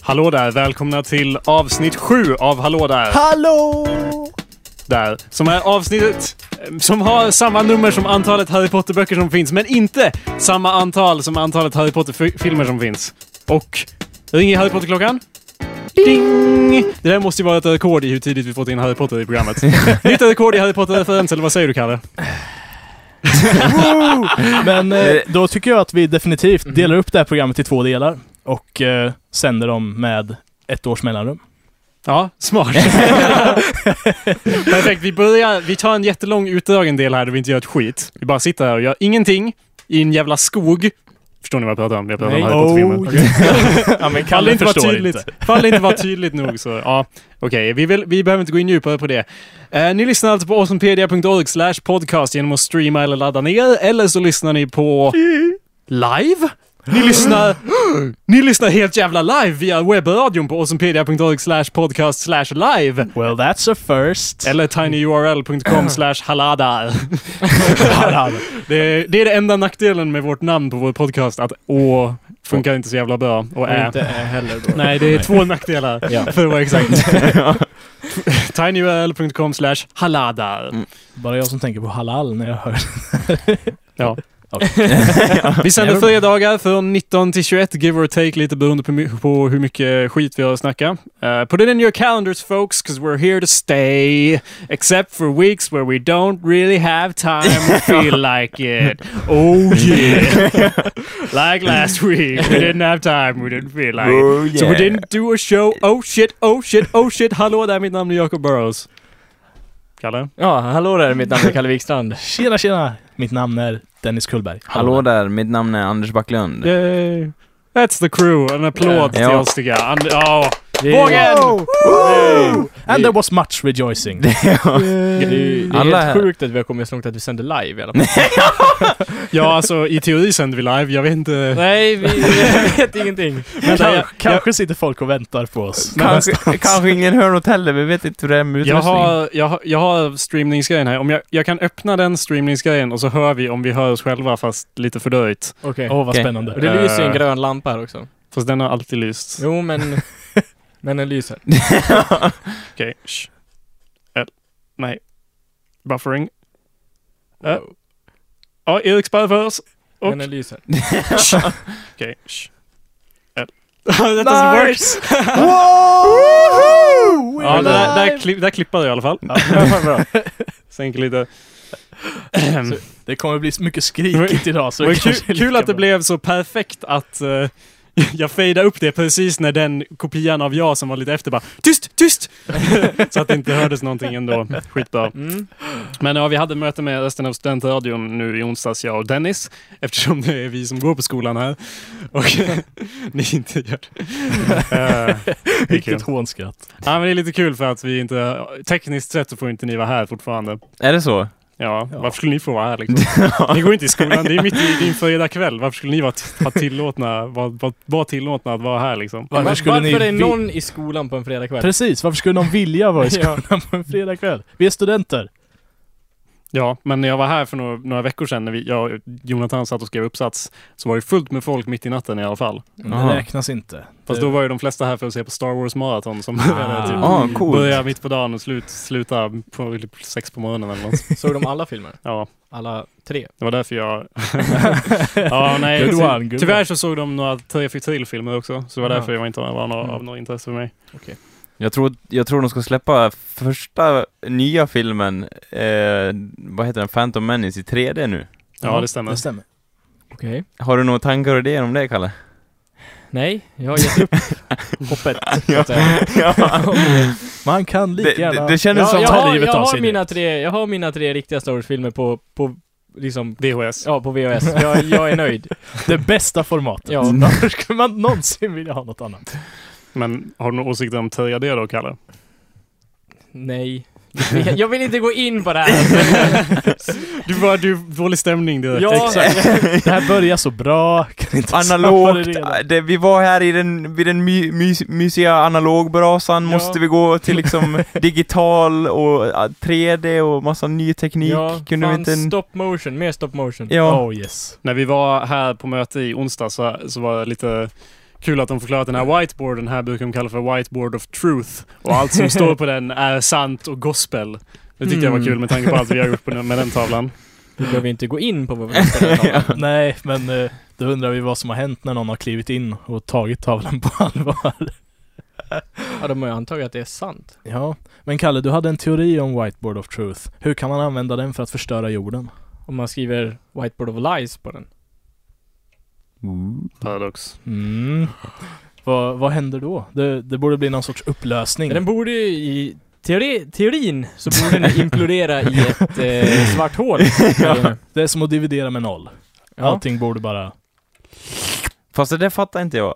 Hallå där! Välkomna till avsnitt 7 av Hallå där! Hallå! där som är avsnittet eh, som har samma nummer som antalet Harry Potter-böcker som finns, men inte samma antal som antalet Harry Potter-filmer som finns. Och ringer Harry Potter-klockan? Ding! Det där måste ju vara ett rekord i hur tidigt vi fått in Harry Potter i programmet. Nytt rekord i Harry Potter-referens, eller vad säger du, Kalle? Men eh, då tycker jag att vi definitivt delar upp det här programmet i två delar och eh, sänder dem med ett års mellanrum. Ja, smart. Perfekt, vi börjar. Vi tar en jättelång utdragen del här där vi inte gör ett skit. Vi bara sitter här och gör ingenting i en jävla skog. Förstår ni vad jag pratar om? Jag pratar om Nej. Harry Potter-filmer. Oh, Okej. Ja men Fall det inte var förstår tydligt. Fall det inte var tydligt nog så, ja. Okej, vi, vill- vi behöver inte gå in djupare på det. Eh, ni lyssnar alltså på awesomepedia.org slash podcast genom att streama eller ladda ner, eller så lyssnar ni på live? Ni lyssnar, ni lyssnar helt jävla live via webbradion på awesomepedia.org slash podcast slash live. Well that's a first. Eller tinyurl.com slash haladar. Det är, det är det enda nackdelen med vårt namn på vår podcast, att å funkar inte så jävla bra. Och ä. heller då. Nej, det är två nackdelar Ja. för att vara exakt. tinyurl.com slash haladar. Bara jag som tänker på halal när jag hör Ja. Okej. Vi sänder fredagar från 19 till 21, give or take, lite beroende på, my- på hur mycket skit vi har att snacka. Uh, put it in your calendars folks, cause we're here to stay. Except for weeks where we don't really have time or feel like it. Oh yeah! like last week, we didn't have time, we didn't feel like it. Oh, So we didn't do a show. Oh shit, oh shit, oh shit. Hallå där, mitt namn är Jacob Burrows. Kalle? Ja, hallå där, mitt namn är Kalle Wikstrand. Tjena tjena! Mitt namn är Dennis Kullberg. Hallå där, mitt namn är Anders Backlund. Yay. Eh, That's the crew. En applåd till Ja. oss tycker jag. And, ja. Det Vågen! Woo! And there was much rejoicing. Det är, ju- det är Alla helt här. sjukt att vi har kommit så långt att vi sänder live i alla fall. ja, alltså i teori sänder vi live. Jag vet inte. Nej, vi vi vet ingenting. Vänta, jag, Kanske- eh, Kanske sitter folk och väntar på oss. Kanske, kanske ingen hör något heller, vi vet inte hur det är med jag, utrustning. har, jag, har, jag har streamningsgrejen här. Om jag, jag kan öppna den streamningsgrejen och så hör vi om vi hör oss själva fast lite fördröjt. Okej. Åh vad Okej. Och spännande. det lyser ju en Eh. grön lampa här också. Fast den har alltid lyst. Jo, men... Men den lyser. Okej. Shh. Ett. Nej. Buffering. Eh. Ja, Erik spärr för oss. Och- Men den lyser. Okej. shh. Ett. That doesn't work. Woho! Ja, det där, där, klipp, där klippar du i alla fall. Sänker lite. Så- Det kommer bli mycket skrikigt idag så Det var kanske är kul, lika kul att det bra. blev så perfekt att eh, jag fejdade upp det precis när den kopian av jag som var lite efter bara tyst, tyst! så att det inte hördes någonting ändå. Skitbra. Mm. Men ja, vi hade möte med resten av studentradion nu i onsdags, jag och Dennis, eftersom det är vi som går på skolan här och ni inte gör det. Eh, det är kul. Vilket hånskratt. Ja, men det är lite kul för att vi inte, tekniskt sett så får inte ni vara här fortfarande. Är det så? Ja, varför skulle ni få vara här liksom? Ni går inte i skolan, det är mitt i din fredagkväll. Varför skulle ni vara, t- vara, tillåtna, vara, vara, vara tillåtna att vara här liksom? Varför Var- skulle ni varför är vi- någon i skolan på en fredagkväll? Precis, varför skulle någon vilja vara i skolan på en fredagkväll? Vi är studenter. Ja, men när jag var här för några, några veckor sedan när vi, jag och Jonathan satt och skrev uppsats så var det fullt med folk mitt i natten i alla fall. Aha. Det räknas inte. Fast Det- då var ju de flesta här för att se på Star Wars maraton som Ah. typ, Ja, ah, coolt. börjar mitt på dagen och slut, slutar på typ sex på morgonen eller något. Såg de alla filmer? Ja, Alla tre? det var därför jag... ja, nej. Good ty- one, good Tyvärr så såg de några tre filmer också, så det var Ja. därför jag inte var några, Mm. av något intresse för mig. Jag tror, jag tror de ska släppa första nya filmen, eh, vad heter den, Phantom Menace i 3D nu. Ja, det stämmer. Det stämmer. Okej. Har du några tankar och idéer om det, Kalle? Nej, jag har gett upp hoppet. så att säga. Man kan Det, lika det, gärna... det kändes Ja, som... jag, tar har, livet jag, av har sig mina direkt. tre, jag har mina tre riktiga Star Wars-filmer på, på liksom, VHS. ja på VHS. Jag, jag är nöjd. Det bästa formatet. Ja. Varför skulle man någonsin vilja ha något annat? Men har du några åsikter om 3D då, Kalle? Nej. Jag- Jag vill inte gå in på det här. Du var du dålig stämning direkt. Ja. Exakt. Det här börjar så bra. Kan inte släppa det Analogt, redan. eh, det, vi var här i den, vid den my, mys, mysiga analogbrasan, Ja. måste vi gå till liksom digital och eh, 3D och massa ny teknik, Ja, kunde vi fan, inte... stop motion, mer stop motion. Ja. Oh yes. När vi var här på möte i onsdag så, så var det lite kul att de förklarar att den här whiteboarden här brukar de kalla för whiteboard of truth. Och allt som står på den är sant och gospel. Det tyckte jag var Mm. kul med tanke på allt vi har gjort på den, med den tavlan. Vi behöver inte gå in på vad vi ska prata om. Nej, men eh, då undrar vi vad som har hänt när någon har klivit in och tagit tavlan på allvar. Ja, de har ju antagit att det är sant. Ja, men Kalle, du hade en teori om Whiteboard of Truth. Hur kan man använda den för att förstöra jorden? Om man skriver whiteboard of lies på den. Paradox. Mm. Vad, vad händer då? Det, det borde bli någon sorts upplösning. Den borde ju i teori, teorin så borde den implodera i ett eh, svart hål. Ja. Det är som att dividera med noll. Ja. Allting borde bara... Fast det där fattar inte jag.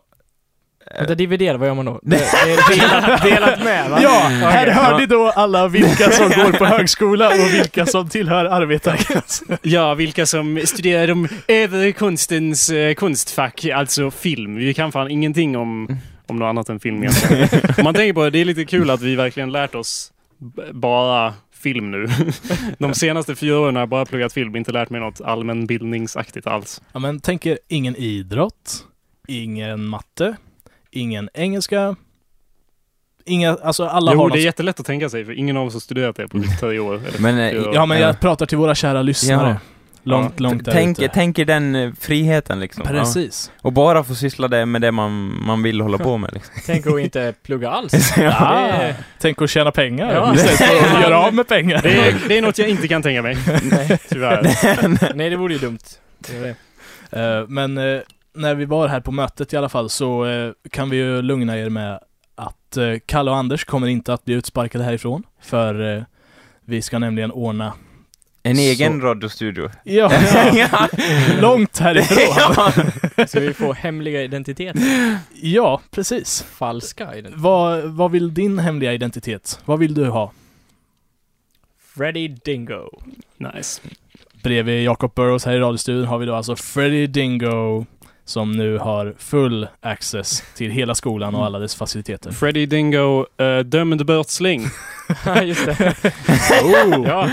Vänta, dividera, vad gör man då? Det, det är delat, delat med va? Ja, här Okej. hör ni då alla vilka som går på högskola och vilka som tillhör arbetarklassen. Ja, vilka som studerar de övre konstens eh, konstfack, alltså film. Vi kan fan ingenting om, om något annat än film egentligen. Om man tänker på det, det är lite kul att vi verkligen lärt oss b- bara film nu. De senaste fyra åren har jag bara pluggat film, inte lärt mig något allmänbildningsaktigt alls. Ja, men tänk er ingen idrott, ingen matte, ingen engelska, inga, alltså alla jo, har det är något... jättre lätt att tänka sig, för ingen av oss har studerat det på typ tre år. Eller Men, eh, fyra år. Ja, men Ja. jag pratar till våra kära lyssnare. Långt, långt där Tänk, ute. tänk er den eh, friheten liksom. Ja. Precis. Och bara få syssla det med det man, man vill hålla på med liksom. Tänk att inte plugga alls. Ah, Det- tänk att tjäna pengar Ja. istället för att göra av med pengar. Det är, det är något jag inte kan tänka mig. Tyvärr. Nej, det vore ju dumt. Det är det. Eh, Men eh, när vi var här på mötet i alla fall så eh, kan vi ju lugna er med att eh, Kalle och Anders kommer inte att bli utsparkade härifrån. För eh, vi ska nämligen ordna... En Så- egen radiostudio. Ja, långt härifrån. Ska vi få hemliga identiteter? Ja, precis. Falska identiteter? Vad, vad vill din hemliga identitet? Vad vill du ha? Freddy Dingo. Nice. Bredvid Jacob Burrows här i radiostudion har vi då alltså Freddy Dingo som nu har full access till hela skolan och alla dess faciliteter. Freddy Dingo, eh, dömd brottsling. Ja, just det. Oh. Ja.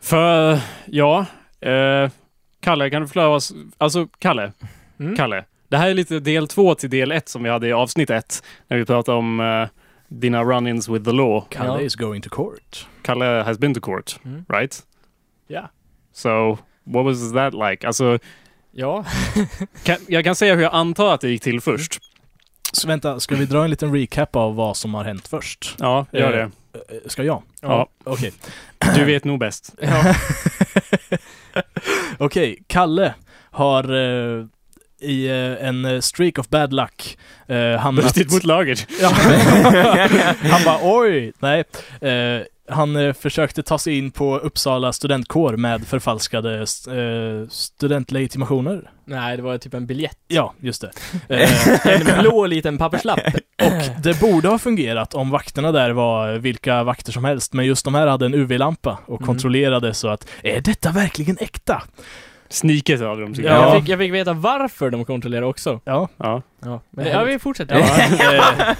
För, ja. Eh, Kalle, kan du förklara oss? Alltså, Kalle. Mm. Kalle. Det här är lite del två till del ett som vi hade i avsnitt ett. När vi pratade om eh, dina run-ins with the law. Kalle Ja. is going to court. Kalle has been to court, Mm. right? Ja. So, what was that like? Alltså, Ja. kan, jag kan säga hur jag antar att det gick till först. Så vänta, ska vi dra en liten recap av vad som har hänt först? Mm. Ja, gör det. Eh, Ska jag? Ja. Okej. Du vet nog bäst. ja. Okej, Kalle har eh, i eh, en eh, streak of bad luck eh, hamnat... Brutit mot laget. Ja. han bara oj, nej. Eh, han eh, försökte ta sig in på Uppsala studentkår med förfalskade eh, studentlegitimationer. Nej, det var typ en biljett. Ja, just det. Eh, En blå liten papperslapp. och det borde ha fungerat om vakterna där var vilka vakter som helst, men just de här hade en UV-lampa och Mm. kontrollerade så att är detta verkligen äkta? Sniket av dem. tycker Ja. jag. Jag, fick, jag fick veta varför de kontrollerade också. Ja. ja. Ja, men det, ja vi fortsätter. Eh,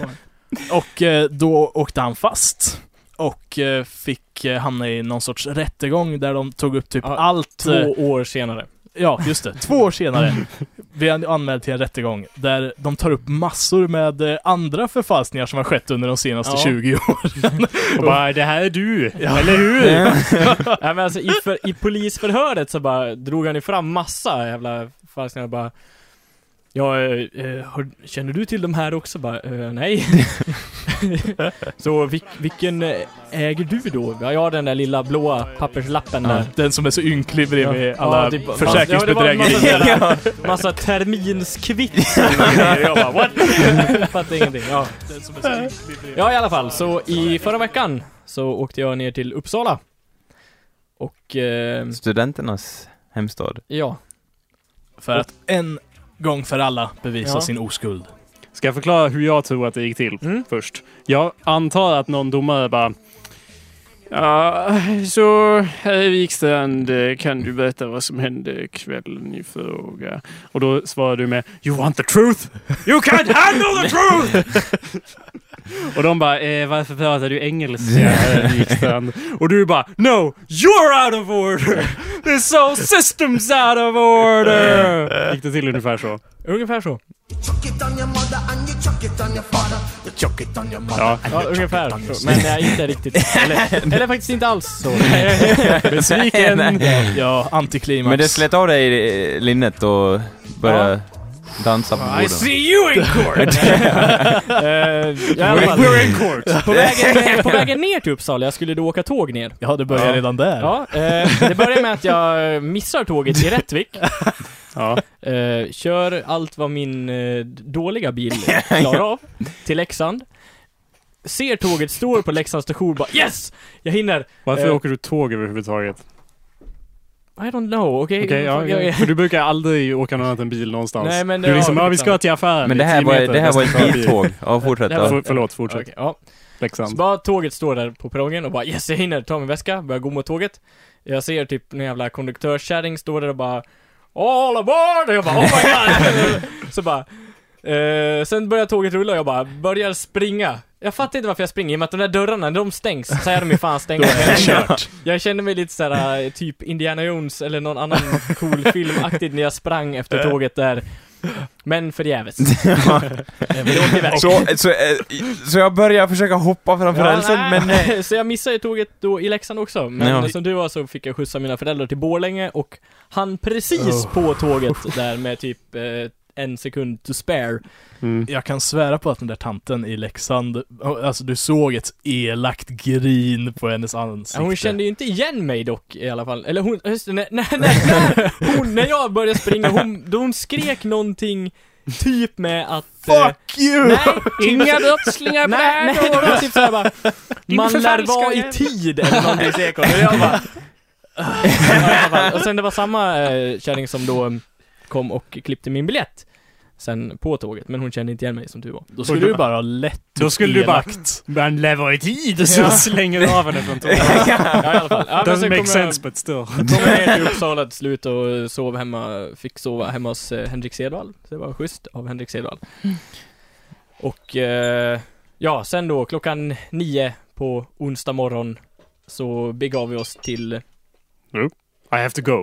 och eh, då åkte han fast. Och eh, fick eh, hamna i någon sorts rättegång där de tog upp typ Ja, allt... eh, Två år senare. Ja, just det. Två år senare blev han anmäld till en rättegång där de tar upp massor med eh, andra förfalskningar som har skett under de senaste Ja. 20 åren. Och bara, det här är du, Ja. eller hur? Nej men alltså i, för, i polisförhöret så bara drog han ju fram massa jävla falskningar och bara Ja, eh, eh, har, känner du till de här också? Bara, eh, nej. så vil, vilken eh, äger du då? Ja, jag har den där lilla blåa papperslappen där. Den som är så ynklig bredvid Ja. alla Ja, det är- försäkringsbedrägerier. Ja, det var en massa, massa terminskvitton och grejer. Jag bara, what? Fattar ingenting. Ja. ja, i alla fall. Så i förra veckan så åkte jag ner till Uppsala. Och, eh, Studenternas hemstad. ja. För att en gång för alla bevisa Ja. sin oskuld. Ska jag förklara hur jag tror att det gick till Mm. först? Jag antar att någon domare bara... Ja, så herr Wikstrand, eh, kan du berätta vad som hände kvällen i fråga? Och då svarar du med You want the truth? You can't handle the truth! Och de bara, eh, varför pratar du engelska, herr Wikstrand? Och du bara, No, you're out of order! This Oh, whole system's out of order! Gick det till ungefär så? Ungefär så. Chuck it on your mother and Ja. Ja, ungefär så. Men eh, inte riktigt. Eller, eller faktiskt inte alls så. Besviken. Nej, Ja, antiklimax. Men det slet av dig eh, linnet och började dansa på I borden. see you in court! Eh, i alla fall, in court. på, vägen, på vägen ner till Uppsala, jag skulle då åka tåg ner. Ja, det börjar Ja. redan där. Ja, eh, det börjar med att jag missar tåget i Rättvik. Ja. Eh, kör allt vad min eh, dåliga bil klarar av till Leksand. Ser tåget står på Leksands station bara yes! Jag hinner! Varför Eh. åker du tåg överhuvudtaget? I don't know, okej? Okej, ja, Jag- ja. För du brukar aldrig åka någon annan än bil någonstans. Nej, men du är det- liksom, ja, ja, vi liksom. ska till affären. Men det är här 10 var, meter, det här jag var ett ska ta en bil. biltåg. Ja, fortsätt. Det här Ja. var- För, förlåt, fortsätt. Okej, ja. Så Leksand. bara tåget står där på perrongen och bara yes, jag hinner, ta min väska, börjar gå mot tåget. Jag ser typ någon jävla konduktörskärring står där och bara All aboard! Och jag bara oh my god! så bara eh, Sen börjar tåget rulla och jag bara börjar springa. Jag fattar inte varför jag springer, i och med att de där dörrarna, när de stängs, så är de ju fan stängda. jag kände mig lite såhär, eh, typ Indiana Jones eller någon annan cool filmaktigt när jag sprang efter tåget där. Men förgäves. Vi åkte iväg. Så, så, eh, så jag börjar försöka hoppa framför Ja, rälsen, nej. men... eh, Så jag missade ju tåget då i Leksand också, men Ja. som du var så fick jag skjutsa mina föräldrar till Borlänge och han precis Oh. på tåget där med typ eh, en sekund to spare. Mm. Jag kan svära på att den där tanten i Leksand, alltså du såg ett elakt grin på hennes ansikte. Hon kände ju inte igen mig dock i alla fall, eller hon, just det, när, när, när, hon, när jag började springa, hon, då hon skrek någonting typ med att... eh, Fuck you! Nej! Inga brottslingar på nej, det här Nej, det var typ såhär bara, Man lär vara i tid eller någonting säkert. Och jag bara... Ah, i alla fall. och sen det var samma eh, kärring som då eh, kom och klippte min biljett. Sen på tåget, men hon kände inte igen mig som tur var. Då skulle du bara ha lätt Då skulle du bara... elakt. Man lever i tid! Så slänger du av henne från tåget. Ja, i alla fall. Ja, Doesn't make kom jag, sense but still. kom jag ner till Uppsala till slut och sov hemma, fick sova hemma hos eh, Henrik Sedvall. Så det var schysst av Henrik Sedvall. Och eh, ja, sen då klockan nio på onsdag morgon så begav vi oss till I have to go.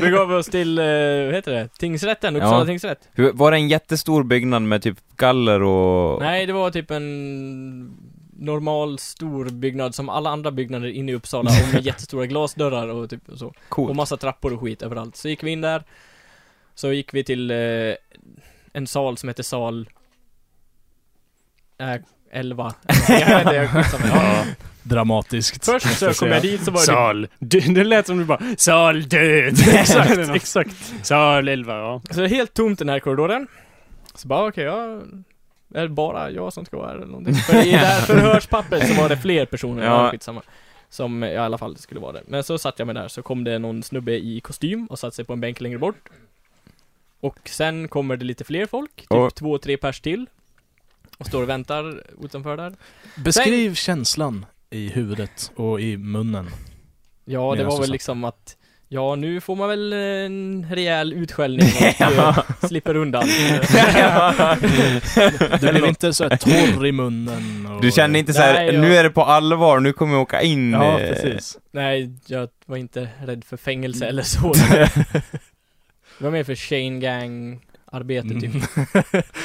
begav vi oss till, eh, vad heter det, tingsrätten, Uppsala Ja. tingsrätt. Hur- Var det en jättestor byggnad med typ galler och... Nej, det var typ en normal stor byggnad som alla andra byggnader inne i Uppsala och med jättestora glasdörrar och typ så. Och Coolt. massa trappor och skit överallt. Så gick vi in där, så gick vi till eh, en sal som heter sal eh, 11. Jag vet inte, jag skissar mig. ja. Dramatiskt. Först så kom jag dit så var det Sal. Det, det lät som du bara Sal död. exakt, exakt. Sal 11, ja. Så det är helt tomt i den här korridoren. Så bara okej, ja, är det bara jag som ska vara här eller någonting? För i det här förhörspappret så var det fler personer, Ja. ja. skitsamma. Som jag i alla fall skulle vara där. Men så satt jag mig där, så kom det någon snubbe i kostym och satte sig på en bänk längre bort. Och sen kommer det lite fler folk, typ Och- två, tre pers till. Och står och väntar utanför där. Beskriv känslan i huvudet och i munnen. Ja, det Medan var du väl satt. liksom att Ja, nu får man väl en rejäl utskällning och eh, slipper undan. Du blev inte så här torr i munnen och... Du kände inte såhär, Nej, jag- nu är det på allvar, nu kommer jag åka in. Ja, eh, precis. Nej, jag var inte rädd för Mm. fängelse eller så. Det var mer för Shane Gang-arbete typ. Mm,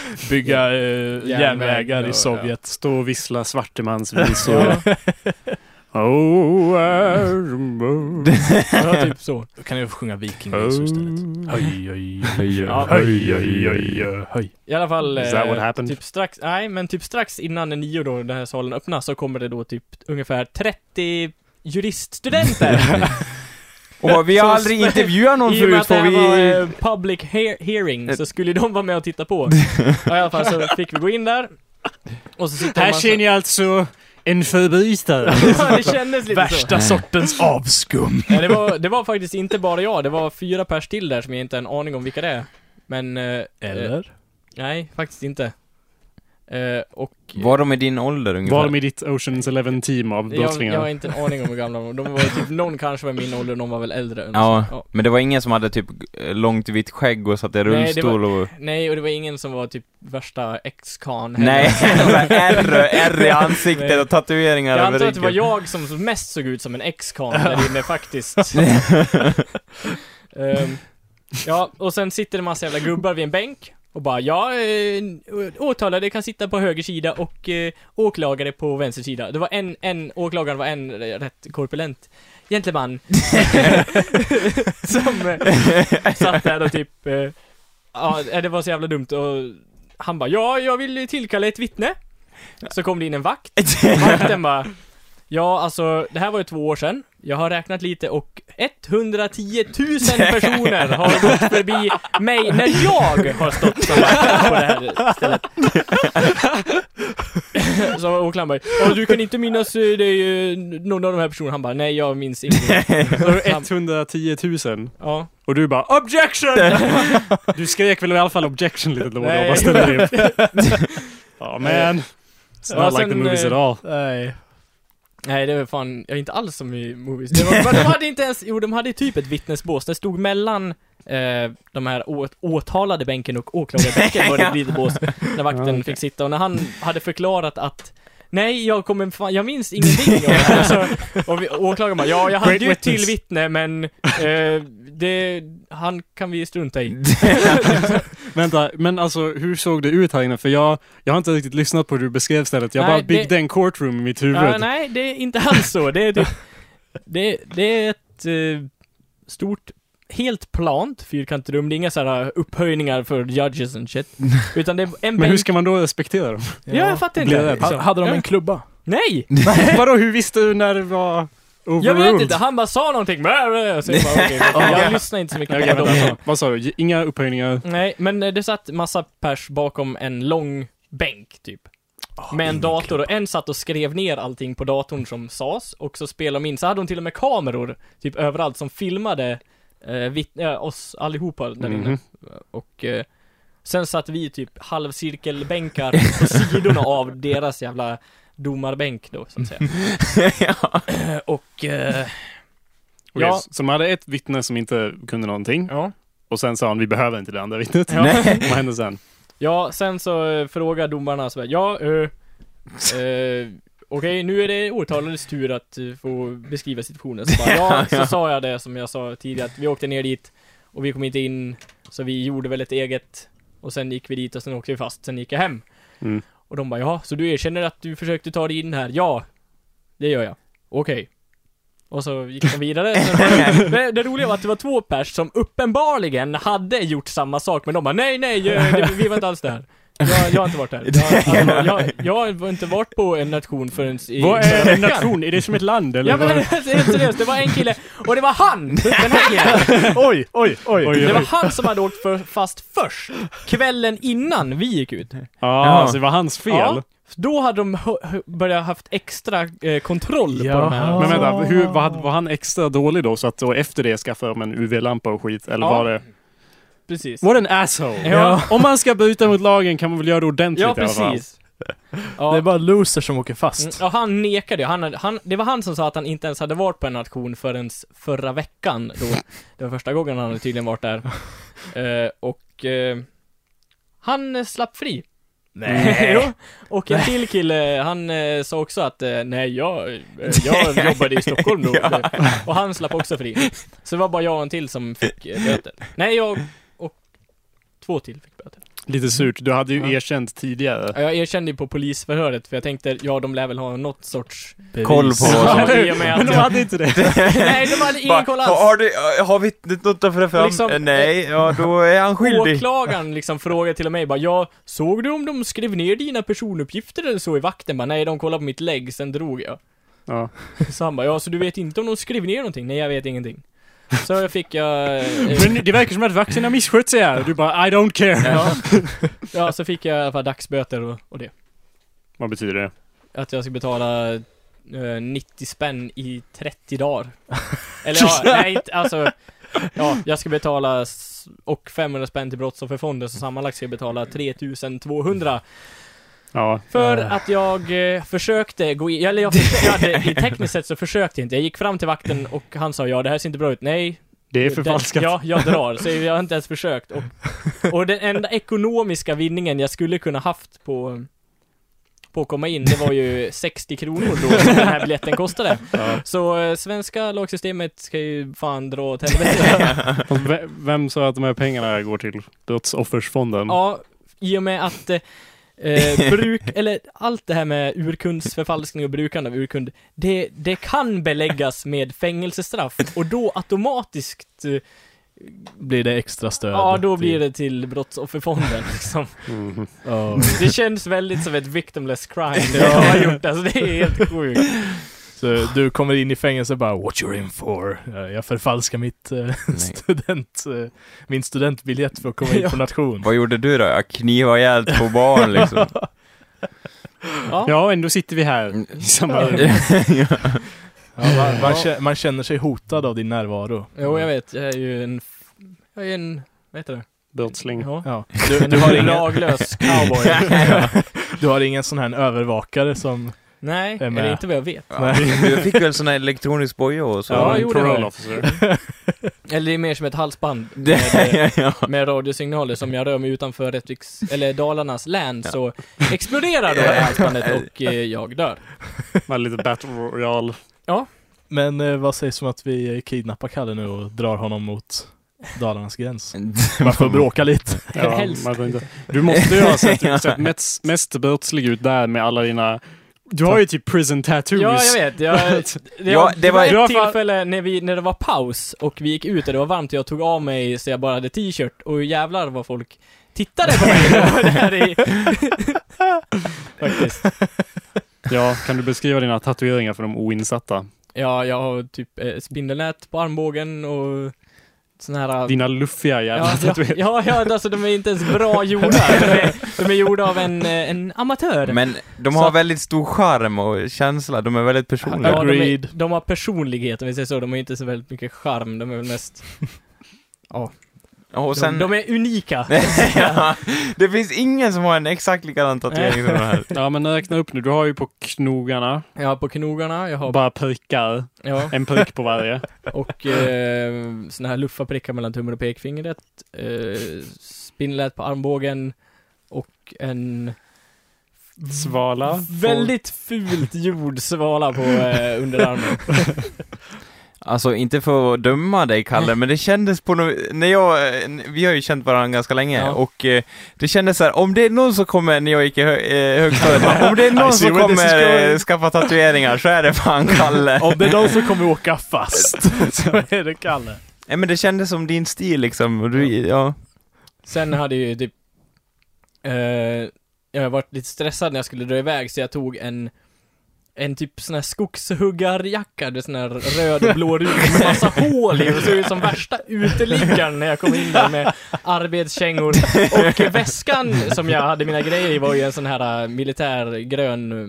Bygga eh, Järnväg, järnvägar ja, i Sovjet. Stå och vissla svartemansvisor. oh, Armor. Ja, typ så. Då kan jag få sjunga vikingvisor istället. Höj, höj, höj, Ja. höj, höj, höj, höj. I alla fall, Is that eh, what happened? typ strax, nej men typ strax innan nio då den här salen öppnas så kommer det då typ ungefär 30 juriststudenter. Och vi har Så aldrig sp- intervjuat någon I och med förut, att det får här vi... var eh, public he- hearing Eh. så skulle de vara med och titta på. Ja, I alla fall så fick vi gå in där. Och så sitter Här känner jag alltså en förbrytare. jag... det kändes lite så. Värsta sortens avskum. Nej, det, var, det var faktiskt inte bara jag, det var fyra pers till där som jag inte har en aning om vilka det är. Men... eh, Eh, Eller? nej, faktiskt inte. Eh, och... Var de i din ålder ungefär? Var de i ditt Oceans Eleven team av jag, jag har brottslingar? inte en aning om hur gamla de var. De var typ, någon kanske var i min ålder, någon var väl äldre. än Ja. så. Men det var ingen som hade typ eh, långt vitt skägg och satt i det rullstol och... Nej, och det var ingen som var typ värsta ex-kan heller. Nej, R, R i ansiktet Nej. och tatueringar Jag över antar att det var ryggen. jag som mest såg ut som en ex-kan där inne faktiskt. Ehm, ja, och sen sitter det massa jävla gubbar vid en bänk. och bara ja, eh, åtalade kan sitta på höger sida och eh, åklagare på vänster sida. Det var en, en, åklagaren var en eh, rätt korpulent gentleman. som eh, satt där och typ, eh, ja eh, det var så jävla dumt och han bara ja, jag vill tillkalla ett vittne. Så kom det in en vakt Vakten bara Ja, alltså det här var ju två år sedan. Jag har räknat lite och 110 000 personer har gått förbi mig när jag har stått som vakt på det här stället. Så åklagaren bara, "Ja, du kan inte minnas eh, det är ju någon av de här personerna. Han bara, nej jag minns ingenting. Så 110 000. Ja. Och du bara objection! du skrek väl i alla fall objection lite då och då, Nej. bara ställde in. Ja man. It's Ja, not like the sen, movies eh, at all. Nej. Nej det var fan, jag är inte alls som i movies. Det var, de hade inte ens, jo de hade typ ett vittnesbås, det stod mellan eh, de här å, åtalade bänken och åklagarbänken var det ett litet bås, där Ja, vakten okej. fick sitta och när han hade förklarat att Nej, jag kommer fan, jag minns ingenting av det här. Så, och vi, åklagaren bara, ja jag hade Great ju ett till witness. vittne men, eh, det, han kan vi strunta i. Vänta, men alltså hur såg det ut här inne? För jag, jag har inte riktigt lyssnat på hur du beskrev stället. Jag Nej, bara Big det- Den Courtroom i mitt huvud. Ja, nej, det är inte alls så. Det är, typ, det, det är ett eh, stort, helt plant fyrkantigt rum. Det är inga sådana upphöjningar för judges and shit. Utan det är en men hur bänk. ska man då respektera dem? Ja, jag fattar inte. Blir det- Ha- Liksom. Hade de Ja. en klubba? Nej! Vadå, hur visste du när det var overruled? Jag vet inte, han bara sa någonting. Så jag, bara, okej, jag lyssnar inte så mycket Okej, på vänta, dem. vänta. Vad sa du? Inga upphöjningar? Nej, men eh, det satt massa pers bakom en lång bänk, typ. Med en dator och en satt och skrev ner allting på datorn som sades och så spelade de in, så hade de till och med kameror typ överallt som filmade eh, vitt, eh, oss allihopa där inne. Mhm. Och eh, sen satt vi typ halvcirkelbänkar på sidorna av deras jävla domarbänk då, så att säga. och, eh, Okej, Ja. Så man hade ett vittne som inte kunde någonting ja. och sen sa han vi behöver inte det andra vittnet. Ja. Vad hände sen? Ja, sen så eh, frågar domarna så här, ja, eh, eh, okej nu är det åtalades tur att eh, få beskriva situationen. Så bara, ja, så sa jag det som jag sa tidigare, att vi åkte ner dit och vi kom inte in, så vi gjorde väl ett eget och sen gick vi dit och sen åkte vi fast, sen gick jag hem. Mm. Och de bara, ja, så du erkänner att du försökte ta dig in här? Ja, det gör jag. Okej. Och så gick de vidare. Så det, var- det roliga var att det var två pers som uppenbarligen hade gjort samma sak, men de bara nej, nej, eh, det, vi var inte alls där. Jag, jag har inte varit där. Jag, alltså, jag, jag har inte varit på en nation förrän i... Vad är en nation? Är det som ett land eller? Ja men vad? alltså, helt seriöst, det var en kille, och det var han! Den här killen! Oj, oj, oj! Oj, Det oj. var han som hade åkt för, fast först, kvällen innan vi gick ut. Ja, Ja. så det alltså, var hans fel. Ja, då hade de hö- hö- börjat haft extra eh, kontroll på de här. Jaha. Men vänta, Ah. hur, var, var han extra dålig då? Så att då efter det skaffade de en UV-lampa och skit? Eller Ja. var det... Precis. What an asshole! Ja. Om man ska bryta mot lagen kan man väl göra det ordentligt Ja, i alla fall? precis. Ja. Det är bara losers som åker fast. Mm, Ja, han nekade ju. Han, hade- han, det var han som sa att han inte ens hade varit på en auktion förrän förra veckan då. Det var första gången han hade tydligen varit där. Eh, och eh, han slapp fri. Jo. och en till kille, han eh, sa också att eh, nej, jag, eh, jag jobbade i Stockholm då. Och han slapp också fri. Så det var bara jag och en till som fick eh, böter. Nej, jag och två till fick böter. Lite surt, du hade ju Ja. erkänt tidigare. Ja, Jag erkände ju på polisförhöret, för jag tänkte, ja de lär väl ha något sorts... Bevis. Koll på vad som... Ja, i och med att Men de jag- hade inte det. Nej, de hade ingen Bara, koll "Ha- alls. Har, du, eh, har vittnet något att föra fram? Liksom, Eh, Nej, ja då är han skyldig. Åklagaren liksom frågade till och mig bara, ja, såg du om de skrev ner dina personuppgifter eller så i vakten? Bara, nej, de kollade på mitt lägg, sen drog jag. Ja. Så han bara, ja, så du vet inte om de skrev ner någonting? Nej, jag vet ingenting. Så fick jag... eh, Men det verkar som att vakten har misskött sig här. Du bara I don't care. Ja, ja så fick jag i alla fall dagsböter och, och det. Vad betyder det? Att jag ska betala eh, 90 spänn i 30 dagar. Eller ja, nej, inte- alltså... Ja, jag ska betala s- och 500 spänn till brottsofferfonden, så sammanlagt ska jag betala 3200 Ja. För Eh. att jag eh, försökte gå in, eller jag försökte, i tekniskt sett så försökte jag inte. Jag gick fram till vakten och han sa ja, det här ser inte bra ut. Nej. Det är den- förfalskat. Ja, jag drar. Så jag har inte ens försökt. Och, och den enda ekonomiska vinningen jag skulle kunna haft på, på att komma in, det var ju 60 kronor då som den här biljetten kostade. Så eh, svenska lagsystemet ska ju fan dra åt helvete. Fast ve- Vem sa att de här pengarna går till Dödsoffersfonden? Ja, i och med att eh, eh, bruk, eller allt det här med urkundsförfalskning och brukande av urkund, det, det kan beläggas med fängelsestraff och då automatiskt, eh, Blir det extra stöd? ja då blir det till brottsofferfonden liksom. Mhm. Ja. Det känns väldigt som ett victimless crime det de har gjort, alltså det är helt sjukt. Så du kommer in i fängelse och bara What you're in for? Ja, Jag förfalskar mitt eh, Nej. student, eh, min studentbiljett för att komma in på nation. Vad gjorde du då? Jag knivade ihjäl två barn liksom. Ja. Ja, ändå sitter vi här i samma rum. Ja. Ja, man, man, kä- man känner sig hotad av din närvaro. Jo, jag vet, jag är ju en, f- jag är en, vad heter det? Brottsling. Ja. Ja. Du, du har ingen- laglös cowboy. Du har ingen sån här övervakare som... Nej, Är är med. det inte vad jag vet. Ja. Du fick väl sån här elektronisk boja och så? Ja, jo, det var parole det. officer. Eller det är mer som ett halsband Det, ja. med radiosignaler som jag rör mig utanför Rättviks, eller Dalarnas län så exploderar då det här halsbandet och eh, jag dör. Med lite battle royale. Men eh, vad sägs om att vi eh, kidnappar Kalle nu och drar honom mot Dalarnas gräns? Man får bråka lite. Ja, Helst. man vet inte. du måste ju ha sett, sett mest, mest brottslig ut där med alla dina... Du har ju typ prison tattoos. Ja, jag vet. Jag, det, Ja, var, det det var var- ett i alla fall- tillfälle när, vi, när det var paus och vi gick ut och det var varmt och jag tog av mig så jag bara hade t-shirt och jävlar vad folk tittade på mig då, där i... Faktiskt. Ja, kan du beskriva dina tatueringar för de oinsatta? Ja, jag har typ eh, spindelnät på armbågen och sån här... Dina luffiga jävla Ja, ja, tatueringar. ja, ja, alltså de är inte ens bra gjorda. De är, de är gjorda av en, eh, en amatör. Men de Så har att- väldigt stor charm och känsla, de är väldigt personliga. Ja, de, Agreed. är, de har personlighet om vi säger så, de har inte så väldigt mycket charm, de är väl mest... och De, sen... de är unika! ja, det finns ingen som har en exakt likadan tatuering som den här. Ja, men räkna upp nu. Du har ju på knogarna, Jag har på knogarna, jag har... bara prickar. Ja, En prick på varje. och eh, såna här luffa prickar mellan tummen och pekfingret, eh, spindelnät på armbågen och en Svala. väldigt fult gjord svala på eh, underarmen. Alltså, inte för att döma dig Kalle, men det kändes på något... När jag... eh, Vi har ju känt varandra ganska länge, Ja. och eh, det kändes så här, om det är någon som kommer, när jag gick i hö, eh, högstadiet, om det är någon see som where this is kommer going. eh, skaffa tatueringar så är det fan Kalle. Om det är någon som kommer åka fast så är det Kalle. Nej men det kändes som din stil liksom, och du, ja. Sen hade ju typ eh, Jag varit lite stressad när jag skulle dra iväg så jag tog en En typ sån här skogshuggarjacka, du vet, sån här röd och blå rut med massa hål i och såg ut som värsta uteliggaren när jag kom in där med arbetskängor Och väskan som jag hade mina grejer i var ju en sån här eh, militärgrön eh,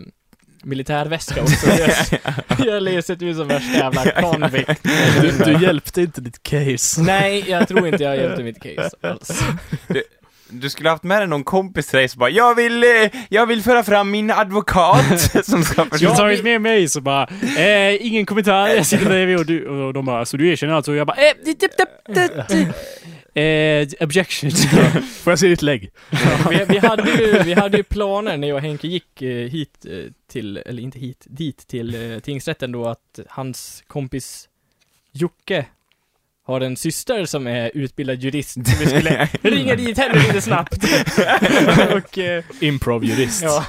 Militärväska också, Så jag, jag hade sett ut som värsta jävla convict Du, du hjälpte inte ditt case. Nej, jag tror inte jag hjälpte mitt case alls Du skulle haft med dig någon kompis till dig som bara jag vill, eh, jag vill föra fram min advokat som ska försvara... Jag har Ja, tagit vi- med mig så bara, eh, ingen kommentar, jag sitter bredvid och, du, och de bara, så du erkänner alltså? Och jag bara, eh, dip, dip, dip, dip, dip. eh objection. Får jag se ditt lägg? vi, vi, hade ju, vi hade ju planer när jag och Henke gick eh, hit eh, till, eller inte hit, dit till eh, tingsrätten då att hans kompis Jocke har en syster som är utbildad jurist, så vi skulle ringa dit henne lite snabbt. och, eh, Improv-jurist. ja.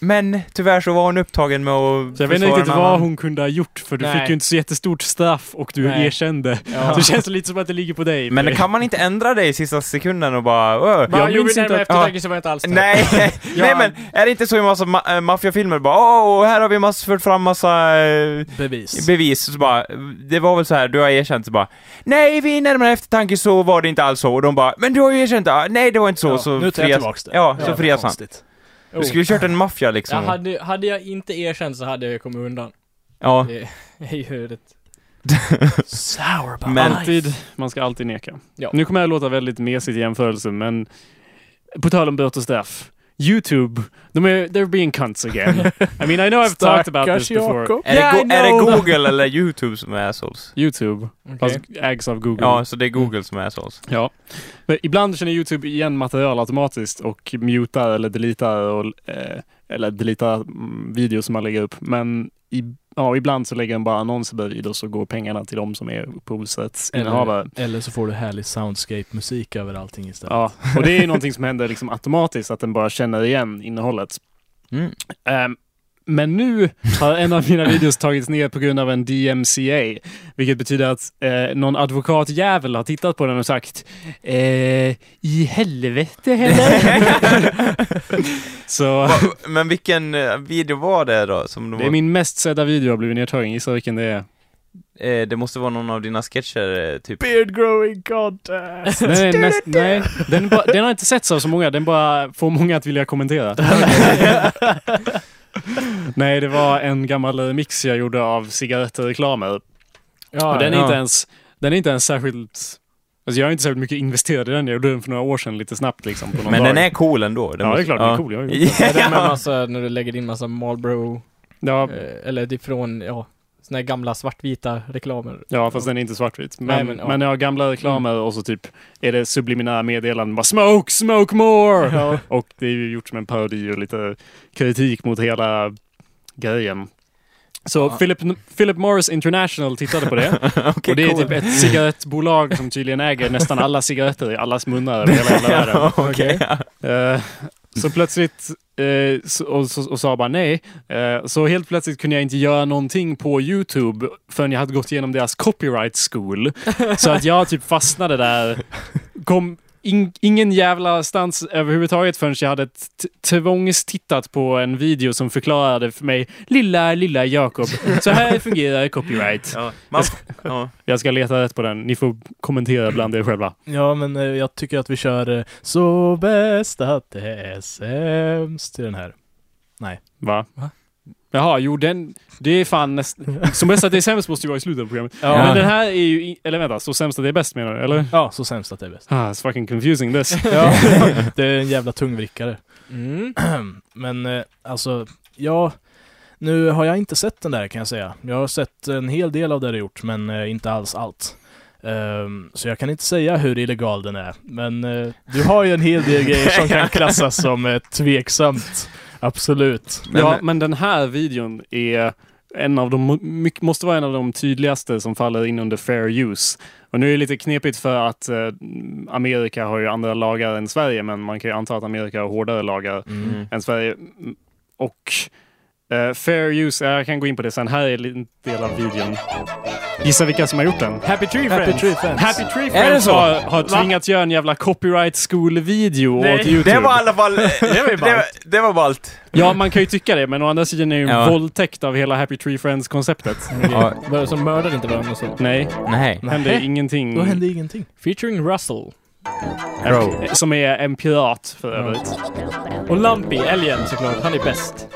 Men tyvärr så var hon upptagen med att Så jag vet inte försvara riktigt en vad annan. hon kunde ha gjort, för du Nej. fick ju inte så jättestort straff och du Nej. erkände. Ja. Så det känns lite som att det ligger på dig. Men kan man inte ändra dig i sista sekunden och bara... "Åh, Bara gjorde minns det inte med att- eftertanke så var jag inte alls där. Nej, nej men är det inte så i massa ma- äh, maffiafilmer? Bara åh, här har vi mass- fört fram massa äh, Bevis. bevis, så bara, det var väl så här, du har erkänt, så bara Nej, vid närmare eftertanke så var det inte alls så, och de bara Men du har ju erkänt, ah, nej det var inte så, Ja, så nu tar jag frias- tillbaks det. Ja, så frias han. konstigt. Oh. Du skulle ju kört en maffia liksom. Ja, hade, hade jag inte erkänt så hade jag kommit undan. Ja. Det är ju rätt Oh. Sour by Men- Alltid, man ska alltid neka. Ja. Nu kommer jag att låta väldigt mesigt i jämförelse, men på tal om bötesstraff. YouTube, de är, they're being cunts again. I mean, I know I've talked about this before. Jakob. Är, Yeah, det I go- är det know. Google eller YouTube som är assholes? YouTube, Okej. fast ägs av Google. Ja, så det är Google som är assholes. Ja. Men ibland känner YouTube igen material automatiskt och mutar eller deletar och, eh, eller deletar mm, videos som man lägger upp. Men i, ja, ibland så lägger den bara annonser bredvid och så går pengarna till de som är upphovsrättsinnehavare. Eller så får du härlig soundscape-musik över allting istället. Ja, och det är ju någonting som händer liksom automatiskt, att den bara känner igen innehållet. Mm. Ehm, men nu har en av mina videos tagits ner på grund av en DMCA, vilket betyder att eh, någon advokatjävel har tittat på den och sagt eh, i helvete heller. Så Va- Men vilken eh, video var det då? Som de det är var, min mest sedda video har blivit nedtagen, gissa vilken det är? eh, det måste vara någon av dina sketcher, eh, typ. Beard growing contest! Nej, nej, näst, nej. Den, bara, den har inte setts av så många, den bara får många att vilja kommentera. nej, det var en gammal eh, mix jag gjorde av cigarettreklamer. Ja, och den är, ja. inte ens, den är inte ens särskilt... Alltså jag är inte särskilt mycket investerad i den. Jag gjorde den för några år sedan lite snabbt liksom. På någon Men dag. den är cool ändå. Den ja, det måste- är klart den är cool. Jag har gjort Är det med massa, när du lägger in massa Marlboro, den. ja, eh, eller ifrån, ja, såna här gamla svartvita reklamer. ja, fast den är inte svartvit. Men, Nej, men, men, ja. ja. gamla reklamer och så typ är det subliminära meddelanden. Bara smoke, smoke more! Ja. Och det är ju gjort som en parodi och lite kritik mot hela grejen. Så Ja. Philip, Philip Morris International tittade på det. Okej, och det är cool. typ ett cigarettbolag som tydligen äger nästan alla cigaretter i allas munnar över hela jävla världen. Ja, okej. Eh, så plötsligt, eh, så- och, så- och sa bara nej. Eh, så helt plötsligt kunde jag inte göra någonting på YouTube förrän jag hade gått igenom deras copyright school. Så att jag typ fastnade där. Kom in, ingen jävla stans överhuvudtaget förrän jag hade t- tvångstittat på en video som förklarade för mig, lilla, lilla Jakob, så här fungerar copyright. Ja, man, ja. Jag ska leta rätt på den, ni får kommentera bland er själva. Ja, men eh, jag tycker att vi kör eh, Så bäst att det är sämst till den här. Va? Va? Jaha, jo den, det är fan näst, Som bäst att det är sämst måste ju vara i slutet av programmet. Ja. Men den här är ju, i- eller vänta, så sämst att det är bäst menar du, eller? Ja, så sämst att det är bäst. Ah, it's fucking confusing this. Ja, det är en jävla tungvrickare. Mm. Men eh, alltså, ja, nu har jag inte sett den där kan jag säga. Jag har sett en hel del av det du gjort, men eh, inte alls allt. Ehm, så jag kan inte säga hur illegal den är, men eh, du har ju en hel del grejer som kan klassas som eh, tveksamt. Absolut. Men- ja, men den här videon är en av de, mycket- måste vara en av de tydligaste som faller in under fair use. Och nu är det lite knepigt för att eh, Amerika har ju andra lagar än Sverige, men man kan ju anta att Amerika har hårdare lagar Mm. än Sverige. Mm, Och eh, fair use, ja, jag kan gå in på det sen. Här är en liten del av videon. Gissa vilka som har gjort den? Happy Tree Friends! Happy Tree Friends. Happy Tree Är det Friends så? har, har tvingats göra en jävla copyright school-video Nej, åt YouTube. Det var i alla fall... eh, det, var ballt. det, var ballt. Ja, man kan ju tycka det, men å andra sidan är det ju en Ja. våldtäkt av hela Happy Tree Friends-konceptet. Ja. Var- Som mördade inte varandra och så. Nej, Nej. det hände Nähä, ingenting. Då hände ingenting. Featuring Russell. Eh, Som är en pirat, för övrigt. Och Lumpy, älgen såklart. Han är bäst.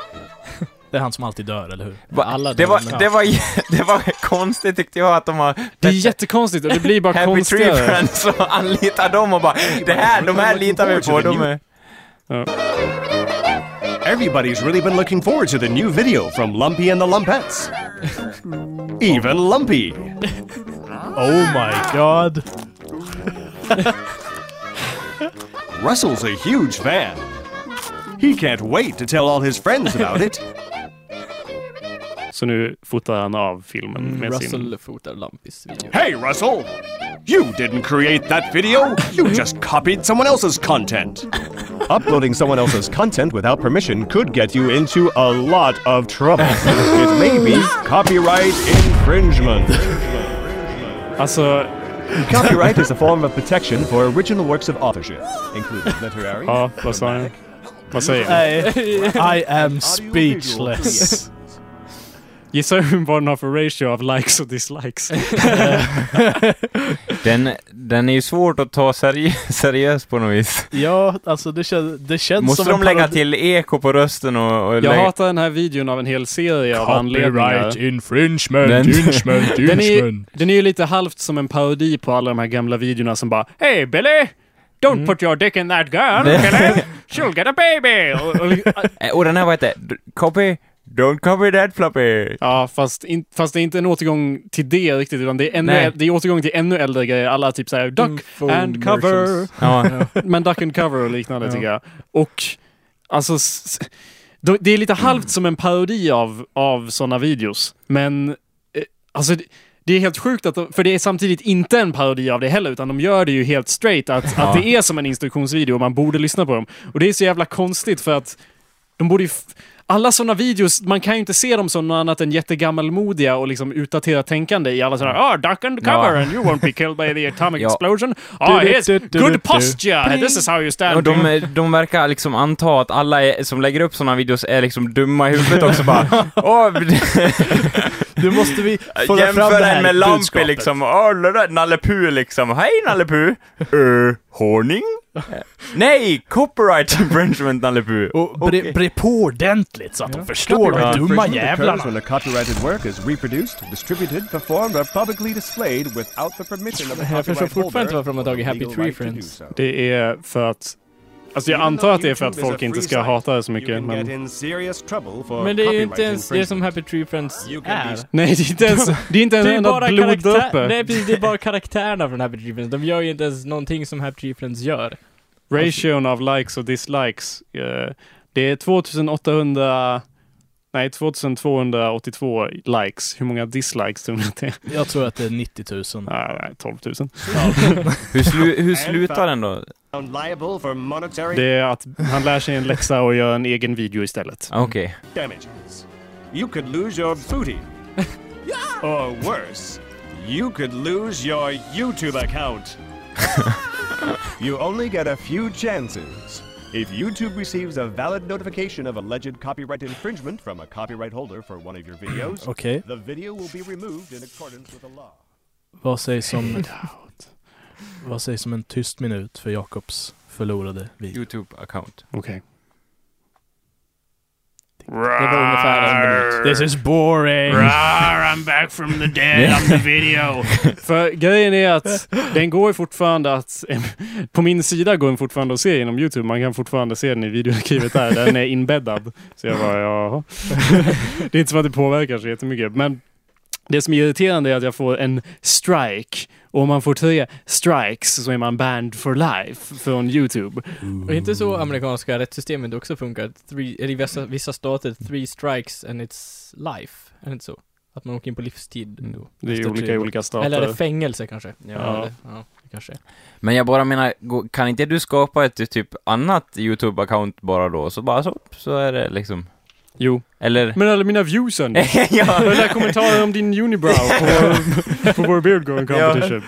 Det är han som alltid dör, eller hur? Va- Alla det, dömer. var, det, var, det var konstigt tyckte jag att de har... Det är jättekonstigt och det blir bara Happy Tree konstigare. Friends och anlitar dem och bara det här, de här litar vi på. De är... Everybody's really been looking forward to the new video from Lumpy and the Lumpettes. Even Lumpy. Oh my god. Russell's a huge fan. He can't wait to tell all his friends about it. Så nu fotar han av filmen med sin... Russell fotar Lumpys video. Hey, Russell! You didn't create that video! You just copied someone else's content! Uploading someone else's content without permission could get you into a lot of trouble. it may be copyright infringement. Alltså, Copyright is a form of protection for original works of authorship, including literary. ja, vad sa jag? Vad säger jag? Nej, I am speechless. Gissa vad den har för ratio av likes och dislikes. Den, den är ju svårt att ta seri seriöst på något vis. Ja, alltså det, kän det känns Måste som de en lägga parodi- till eko på rösten och, och Jag lägga... hatar den här videon av en hel serie av anledningar. Copyright infringement, Den- infringement, Den är, infringement. den är ju lite halvt som en parodi på alla de här gamla videorna som bara Hej Billy! Don't put your dick in that girl, killer. She'll get a baby. Och- och- Eh, Och den här, vad hette D- Copy? Don't copy that floppy! ja, fast, in, fast det är inte en återgång till det riktigt, utan det är, ännu, Nej. det är återgång till ännu äldre grejer. Alla typ såhär, duck and cover. Ja. Men duck and cover och liknande Ja. tycker jag. Och alltså, s- s- då- det är lite halvt som en parodi av, av sådana videos. Men eh, alltså, det, det är helt sjukt att de, för det är samtidigt inte en parodi av det heller, utan de gör det ju helt straight att, att det är som en instruktionsvideo och man borde lyssna på dem. Och det är så jävla konstigt för att de borde ju f- alla sådana videos, man kan ju inte se dem som något annat än jättegammalmodiga och liksom utdaterat tänkande i alla sådana ah, duck and cover Ja. and you won't be killed by the atomic Ja. explosion. Ah, here's good posture! Pling. This is how you Och stand. de, eh, de verkar liksom anta att alla är, som lägger upp sådana videos är liksom dumma i huvudet också bara. Åh, Du måste vi föra fram Äh, jämför det den här med Lampi budskapet. liksom. Åh, det där är Nalle Puh liksom. Hej Nalle Puh! Uh, honung? Nej, copyright infringement Nalle Puh. Och bre, bre på ordentligt så att de förstår, de dumma jävlarna. when a copyrighted work is reproduced, distributed, performed, or publicly displayed without the permission of the Jag förstår copyright fortfarande holder. inte varför de har tagit Happy Legal Tree right to do Friends. so. Det är för att... Alltså jag antar att det är för att folk inte ska hata det så You mycket, can get men... in serious trouble for Men det är ju copyright inte ens det som infringement. Happy Tree Friends You can är. be- Nej, det är inte ens, det är inte ens Det en är, enda bara karaktär, bloddroppe. nej, precis, det är bara karaktärerna från Happy Tree Friends. De gör ju inte ens någonting som Happy Tree Friends gör. Ration av likes och dislikes. eh, det är 2800... Nej, 2282 likes. Hur många dislikes tror ni att det är? Jag tror att det är 90 000. Ah, nej, 12 000. Hur, slu, hur slutar den då? found liable for monetary Det är att han lär sig en läxa och gör en egen video istället. Okej. damages. You could lose your booty. or worse, you could lose your YouTube account. you only get a few chances. If YouTube receives a valid notification of alleged copyright infringement from a copyright holder for one of your videos, Okej, the video will be removed in accordance with the law. vad sägs om... Vad sägs om en tyst minut för Jakobs förlorade video? Youtube-account. Okej. Det var ungefär en minut. This is boring! I'm back from the dead, I'm the video. För grejen är att den går ju fortfarande att... På min sida går den fortfarande att se genom YouTube. Man kan fortfarande se den i videoarkivet där. Den är inbäddad. Så jag bara, jaha. Det är inte som att det påverkar så jättemycket. Men det som är irriterande är att jag får en strike. Och om man får tre strikes så är man banned for life från YouTube. Och inte så amerikanska rättssystemet också funkar. Three, eller I vissa, vissa stater, three strikes and it's life. Är det inte så? Att man åker in på livstid Mm. då. Det är Efter olika tre i år. olika stater. Eller är det fängelse kanske? Ja. det, ja det kanske. är. Men jag bara menar, gå- kan inte du skapa ett typ annat YouTube-account bara då? Så bara så, så är det liksom. Jo. Eller? Men alla mina viewsen. ja. Eller kommentarer om din unibrow på, på vår beard growing competition.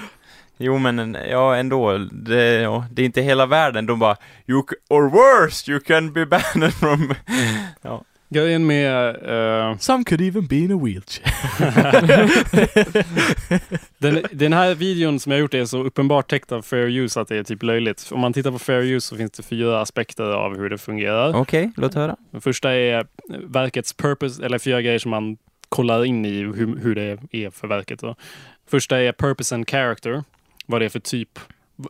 Jo men, en- ja ändå. Det, ja, det är inte hela världen. De bara, you, c- or worse, you can be banned from... Grejen med... eh, Some could even be in a wheelchair. den, den här videon som jag gjort är så uppenbart täckt av fair use att det är typ löjligt. Om man tittar på fair use så finns det fyra aspekter av hur det fungerar. Okej, låt höra. Den första är verkets purpose, eller fyra grejer som man kollar in i hur, hur det är för verket. Då. Första är purpose and character, vad det är för typ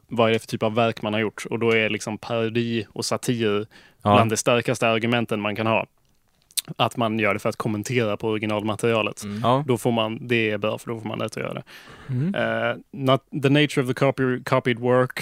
vad är det för typ av verk man har gjort? Och då är liksom parodi och satir Ja. bland det starkaste argumenten man kan ha. Att man gör det för att kommentera på originalmaterialet. ja. Då får man, det är bra för då får man rätt att göra det. Mm. Eh, not the nature of the copy, copied work.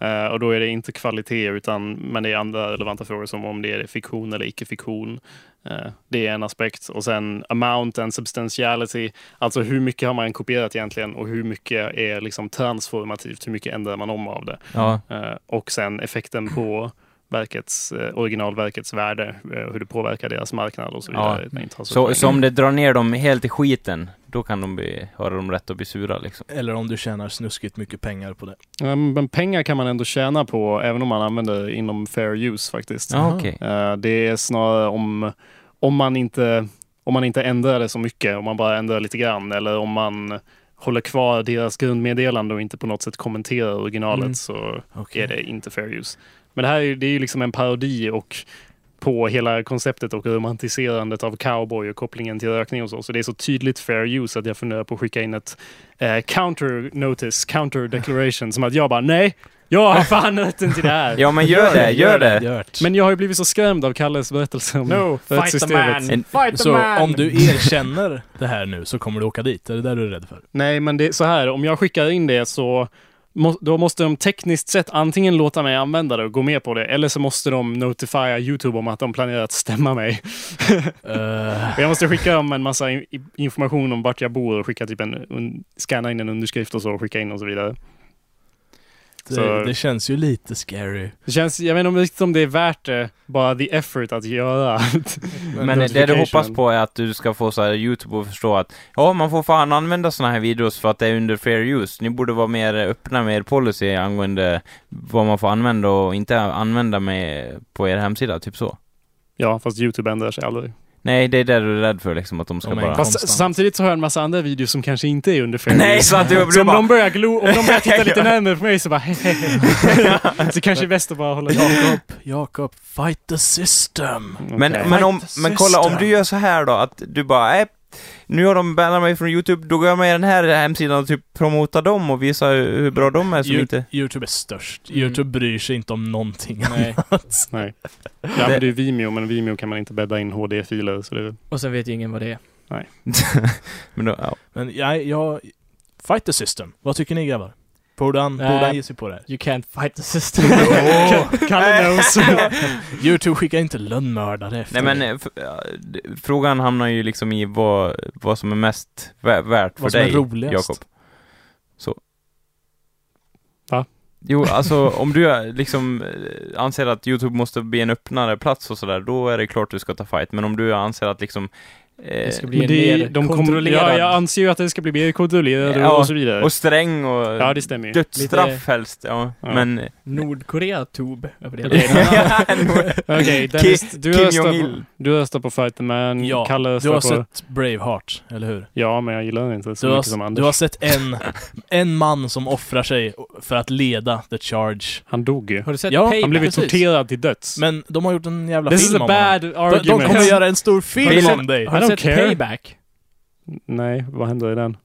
Eh, och då är det inte kvalitet, utan, men det är andra relevanta frågor som om det är fiktion eller icke-fiktion. Eh, det är en aspekt. Och sen amount and substantiality. Alltså hur mycket har man kopierat egentligen och hur mycket är liksom transformativt? Hur mycket ändrar man om av det? ja. Eh, och sen effekten på verkets, eh, originalverkets värde, eh, hur det påverkar deras marknad och så Ja. vidare. Det är inte alls Så, poäng. så om det drar ner dem helt i skiten, då kan de bli, har de rätt att bli sura liksom. Eller om du tjänar snuskigt mycket pengar på det. Ja, Men pengar kan man ändå tjäna på, även om man använder det inom fair use faktiskt. Ja, okej. Eh, Det är snarare om, om, man inte, om man inte ändrar det så mycket, om man bara ändrar lite grann eller om man håller kvar deras grundmeddelande och inte på något sätt kommenterar originalet Mm. så Okej. är det inte fair use. Men det här är, ju- det är ju liksom en parodi och på hela konceptet och romantiserandet av cowboy och kopplingen till rökning och så. Så det är så tydligt fair use att jag funderar på att skicka in ett eh, counter notice, counter declaration, som att jag bara nej, jag har fan rätten till det här. Ja men gör det, gör det! Gört. Men jag har ju blivit så skrämd av Kalles berättelse om No, fight the rättssystemet. man! En- Fight the Så man! om du erkänner det här nu så kommer du åka dit, är det där du är rädd för? Nej, men det är så här, om jag skickar in det så må, då måste de tekniskt sett antingen låta mig använda det och gå med på det, eller så måste de notifiera Youtube om att de planerar att stämma mig. Eh, Och Jag måste skicka dem en massa in, i- information om vart jag bor och skicka typ en, un, scanna in en underskrift och så och skicka in och så vidare. Så- det, det känns ju lite scary. Det känns, jag vet inte om riktigt om det är värt det, bara the effort att göra. Men det du hoppas på är att du ska få så här Youtube att förstå att ja, man får fan använda såna här videos för att det är under fair use. Ni borde vara mer öppna med er policy angående vad man får använda och inte använda med på er hemsida, typ så. Ja, fast Youtube ändrar sig aldrig. Nej, det är det du är rädd för liksom, att de ska Oh my bara... God. Fast Konstant. samtidigt så har jag en massa andra videos som kanske inte är under fair Nej, use. så att du, Så du om bara... de börjar glo, om de börjar titta lite närmare på mig så bara Så kanske det är bäst att bara hålla Jakob, Jakob, fight the system! Men, Okej. men, om, Fight the men kolla, om system. du gör så här då, att du bara nej, nu har de bannat mig från Youtube, då går jag med i den här hemsidan och typ promotar dem och visar hur hur bra de är som Ju- inte... Youtube är störst. Mm. Youtube bryr sig inte om någonting. Nej. Nej. Jag använder ju Vimeo, men Vimeo kan man inte bädda in HD-filer. Så det... Och sen vet ju ingen vad det är. Men då, ja. Men jag, jag... Fight the system. Vad tycker ni grabbar? Borde han, Eh. Nej. borde han ge sig på det här? You can't fight the system. Kalle knows. Youtube skickar inte lönnmördare efter Nej men, eh, f- ja, d- frågan hamnar ju liksom i vad, vad som är mest vä- värt för Vad som är dig, roligast. Jakob. Så. Va? Jo, alltså om du är- liksom eh, anser att Youtube måste bli en öppnare plats och sådär, då är det klart du ska ta fight. Men om du anser att liksom... eh, Det ska bli Men det är, mer de kommer, kontrollerad. ja, jag anser ju att det ska bli mer kontrollerat Ja, och så vidare. och sträng och... ja, det stämmer ju. Dödsstraff Lite- helst, ja. Ja. Men... Nordkorea tub över det hela. Okej, Okej, Dennis, du, Kim röstar på, Jong-Il. du röstar på Fight the Man. Ja, Kalle Du har röstar på... sett Braveheart, eller hur? Ja, men jag gillar den inte så Du mycket som har, Anders. du har sett en, en man som offrar sig för att leda the charge. Han dog ju. Har du sett Ja, Pay- Han blev ju precis. torterad till döds. Men de har gjort en jävla This is film a om honom. bad De, argument. de kommer göra en stor film Filmen- om dig. Har du I don't sett care. Payback? Nej, vad händer i den?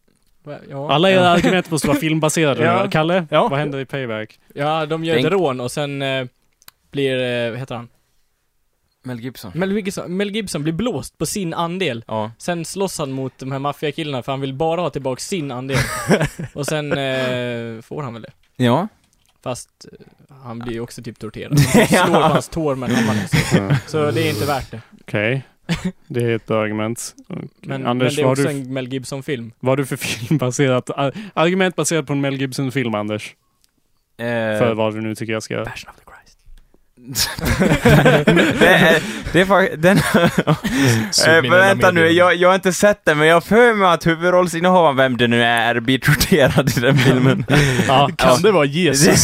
Ja. Alla era argument måste vara filmbaserade. Ja. Kalle, Ja. vad händer i Payback? Ja, de gör Tänk- ett rån och sen eh, blir, eh, vad heter han? Mel Gibson. Mel Gibson, Mel Gibson blir blåst på sin andel. Ja. Sen slåss han mot de här maffiakillarna för han vill bara ha tillbaka sin andel. och sen eh, får han väl det. Ja. Fast eh, han blir ju också typ torterad. De slår på hans tår med en hammare. Ja. Så det är inte värt det. Okej. Det är ett bra argument. Anders, Men, men det är vad, har också du, en Mel Gibson-film. vad har du för filmbaserat ar- argument baserat på en Mel Gibson-film, Anders? Eh. För vad du nu tycker jag ska göra. Passion of the Christ. det är, det är fak- den, eh, men Subliminella vänta nu, medier. jag, jag har inte sett den, men jag har för mig att huvudrollsinnehavaren, vem det nu är, blir torterad i den filmen. Ja. Kan det vara Jesus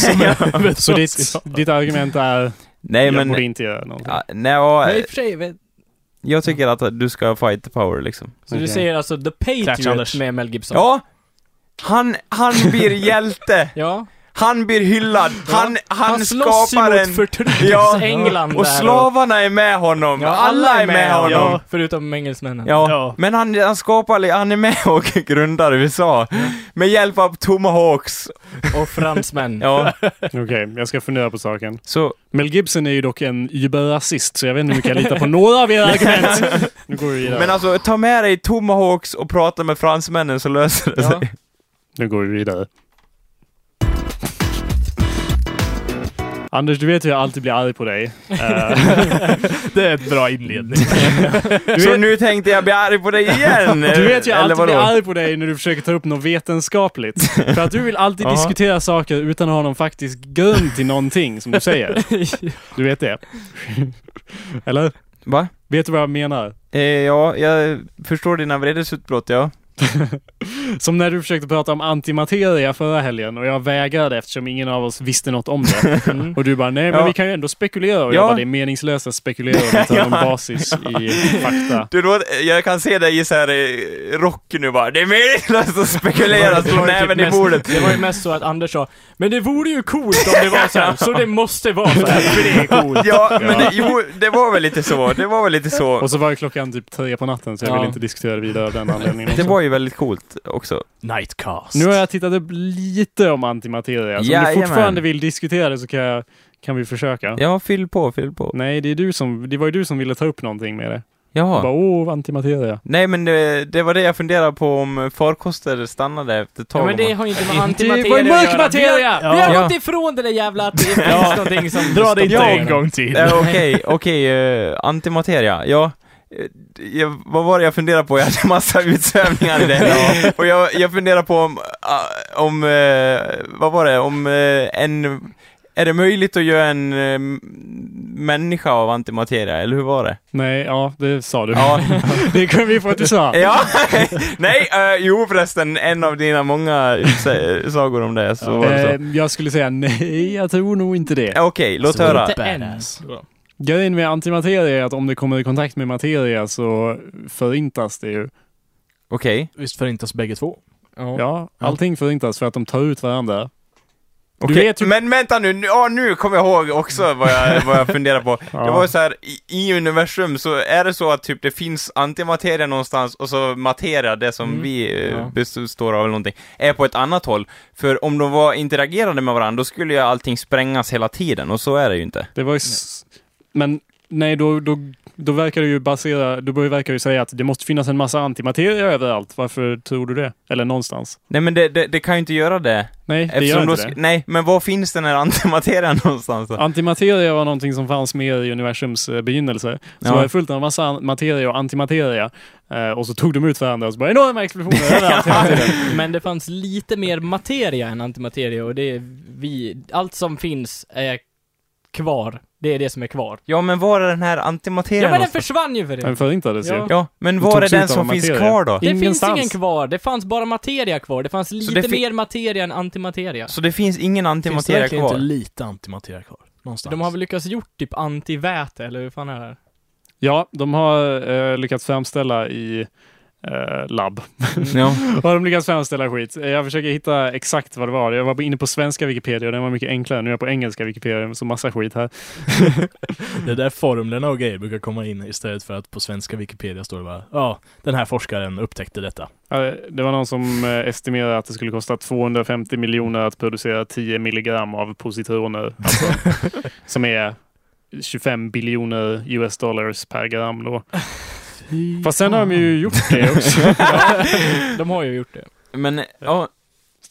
som är Så ditt, ditt argument är Nej jag borde men, inte göra någonting. ja, nej, ja, Men i och för sig, vet- jag tycker att du ska fight the power liksom. så Okej. du säger alltså The Patriot Klart, Anders. med Mel Gibson? Ja! Han, han blir hjälte! Ja. Han blir hyllad! Han, han, Han, slåss ju skapar mot en... Ja. förtryckets England Och där slavarna är med honom! Ja, alla är med honom! Ja, förutom engelsmännen. Ja, Ja. men han, han skapar, li- han är med och grundar USA med hjälp av Tomahawks. Och fransmän. Ja, Okej, jag ska fundera på saken. så Mel Gibson är ju dock en überrasist, så jag vet inte hur mycket jag litar på några av era argument. Nu går vi vidare. Men alltså, ta med dig Tomahawks och prata med fransmännen så löser det Ja. sig. Nu går vi vidare. Anders, du vet hur jag alltid blir arg på dig. Eh, Det är ett bra inledning. Så vet- nu tänkte jag bli arg på dig igen! Du vet ju eller alltid vadå? blir arg på dig när du försöker ta upp något vetenskapligt. För att du vill alltid Ja. diskutera saker utan att ha någon faktisk grund till någonting som du säger. Du vet det? Eller? Va? Vet du vad jag menar? Eh, ja, jag förstår dina vredesutbrott, ja. Som när du försökte prata om antimateria förra helgen och jag vägrade eftersom ingen av oss visste något om det. Och du bara, nej men Ja. vi kan ju ändå spekulera. Och Ja. jag bara, det är meningslöst att spekulera om utan någon basis i fakta. Du, då, jag kan se dig i så här eh, rock nu bara. Det är meningslöst att spekulera, Det slå var ju typ alltså näven i mest- bordet. Det var ju mest så att Anders sa, men det vore ju coolt om det var så här, så det måste vara så här, för det är coolt. Ja, men det, jo, det var väl lite så. Det var väl lite så. Och så var ju klockan typ tre på natten så jag Ja. ville inte diskutera det vidare av den anledningen Det också. var ju väldigt coolt också. Nightcast. Nu har jag tittat upp lite om antimateria, så om Jajamän. du fortfarande vill diskutera det så kan, jag, kan vi försöka. Ja, fyll på, fyll på. Nej, det, är du som, det var ju du som ville ta upp någonting med det. Jaha. Bara, åh, antimateria. Nej men det, det var det jag funderade på om farkoster stannade efter ett tag. Ja, men det Om har ju inte med Det antimateria var ju mörk att göra. materia! Vi har, vi har Ja. gått ifrån det där jävla att det finns Ja. någonting som... Dra det stoppar inte in. en gång till. man- Eh, Okej, okej, eh, antimateria. Ja. Eh, Jag, vad var det jag funderade på? Jag hade massa utsvävningar i det. Och jag, jag funderade på om, ah, om eh, vad var det, om eh, en, är det möjligt att göra en eh, människa av antimateria, eller hur var det? Nej, ja, det sa du. Ja, Det kunde vi få att du sa. ja. nej, eh, jo förresten, en av dina många utsä- sagor om det, så var det så. Eh, jag skulle säga nej, jag tror nog inte det. Okej, låt höra. Inte än. Badass. Grejen med antimateria är att om det kommer i kontakt med materia så förintas det ju. Okej. Visst förintas bägge två? Ja, allting förintas för att de tar ut varandra. Okej, Du vet ju- Men vänta nu, nu, ja, nu kommer jag ihåg också vad jag, vad jag funderar på. Det var ju så här, i, i universum så är det så att typ det finns antimateria någonstans och så materia, det som Mm. vi eh, Ja. består av eller någonting, är på ett annat håll. För om de var interagerande med varandra, då skulle ju allting sprängas hela tiden och så är det ju inte. Det var ju... S- men nej, då, då, då verkar det ju basera... Då verkar det ju säga att det måste finnas en massa antimateria överallt. Varför tror du det? Eller någonstans. Nej men det, det, det kan ju inte göra det. Nej, det gör Eftersom inte då, det. sk- Nej, men var finns den här antimaterian någonstans då? Antimateria var någonting som fanns med i universums eh, begynnelse. Så Ja. var det fullt av massa an- materia och antimateria. Eh, och så tog de ut varandra och så bara enorma explosioner överallt hela tiden. Men det fanns lite mer materia än antimateria och det är vi, allt som finns är kvar. Det är det som är kvar. Ja men var är den här antimaterian Ja men den någonstans? försvann ju för det. Den förintades ju. Ja. Ja, men Den var är togs den ut av som finns materia. kvar då? Det Ingenstans. finns ingen kvar, det fanns bara materia kvar. Det fanns lite det fi- mer materia än antimateria. Så det finns ingen Finns det antimateria verkligen inte kvar? lite antimateria kvar? Någonstans. De har väl lyckats gjort typ antiväte, eller hur fan är det? Ja, de har eh, lyckats framställa i eh, labb. Ja. har de lyckats framställa skit. Eh, Jag försöker hitta exakt vad det var. Jag var inne på svenska Wikipedia och den var mycket enklare. Nu är jag på engelska Wikipedia, så massa skit här. Det är där formlerna och grejer brukar komma in istället för att på svenska Wikipedia står det bara ja, den här forskaren upptäckte detta. Eh, Det var någon som eh, estimerade att det skulle kosta 250 miljoner att producera 10 milligram av positroner. Alltså, som är 25 biljoner US dollars per gram då. Fast sen har de ju gjort det också. De har ju gjort det. Men, ja,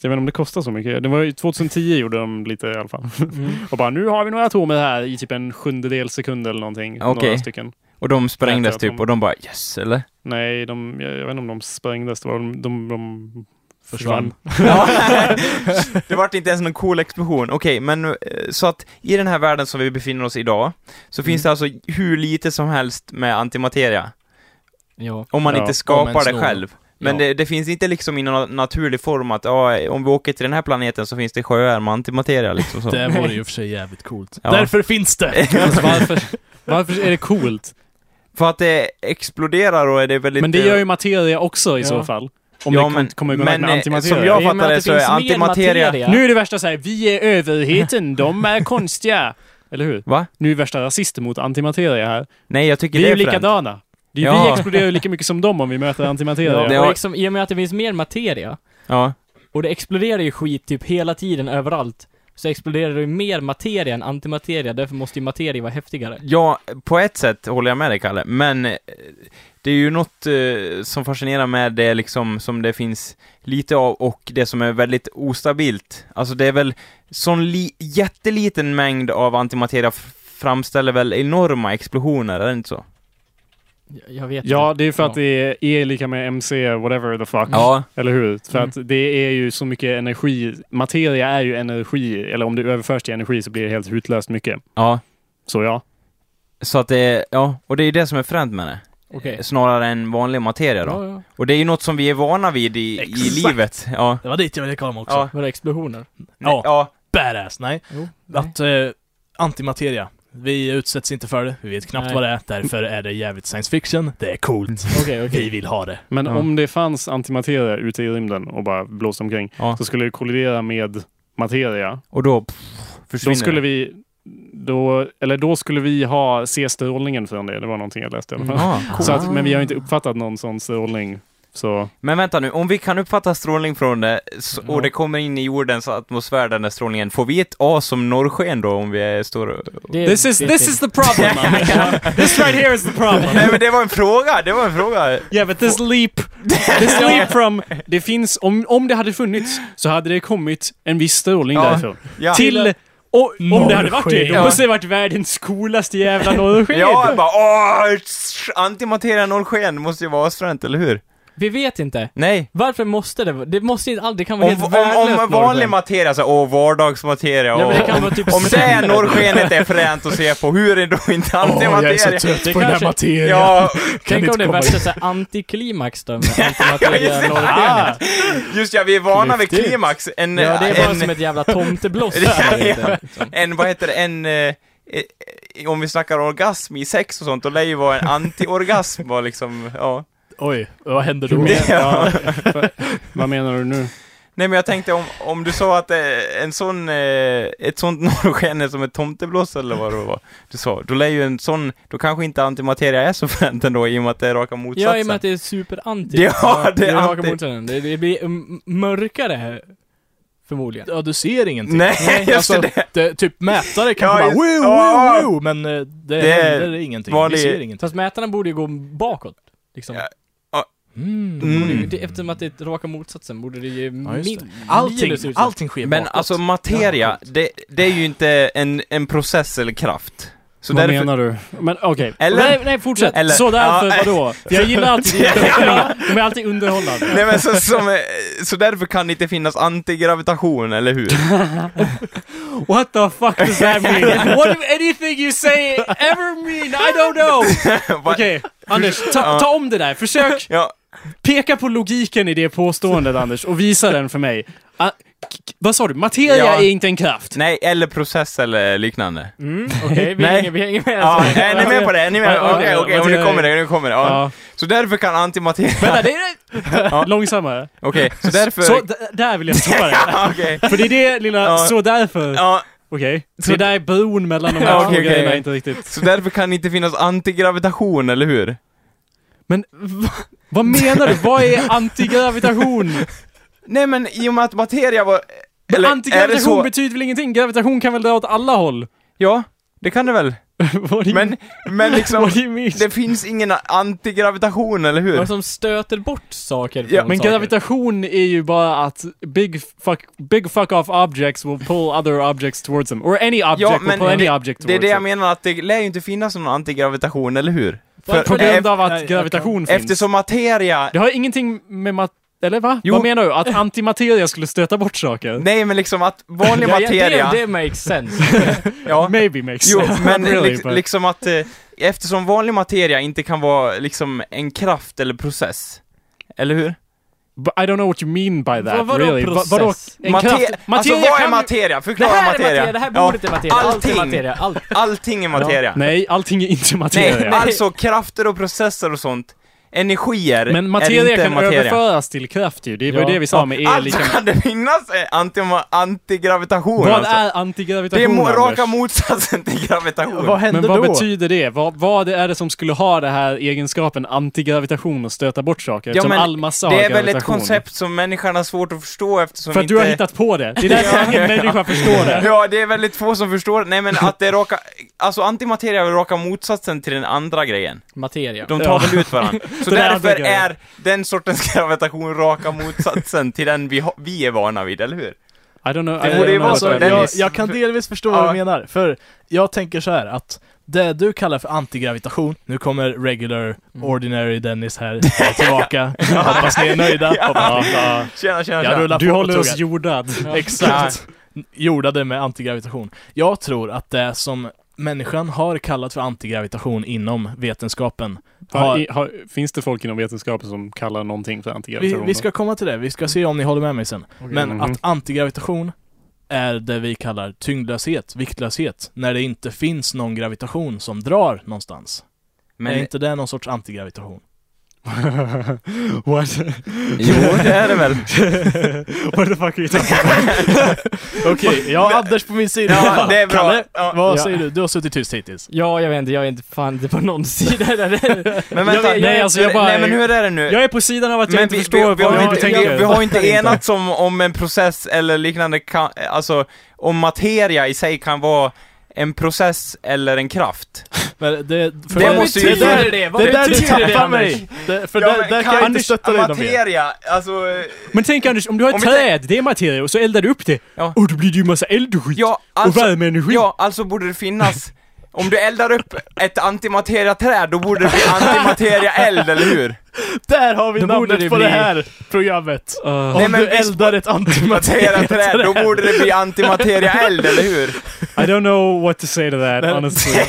Så Jag vet inte om det kostar så mycket. Det var ju 2010 gjorde de lite i alla fall. Och bara nu har vi några atomer här i typ en sjundedel sekund eller någonting. Några Okej. stycken. och de sprängdes Jag tror att typ de- och de bara 'yes' eller? Nej, de, jag, jag vet inte om de sprängdes. Det var de, de, de Försvann. Ja. det vart inte ens någon cool explosion. Okej, men eh, så att i den här världen som vi befinner oss idag, så finns det alltså hur lite som helst med antimateria. Ja. Om man Ja, inte om skapar ens det någon. själv. Men Ja. det, det finns inte liksom i någon naturlig form att ja, om vi åker till den här planeten så finns det sjöar med antimateria liksom så. Det vore ju i och för sig jävligt coolt. Ja. Därför finns det! Alltså, varför, varför är det coolt? För att det exploderar och är det väldigt... eh, Men det gör ju materia också i Ja. så fall. Om Ja, det kom, men- kommer i men, kontakt med eh, antimateria. som jag- I och med fattar att det så är finns mer antimateria- Nu är det värsta så här, vi är överheten, de är konstiga. Eller hur? Va? Nu är det värsta rasister mot antimateria här. Nej, jag tycker Vi det är ju är fränt. likadana. Det är, ju- Vi Ja. exploderar ju lika mycket som dem om vi möter antimateria. det Ja, har- och liksom, I och med att det finns mer materia, Ja. och det exploderar ju skit typ hela tiden överallt, så exploderar det ju mer materia än antimateria, därför måste ju materia vara häftigare. Ja, på ett sätt håller jag med dig, Kalle, men eh, det är ju något eh, som fascinerar med det liksom, som det finns lite av och det som är väldigt ostabilt. Alltså det är väl sån li- jätteliten mängd av antimateria f- framställer väl enorma explosioner, är det inte så? Mm. Jag, jag vet Ja, inte. det är ju för att Ja. det är E lika med MC, whatever the fuck. Ja. Eller hur? För Mm. att det är ju så mycket energi. Materia är ju energi, eller om det överförs till energi så blir det helt utlöst mycket. Ja. Så ja. Så att det är, ja, och det är ju det som är fränt med det. Okej. snarare än vanlig materia då. Ja, ja. Och det är ju något som vi är vana vid i, i Exakt. livet. Ja. Det var dit jag ville komma också. Ja. Var det explosioner? Ja. Ja. ja. Badass, nej. Jo. Att eh, antimateria. Vi utsätts inte för det, vi vet knappt Nej. vad det är, därför är det jävligt science fiction. Det är coolt. Okej, Vi okej. vill ha det. Men Ja. om det fanns antimateria ute i rymden och bara blåste omkring Ja. så skulle det kollidera med materia. Och då pff, försvinner Då skulle det. vi då, eller då skulle vi ha, se strålningen från det. Det var någonting jag läste i alla fall. Ja, Så coolt. att, men vi har inte uppfattat någon sån strålning. Så Men vänta nu, om vi kan uppfatta strålning från det s- och Ja. det kommer in i jordens atmosfär, den där strålningen, får vi ett A som norrsken då om vi är- står och... Det- This is, det- this is the problem. man. this right here is the problem. Nej men det var en fråga, det var en fråga! Yeah, but this leap, this leap from... Det finns, om, om det hade funnits så hade det kommit en viss strålning Ja. därifrån. Ja. Till... Och, om det hade varit det, Norrsken. då måste det varit världens coolaste jävla norrsken. Ja, jag bara åh, tss, antimateria norrsken måste ju vara asfränt, eller hur? Vi vet inte. Nej. Varför måste det vara? Det måste inte aldrig, det kan vara Om, helt om, värdelöst om vanlig norrsken. materia, så åh, vardagsmateria, Ja, åh, men det kan om, vara typ om det sämre. är norrskenet är fränt att se på, hur är då inte Åh, jag är antimateria? så trött Det på den här kanske- materian. ja, Tänk inte om det är komma värsta såhär antiklimax då med Ja, antimateria just- norrskenet. just ja, vi är vana vid Klyftigt. klimax. En, Ja, det är bara en, som ett liksom. jävla tomtebloss. Ja, där ute. En, vad heter det, en... Eh, eh, om vi snackar orgasm i sex och sånt, då lär ju vara en anti-orgasm var liksom, ja. Oj, vad händer då? Men- ja, för- Vad menar du nu? Nej men jag tänkte om, om du sa att eh, en sån, eh, ett sånt norrsken är som ett tomteblås eller vad det var du sa, då lär ju en sån, då kanske inte antimateria är så fränt ändå i och med att det är raka motsatsen. Ja, i och med att det är superanti. Ja, det är raka anti. motsatsen. Det, det blir mm, mörkare, förmodligen. Ja, du ser ingenting. Nej, just det. Typ mätare Ja, kanske bara just- woo, Ja. woo, woo, men eh, det, Det är händer ingenting. vanlig- Vi ser ingenting. Fast mätarna borde ju gå bakåt, liksom. Ja, Mm. Borde ju- Mm. det, eftersom att det är raka motsatsen, borde det ju Ja, just min, det. Allting, minus utsats. allting sker Men bakåt. alltså materia, det, det är ju inte en, en process eller kraft. Så vad därför... menar du? Men okej. Eller- nej, nej, fortsätt. Eller- så därför, Ja, vadå? Jag gillar alltid De är alltid underhållande. Nej men så, som, eh, så därför kan det inte finnas antigravitation, eller hur? What the fuck does that mean? What if anything you say ever mean? I don't know! Va- Okej, Anders, ta, ta om det där. Försök Ja, peka på logiken i det påståendet, Anders, och visa den för mig. Ah, k- k- vad sa du? Materia Ja. är inte en kraft. nej, eller process eller liknande. Mm, okej, vi, Nej. hänger, vi hänger med. Ja, är ni med på det? Är ni med? Ja, Okej, ja, okej, och nu materia- kommer det, nu kommer det. Ja. Ja. Så därför kan antimateria... Vänta, det är... Långsammare. Okej, så därför... Så, d- där vill jag stoppa det. Ja, Okej. För det är det lilla, Ja. så därför. Ja, Okej. Det där är bron mellan de här Ja, två okej, okej, grejerna, okej. inte riktigt. så därför kan det inte finnas antigravitation, eller hur? Men va, vad menar du? Vad är antigravitation? Nej men i och med att materia var... Men Eller är det antigravitation så? betyder väl ingenting? Gravitation kan väl dra åt alla håll? Ja, det kan det väl. Vad do you- Men, men liksom... what do you mean? Det finns ingen antigravitation, eller hur? Vad som stöter bort saker från Ja, Typ. Men saker. gravitation är ju bara att big fuck, big fuck off objects will pull other objects towards them. Or any object men will pull any det- object towards Det är det jag them. menar, att det lär ju inte finnas någon antigravitation, eller hur? För, På grund av Nej, att jag gravitation finns. eftersom materia... Det har ingenting med mat... Eller va? Jo. Vad menar du? Att antimateria skulle stöta bort saker? Nej men liksom att vanlig Ja, ja, materia... Det, det makes sense. ja. Maybe makes Jo, sense. men Not really, li- but- liksom att eh, eftersom vanlig materia inte kan vara liksom en kraft eller process. Eller hur? but I don't know what you mean by that, Vad- vadå really. Va- process? Vadå? En Mate- kraft- alltså materia vad är kan- materia? Det Förklara här är materia. materia, det här bordet är materia, allt är allting. materia, allt. Allting är materia. Nej, allting är inte materia. Nej, alltså krafter och processer och sånt. Energier Men är materia inte kan materia. överföras till kraft ju. Det var ju Ja. det vi sa med el Alltså lika kan det finnas eh, anti antigravitation Vad alltså. är Det är antigravitation, mo- Anders? raka motsatsen till gravitation. Vad händer Men vad då? betyder det? Vad, vad är det som skulle ha det här egenskapen antigravitation och stöta bort saker? Eftersom men all massa har det är väl ett gravitation. koncept som människan har svårt att förstå eftersom För att inte... du har hittat på det. Det är därför ingen människa förstår det. Ja, det är väldigt få som förstår. Nej men att det är raka... Alltså antimateria är väl raka motsatsen till den andra grejen. Materia. De tar Ja. väl ut varandra. Så Den andra därför grejen. är den sortens gravitation raka motsatsen till den vi, ha, vi är vana vid, eller hur? I don't know. Det I don't borde ju know vara what så. that Den means. alltså, jag, Dennis. jag kan delvis förstå vad Ja. du menar, för jag tänker så här att det du kallar för antigravitation, nu kommer regular ordinary Dennis här tillbaka. hoppas ni är nöjda. Hoppas ni, ja. Tjena, tjena, Jag tjena. rullar Du på håller tugga. oss jordad. Exakt. Jordade med antigravitation. Jag tror att det som människan har kallat för antigravitation inom vetenskapen. Har, Har- i, har, finns det folk inom vetenskapen som kallar någonting för Vi, antigravitation? vi ska komma till det, vi ska se om ni håller med mig sen. Men Mhm. att antigravitation är det vi kallar tyngdlöshet, viktlöshet, när det inte finns någon gravitation som drar någonstans. är Men, inte det någon sorts antigravitation? What? jo, det är det väl. What the fuck are you talking about? Okej, jag har Anders på min sida. Ja, det är bra. Kalle, Ja. vad Ja. säger du? Du har suttit tyst hittills. Ja, jag vet inte, jag är inte fan inte på någon sida där. Men vänta, Jag- jag- nej, alltså, jag bara- nej men hur är det nu? Jag är på sidan av att jag Men inte vi, förstår vi, vi, vad har du inte, tänker. vi, vi har inte Fattar inte. enats om, om en process eller liknande, kan, alltså om materia i sig kan vara en process eller en kraft. Men det, för Det det, måste det, ju- där- det, det? där du betyder det, tappar Anders? mig! Det, för där, men där kan jag inte Anders, stötta dig någon mer. Materia, alltså... eh, Men tänk Anders, om du har Om ett vi träd, det är materia, och så eldar du upp det. Ja. Och då blir det ju massa eld och skit. Ja, alltså, och värmeenergi. ja, alltså borde det finnas... Om du eldar upp ett antimateria-träd, då borde det bli antimateria-eld, eller hur? Där har vi Då borde namnet det på bli- det här programmet! Uh, Om men du vi- eldar ett Materia-träd, antimateria då borde det bli antimateria-eld, eller hur? I don't know what to say to that, Nej. honestly.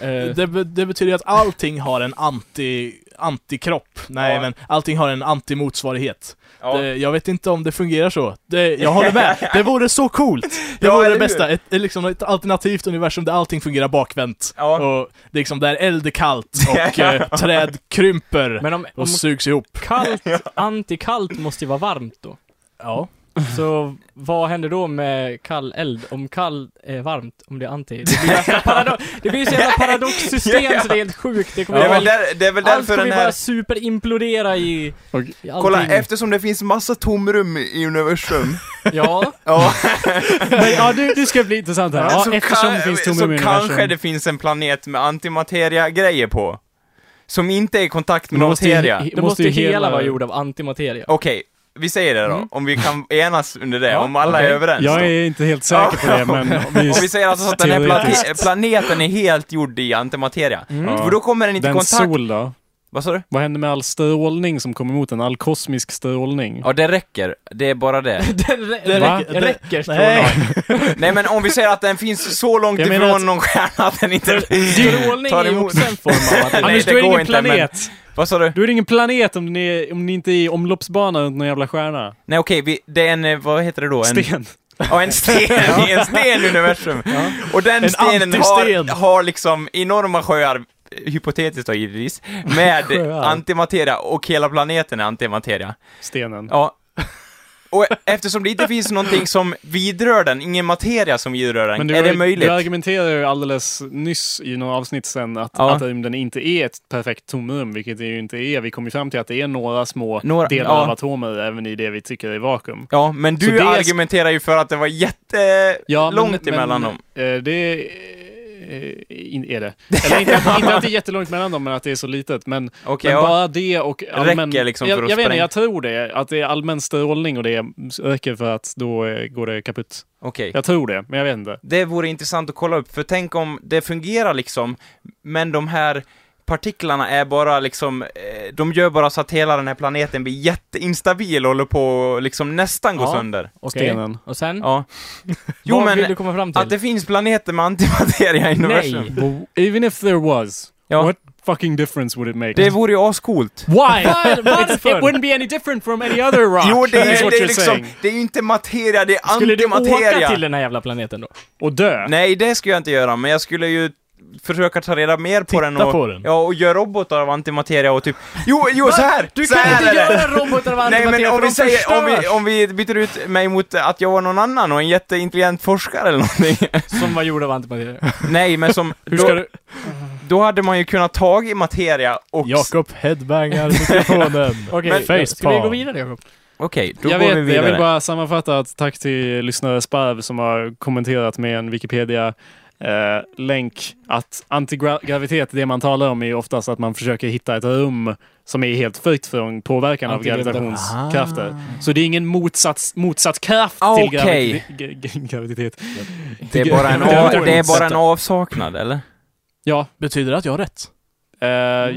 Eh, Det, be- det betyder ju att allting har en anti, antikropp. Nej Ja. men, allting har en antimotsvarighet. Ja. Det, jag vet inte om det fungerar så. Det, jag håller med. Det vore så coolt! Det Ja, vore eller det hur? bästa. Ett, ett, liksom ett alternativt universum där allting fungerar bakvänt. Ja. Och liksom där eld är kallt och eh, träd krymper men om, om och sugs ihop. kallt, antikallt måste ju vara varmt då. Ja. Så vad händer då med kall eld? Om kall är varmt, om det är anti? Det blir, jävla parado- det blir så jävla paradoxsystem så det är helt sjukt. Det Det kommer är ja, väl, allt, där, det är väl allt därför kommer den ju här... bara superimplodera i, i allting. Kolla, eftersom det finns massa tomrum i universum. Ja, Ja. Men ja, det, det ska bli intressant här. Men Ja, så eftersom kan- det finns Så tomrum i kanske det universum. finns en planet med antimateria-grejer på. Som inte är i kontakt med Men måste ju- materia. Det måste då måste ju hela- hela vara gjord av antimateria. Okej, vi säger det då. Om vi kan enas under det. Ja, om alla okej. är överens. Mm. Jag då. är inte helt säker på det, men vi, Om vi säger alltså att den här teoretiskt. plane- planeten är helt gjord i antimateria. För då kommer den inte i Mm. Den kontakt... sol då? Vad sa du? Vad händer med all strålning som kommer emot den? All kosmisk strålning? Ja, det räcker. Det är bara det. Den rä- Det Va? räcker, räcker tror jag. Nej. Nej, men om vi säger att den finns så långt Jag ifrån menar att- någon stjärna att den inte... Strålning Tar är ju emot. också en form av antimateria. Nej, Anders, det du är går ingen inte, men- planet! Vad sa du? Du är ingen planet om ni, är- om ni inte är i omloppsbana runt någon jävla stjärna. Nej, okej, vi... det är en... eh, Vad heter det då? En... Sten. Ja, en sten i en sten i universum. Och den En stenen antisten. har, har liksom enorma sjöar, eh, hypotetiskt då givetvis, med Sjöar. antimateria och hela planeten är antimateria. Stenen. Ja. Och eftersom det inte finns någonting som vidrör den, ingen materia som vidrör den, du, är det har- möjligt? du argumenterar ju alldeles nyss i några avsnitt sen att, Ja. att rymden inte är ett perfekt tomrum, vilket det ju inte är. Vi kom ju fram till att det är några små Några- delar ja. av atomer även i det vi tycker är vakuum. Ja, men Så du det är- argumenterar ju för att det var Ja, men- jättelångt emellan dem. Eh, det eh, in- är det. Eller inte, inte att det är jättelångt mellan dem, men att det är så litet. Men, Okej, men ja. bara det och allmän... Räcker liksom jag, för att jag vet inte, spränga. jag tror det. Att det är allmän strålning och det räcker för att då eh, går det kaputt. Okej. Jag tror det, men jag vet inte. Det vore intressant att kolla upp, för tänk om det fungerar liksom, men de här partiklarna är bara liksom, eh, de gör bara så att hela den här planeten blir jätteinstabil och håller på att liksom nästan gå Ja. sönder. Okej. Stenen. Och sen? Ja. Jo vad vill men, du komma fram till? att det finns planeter med antimateria i universum. Nej! Even if there was, Ja. what fucking difference would it make? Det vore ju ascoolt. Why? Varför? It wouldn't be any different from any other rock. Jo, det is är, what det är you're liksom, saying. det är ju inte materia, det är Skulle du åka till antimateria. den här jävla planeten då? Och dö. Nej, det skulle jag inte göra, men jag skulle ju försöka ta reda mer på den och, på den. Ja, och göra robotar av antimateria och typ, jo, jo, så här! Du så kan här inte är det. göra robotar av Nej men antimateria om för vi, de säger, om, vi, förstörs. om vi byter ut mig mot att jag var någon annan och en jätteintelligent forskare eller någonting. Som var gjord av antimateria. Nej men som, Hur ska då, du... då hade man ju kunnat tag i materia och... s- Jakob headbangar mikrofonen. Okej, Men- ska vi gå vidare Jakob? Okej, då jag går vet, vi jag vidare. vill bara sammanfatta att tack till lyssnare Sparv som har kommenterat med en Wikipedia eh, länk att antigravitet, det man talar om är ju oftast att man försöker hitta ett rum som är helt fritt från påverkan av Antigravitation. gravitationskrafter. Så det är ingen motsats, motsatskraft Ah, till okej. gravi- g- g- gravitet. det, är bara en av, Gravitation. det är bara en avsaknad eller? Ja, Betyder det att jag har rätt? eh,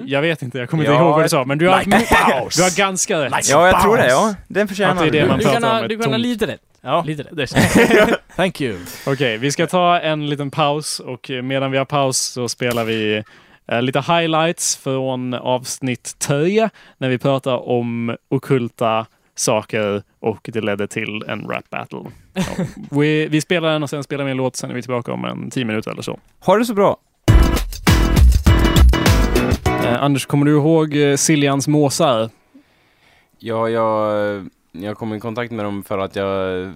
jag vet inte, jag kommer inte Ja, ihåg vad du sa, men du har, Like du paus! har ganska rätt. Like Ja, jag bounce. tror det. Ja, den förtjänar Att det är det du. man Du pratar kan, ha, om ett du kan ha tomt- lite rätt. Ja, Lite lätt. det känns Thank you. Okej, vi ska ta en liten paus och eh, medan vi har paus så spelar vi eh, lite highlights från avsnitt 3 när vi pratar om okulta saker och det ledde till en rap battle. Ja. Vi, vi spelar den och sen spelar vi en låt, sen är vi tillbaka om en 10 minuter eller så. Ha det så bra! Eh, Anders, kommer du ihåg eh, Siljans måsar? Ja, jag, jag kom i kontakt med dem för att jag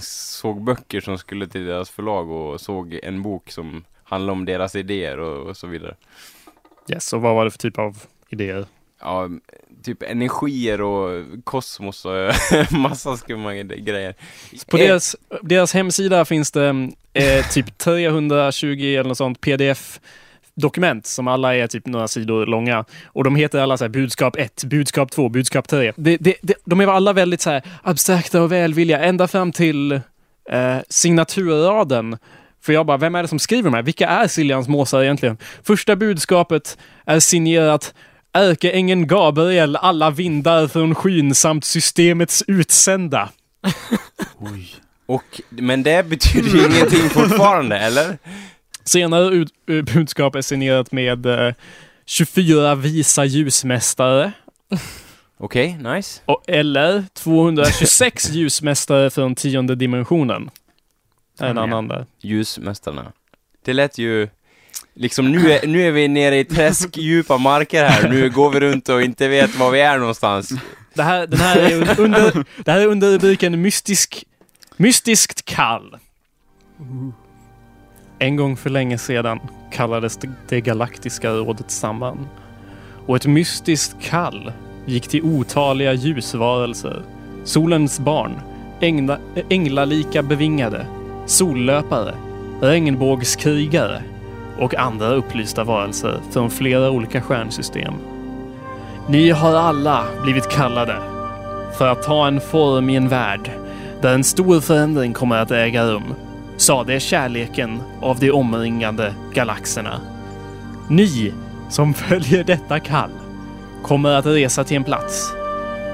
såg böcker som skulle till deras förlag och såg en bok som handlade om deras idéer och, och så vidare. Yes, och vad var det för typ av idéer? Ja, typ energier och kosmos och massa skumma grejer. På Eh, deras, deras hemsida finns det eh, typ 320 eller något sånt pdf dokument som alla är typ några sidor långa. Och de heter alla så här budskap 1, budskap 2, budskap 3. Det, det, det, de är alla väldigt så här abstrakta och välvilliga ända fram till eh, signaturraden. För jag bara, vem är det som skriver de här? Vilka är Siljans måsar egentligen? Första budskapet är signerat Ärkeängeln Gabriel, alla vindar från skyn samt systemets utsända. Och, men det betyder ju ingenting fortfarande, eller? Senare ut, eh, budskap är signerat med eh, 24 visa ljusmästare. Okej, nice. Och, eller 226 ljusmästare från tionde dimensionen. En Fan, annan där. Ljusmästarna. Det lät ju... Liksom nu är, nu är vi nere i träskdjupa marker här, nu går vi runt och inte vet var vi är någonstans. Det här, den här är under, det här är under rubriken mystisk, Mystiskt kall. En gång för länge sedan kallades det, det galaktiska rådet samman. Och ett mystiskt kall gick till otaliga ljusvarelser. Solens barn, ängla, änglalika bevingade, sollöpare, regnbågskrigare och andra upplysta varelser från flera olika stjärnsystem. Ni har alla blivit kallade för att ta en form i en värld där en stor förändring kommer att äga rum, sade kärleken av de omringande galaxerna. Ni som följer detta kall kommer att resa till en plats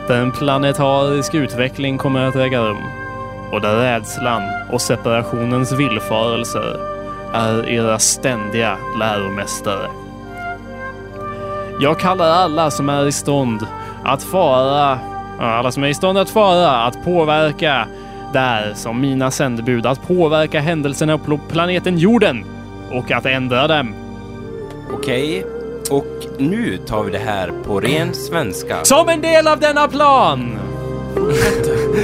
där en planetarisk utveckling kommer att äga rum och där rädslan och separationens villfarelser är era ständiga läromästare. Jag kallar alla som är i stånd att fara, ja, alla som är i stånd att fara, att påverka där som mina sändebud, att påverka händelserna på planeten jorden och att ändra dem. Okej, och nu tar vi det här på ren svenska. Som en del av denna plan!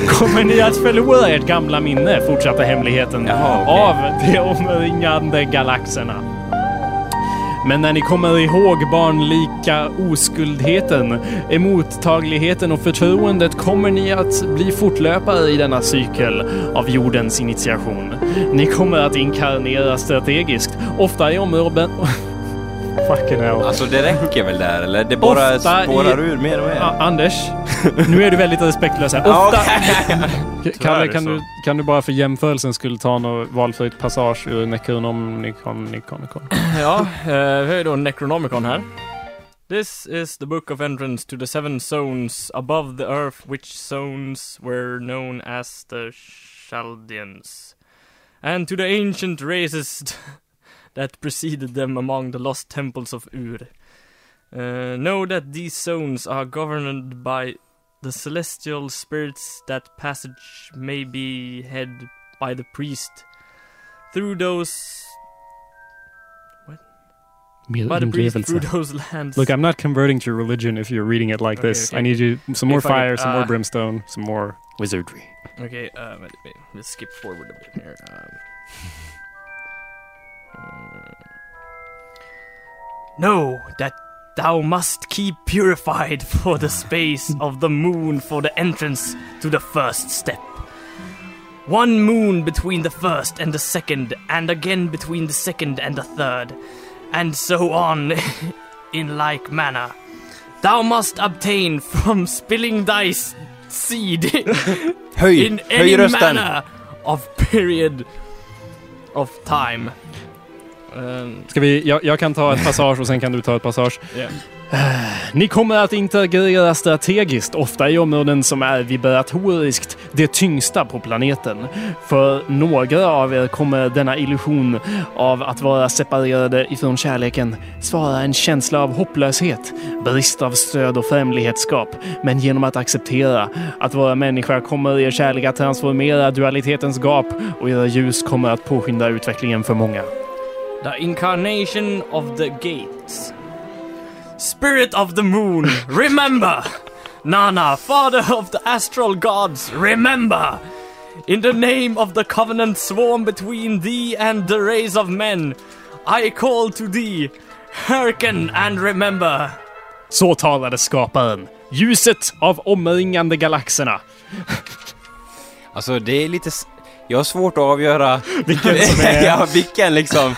Kommer ni att förlora ert gamla minne, fortsatte hemligheten, Jaha, okej. av de omringande galaxerna. Men när ni kommer ihåg barnlika oskuldheten, emottagligheten och förtroendet kommer ni att bli fortlöpare i denna cykel av jordens initiation. Ni kommer att inkarnera strategiskt, ofta i områden... Fucking hell. Alltså det räcker väl där eller? Det bara Ofta i- spårar ur mer och mer. Ja, Anders, nu är du väldigt respektlös här. Ja, Ofta... okej. Kalle, Tyvärr kan så. du, kan du bara för jämförelsen skulle ta något valfritt passage ur Necronomicon, Nikon, Nikon? Ja, eh, vi har ju då Necronomicon här. This is the book of entrance to the seven zones above the earth which zones were known as the Chaldeans. And to the ancient races that preceded them among the lost temples of Ur. Uh, know that these zones are governed by the celestial spirits that passage may be had by the priest. Through those By the priest through those lands. Look, I'm not converting to religion if you're reading it like Okay, this. okay. I uh, need you some more If I could- fire, some more ah. brimstone, some more wizardry. Okay, uh, wait, wait, let's skip forward a bit here. Um, uh, know that thou must keep purified for the space of the moon for the entrance to the first step. One moon between the first and the second, and again between the second and the third, and so on in like manner. Thou must obtain from spilling thy s- seed Höj, in any höj rösten! manner of period of time. Um, Ska vi, jag, jag kan ta ett passage och sen kan du ta ett passage. Ni kommer att interagera strategiskt, ofta i områden som är vibratoriskt det tyngsta på planeten. För några av er kommer denna illusion av att vara separerade ifrån kärleken svara en känsla av hopplöshet, brist av stöd och främlighetsskap. Men genom att acceptera att vara människa kommer er kärlek att transformera dualitetens gap och era ljus kommer att påskynda utvecklingen för många. The incarnation of the gates. Spirit of the moon, remember! Nana, father of the astral gods, remember! In the name of the covenant sworn between thee and the race of men, I call to thee, hearken and remember! Så talade skaparen, ljuset av omringande galaxerna. Alltså det är lite... s- Jag har svårt att avgöra Vilken som är... ja, vilken liksom.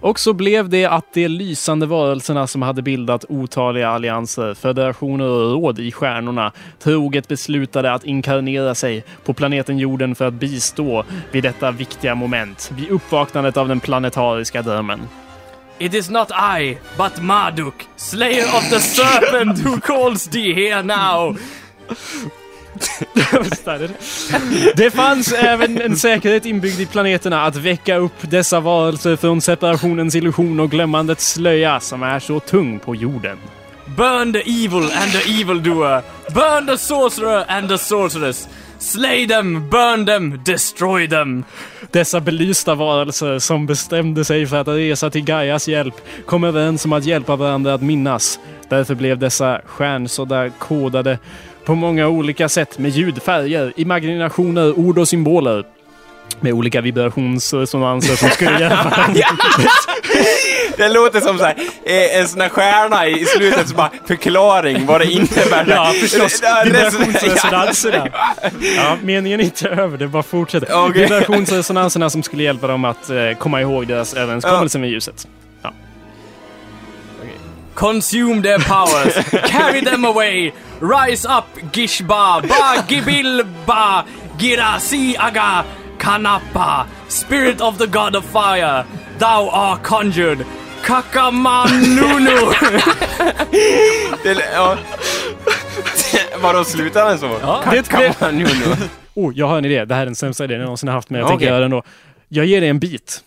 Och så blev det att de lysande varelserna som hade bildat otaliga allianser, federationer och råd i stjärnorna troget beslutade att inkarnera sig på planeten jorden för att bistå vid detta viktiga moment, vid uppvaknandet av den planetariska drömmen. It is not I, but Marduk, slayer of the serpent, who calls thee here now. Det fanns även en säkerhet inbyggd i planeterna att väcka upp dessa varelser från separationens illusion och glömmandets slöja som är så tung på jorden. Burn the evil and the evildoer. Burn the sorcerer and the sorceress. Slay them, burn them, destroy them. Dessa belysta varelser som bestämde sig för att resa till Gaias hjälp kom överens om att hjälpa varandra att minnas. Därför blev dessa stjärnsoddar kodade på många olika sätt med ljud, färger, imaginationer, ord och symboler. Med olika vibrationsresonanser som skulle hjälpa. Det låter som så här, eh, en sån här stjärna i slutet som bara förklaring vad det innebär. Ja, förstås. Det- det- det- Vibrationsresonanserna. Ja, meningen är inte över, det bara fortsätter. Okej. Vibrationsresonanserna som skulle hjälpa dem att eh, komma ihåg deras överenskommelse med ljuset. Consume their powers, carry them away. Rise up, Gishba, Ba Gibilba, Girasi Aga, Kanapa, spirit of the god of fire. Thou art conjured. Kakamanunu. det- det- ja. Vadå, slutar den så? Det, det, Ja, nu, nu. Oh, jag har en idé. Det här är den sämsta idén jag någonsin har haft, men jag tänker Okej. göra den då. Jag ger dig en bit.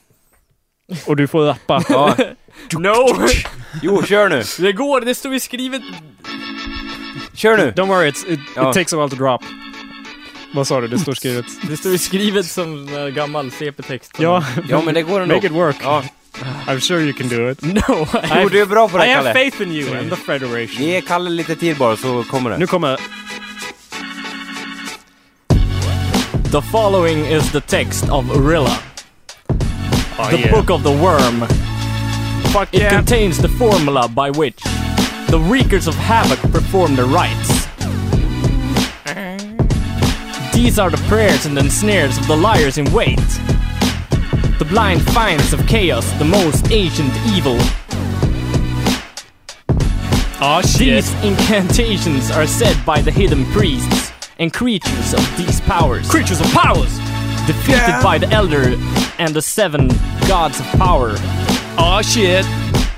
Och du får rappa. Ja. no, Jo, kör nu. det går, det står ju skrivet Kör nu. Don't worry, it's, it, Ja. it takes a while to drop. Vad sa du? Det står skrivet. Det står ju skrivet som eh, gammal CP-text. ja, Ja, men det går ändå. make it work. Ja. I'm sure you can do it. No, Jo, du är bra på det, I have Kalle. faith in you and the federation. Ge Kalle lite tid bara så kommer det. Nu kommer... The following is the text of Urilla, Oh, the yeah. book of the worm. Fuck it yeah. contains the formula by which the wreakers of havoc perform their rites. These are the prayers and ensnares of the liars in wait. The blind finds of chaos, the most ancient evil. Ah, shit. These incantations are said by the hidden priests and creatures of these powers. Creatures of powers! defeated by the Elder and the seven gods of power, Ah, shit.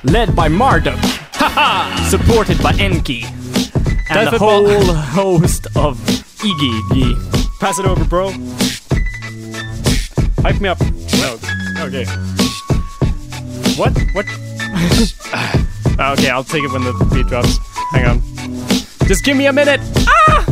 led by Marduk, haha, supported by Enki, and Därför the ba- whole host of Iggy. Pass it over, bro. Hype me up. No. Okay. What? What? Ah, okay, I'll take it when the beat drops. Hang on. Just give me a minute! Ah!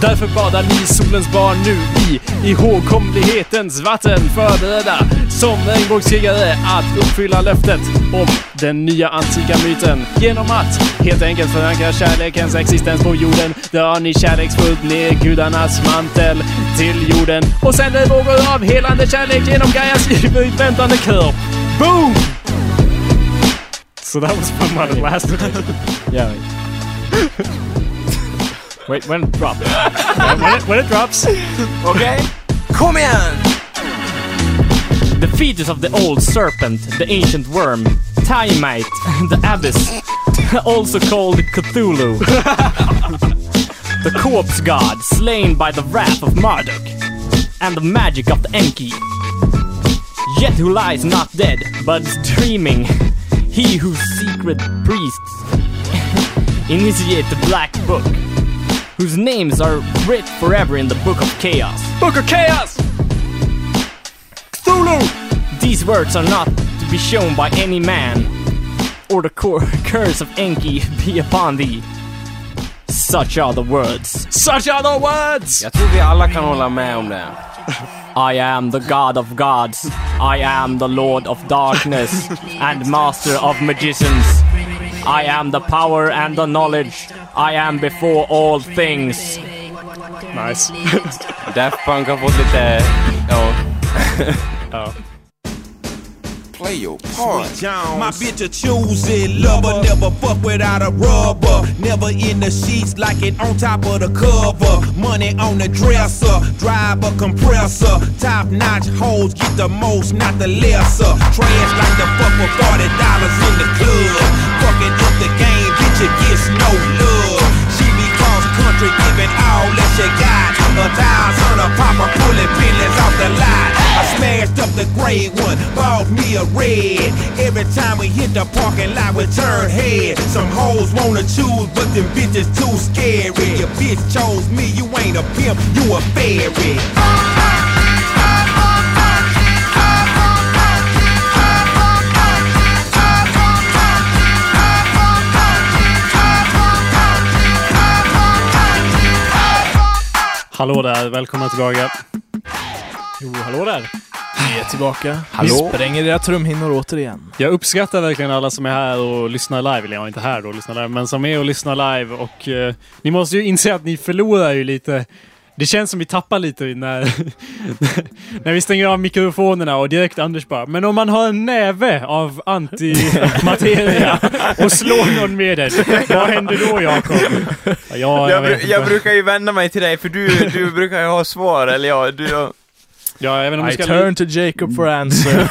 Därför badar ni solens barn nu i ihågkomlighetens vatten förberedda som regnbågskrigare att uppfylla löftet om den nya antika myten genom att helt enkelt förankra kärlekens existens på jorden drar ni kärleksfullt ner gudarnas mantel till jorden och sänder vågor av helande kärlek genom Gaias ivrigt väntande kropp. Boom! So that was fun while it lasted. Yeah. Wait, when drop? when, it, when it drops. Okej? Kom igen! The fetus of the old serpent, the ancient worm, Tiamite, the abyss, also called Cthulhu. the corpse god slain by the wrath of Marduk, and the magic of the Enki. Yet who lies not dead, but is dreaming. He whose secret priests initiate the Black Book, whose names are writ forever in the Book of Chaos. Book of Chaos! Cthulhu! These words are not to be shown by any man, or the cor- curse of Enki be upon thee. Such are the words. Such are the words! Jag tror vi alla kan hålla med om det. I am the God of gods. I am the Lord of darkness and master of magicians. I am the power and the knowledge. I am before all things. Nice. Daft Punk har fått lite... Ja. play your part. My bitch a choosing lover, never fuck without a rubber. Never in the sheets like it on top of the cover. Money on the dresser, drive a compressor. Top notch hoes get the most, not the lesser. Trash like the fuck with forty dollars in the club. Fucking up the game, bitch, it gets no love. She be cross country, giving all that she got. A thousand a popper, pulling pennies off the lot. I smashed up the gray one, bought me a red. Every time we hit the parking lot, we turn head. Some hoes wanna choose, but them bitches too scary. Your bitch chose me, you ain't a pimp, you a fairy. Hallå där, välkomna tillbaka. Jo, hallå där. Vi är tillbaka. Hallå? Vi spränger era trumhinnor återigen. Jag uppskattar verkligen alla som är här och lyssnar live. Eller jag är inte här då och lyssnar live, men som är och lyssnar live. Och eh, ni måste ju inse att ni förlorar ju lite. Det känns som vi tappar lite när, när vi stänger av mikrofonerna och direkt Anders bara “Men om man har en näve av antimateria och slår någon med den, vad händer då Jakob?” ja, jag, Jag, vet bru- inte. jag brukar ju vända mig till dig, för du, du brukar ju ha svar, eller ja, du... har- ja, jag, vet inte om I du ska turn to Jacob for answer.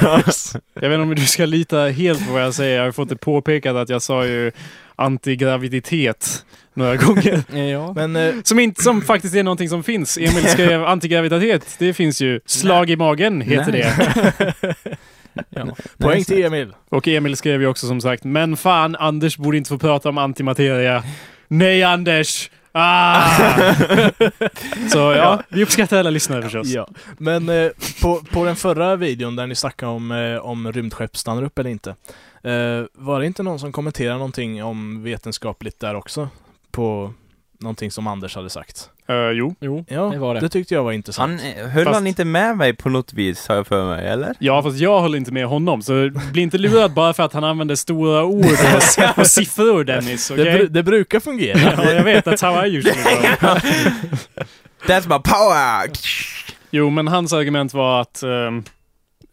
Jag vet inte om du ska lita helt på vad jag säger. Jag har fått det påpekat att jag sa ju antigraviditet några gånger. Ja. Men eh, Som, inte, som faktiskt är någonting som finns. Emil skrev antigraviditet. Det finns ju. Slag i magen heter Nej. det. poäng till Emil. Och Emil skrev ju också som sagt, men fan Anders borde inte få prata om antimateria. Nej Anders! Ah! Så ja, vi uppskattar alla lyssnare förstås. Ja. Men eh, på, på den förra videon där ni snackade om, eh, om rymdskepp stannar upp eller inte. Eh, var det inte någon som kommenterade någonting om vetenskapligt där också? På någonting som Anders hade sagt. Eh, jo. Jo, Ja, det var det. det tyckte jag var intressant. Han, höll Fast- han inte med mig på något vis, har jag för mig, eller? Ja, fast jag håller inte med honom, så bli inte lurad bara för att han använder stora ord och, och siffror, Dennis. Det, okej? bru- det brukar fungera. Ja, jag vet. That's how I usually go. That's my power! Jo, men hans argument var att ehm,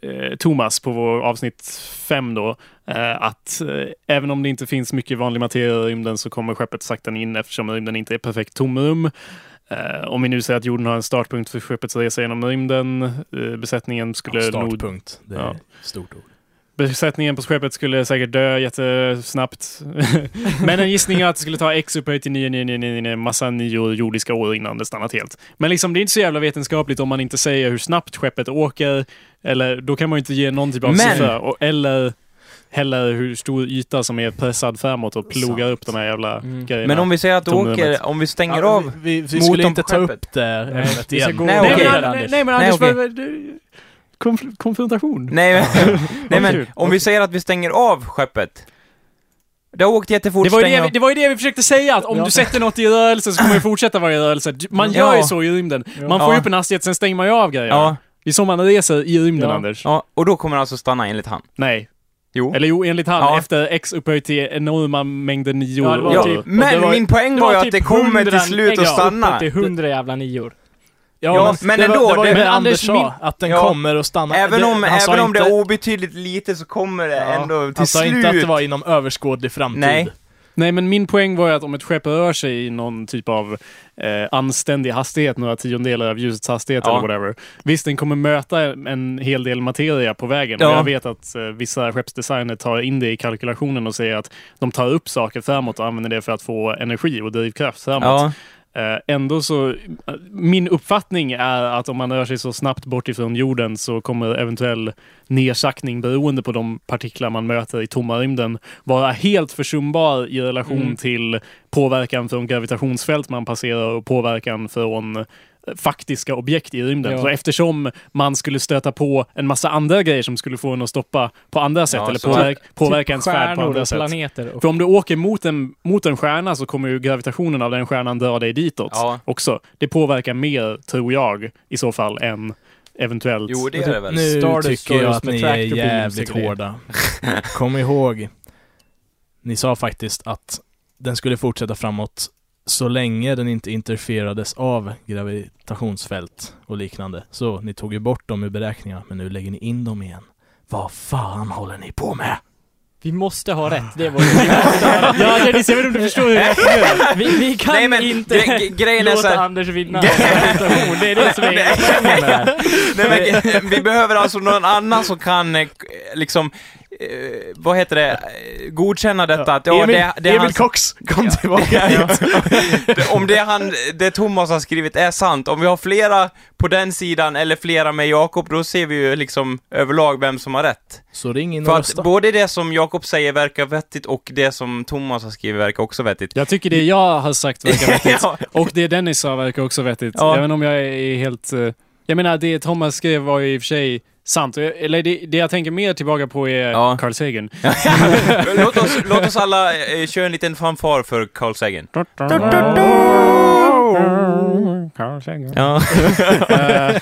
eh, Thomas på vår avsnitt 5 då, eh, att eh, även om det inte finns mycket vanlig materia i rymden så kommer skeppet sakta in eftersom rymden inte är perfekt tomrum. Eh, om vi nu säger att jorden har en startpunkt för skeppets resa genom rymden, eh, besättningen skulle nog Startpunkt. Det är Ja. stort ord. Besättningen på skeppet skulle säkert dö jättesnabbt. Men en gissning är att det skulle ta X upphöjt till 9999 massa nio jordiska år innan det stannat helt. Men liksom, det är inte så jävla vetenskapligt om man inte säger hur snabbt skeppet åker. Eller, då kan man ju inte ge någon typ av Men- siffra. Och, eller heller hur stor yta som är pressad framåt och plogar upp de här jävla Mm. grejerna. Men om vi säger att du Tomrummet. åker, om vi stänger Ja, av... Vi, vi, vi motorn skulle inte på ta skeppet. upp det här ämnet vi ska igen. gå Nej, nej, okej. men, nej, Anders. nej men Nej, Anders, okej. vad- vad- du- konf- konfrontation. Nej, men, nej, men kul. om vi säger att vi stänger av skeppet. Det har åkt jättefort, Det var, ju stänger det, vi- av. det var ju det vi försökte säga, att om Ja. du sätter något i rörelse så kommer det fortsätta vara i rörelse. Du- Man gör Ja. ju så i rymden. Man får Ja. ju upp en hastighet, sen stänger man ju av grejer. Ja, Det är så man reser i rymden, Ja. Anders. ja, och då kommer det alltså stanna enligt han. Nej. Jo. Eller jo, enligt han, Ja. efter x upphöjt till enorma mängder nio Ja, det var Ja, typ- men det var- min poäng det var ju var att typ det kommer 100 till slut att ägg, ja, stanna. Uppe till hundra jävla nior. Ja, men det ändå, Var, det var det- ju det men Anders Anders, sa, att den Ja. kommer och stannar. Även det, om, han sa även om det inte- är obetydligt lite så kommer det Ja, ändå till Han sa slut. inte att det var inom överskådlig framtid. Nej. Nej, men min poäng var ju att om ett skepp rör sig i någon typ av eh, anständig hastighet, några tiondelar av ljusets hastighet Ja. eller whatever. Visst, den kommer möta en hel del materia på vägen. Ja. Och jag vet att eh, vissa skeppsdesigner tar in det i kalkylationen och säger att de tar upp saker framåt och använder det för att få energi och drivkraft framåt. Ja, Eh, Ändå så, eh, min uppfattning är att om man rör sig så snabbt bort ifrån jorden så kommer eventuell nedsackning beroende på de partiklar man möter i tomma rymden vara helt försumbar i relation Mm. till påverkan från gravitationsfält man passerar och påverkan från eh, faktiska objekt i rymden. Ja. Så eftersom man skulle stöta på en massa andra grejer som skulle få en att stoppa på andra sätt Ja, eller så- påverka, påverka ens färd på typ stjärnor andra och sätt. planeter. Och, För om du åker mot en, mot en stjärna så kommer ju gravitationen av den stjärnan dra dig ditåt Ja. också. Det påverkar mer, tror jag, i så fall än eventuellt... Jo, det är det väl. Nu Star tycker jag Destroyers att med ni är tractor beams jävligt och grejer. hårda. Kom ihåg, ni sa faktiskt att den skulle fortsätta framåt så länge den inte interferades av gravitationsfält och liknande. Så ni tog ju bort dem ur beräkningarna, men nu lägger ni in dem igen. Vad fan håller ni på med? vi måste ha rätt, det var det. Ja, Dennis, jag vet inte om du förstår hur jag resonerar. Vi, vi kan Nej, men inte gre- gre- grejen är låta så här- Anders vinna gravitation. Det är det som är hela poängen med det här. Nej, men, g- vi behöver alltså någon annan som kan eh, k- liksom, eh, vad heter det, Eh, godkänna detta. Att, ja, Emil, det, det är Emil hans- Cox, kom tillbaka hit! Det- om det, han, det Thomas har skrivit är sant, om vi har flera på den sidan eller flera med Jakob, då ser vi ju liksom överlag vem som har rätt. Så ring in För och att rösta. både det som Jakob säger verkar vettigt och det som Thomas har skrivit verkar också vettigt. Jag tycker det jag har sagt verkar vettigt. Ja. Och det Dennis sa verkar också vettigt. Ja. Även om jag är helt... eh, Jag menar, det Thomas skrev var ju i och för sig sant. Och jag- Eller det, det jag tänker mer tillbaka på är Ja. Carl Sagan. låt, oss, låt oss alla eh, köra en liten fanfar för Carl Sagan. Carl Sagan. Ja. Eh,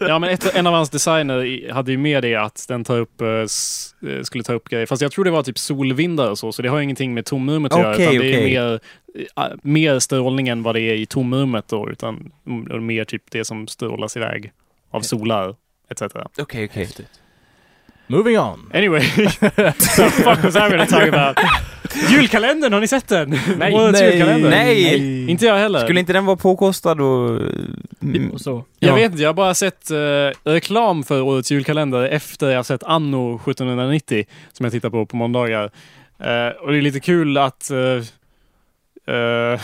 ja, men ett, en av hans designer i- hade ju med det att den tar upp, eh, s, eh, skulle ta upp grejer. Fast jag tror det var typ solvindar och så, så det har ingenting med tomrummet att göra. Okej, Utan det är okej. mer, eh, mer strålning än vad det är i tomrummet då, utan mm, och mer typ det som strålas iväg av solar. Etc. Okej, okej. Moving on! Anyway, so fuck was I gonna talk about? Julkalendern, har ni sett den? Nej, Årets julkalender. Nej. Inte jag heller. Skulle inte den vara påkostad och... Mm. Och så. Jag Ja. vet inte, jag har bara sett eh, reklam för årets julkalender efter jag sett Anno 1790 som jag tittar på på måndagar. Eh, och det är lite kul att eh, eh,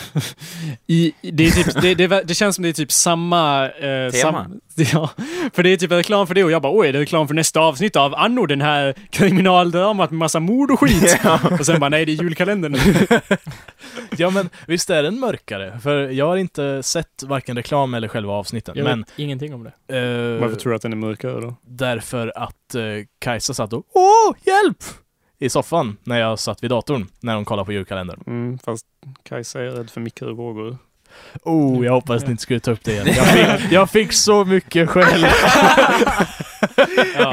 i, det, är typ, det, det, det känns som det är typ samma... eh, Tema. ja, för det är typ reklam för det och jag bara oj, det är reklam för nästa avsnitt av Anno, den här kriminaldramat med massa mord och skit. Och sen bara nej, det är julkalendern. Ja men visst är den mörkare? För jag har inte sett varken reklam eller själva avsnitten. Jag men vet ingenting om det. eh, Varför tror du att den är mörkare då? Därför att eh, Kajsa satt och Åh, hjälp! I soffan när jag satt vid datorn när hon kollade på julkalendern. Mm, fast Kajsa är rädd för mikrovågor. Oh, jag hoppas ni inte skulle ta upp det igen. Jag fick, jag fick så mycket skäll.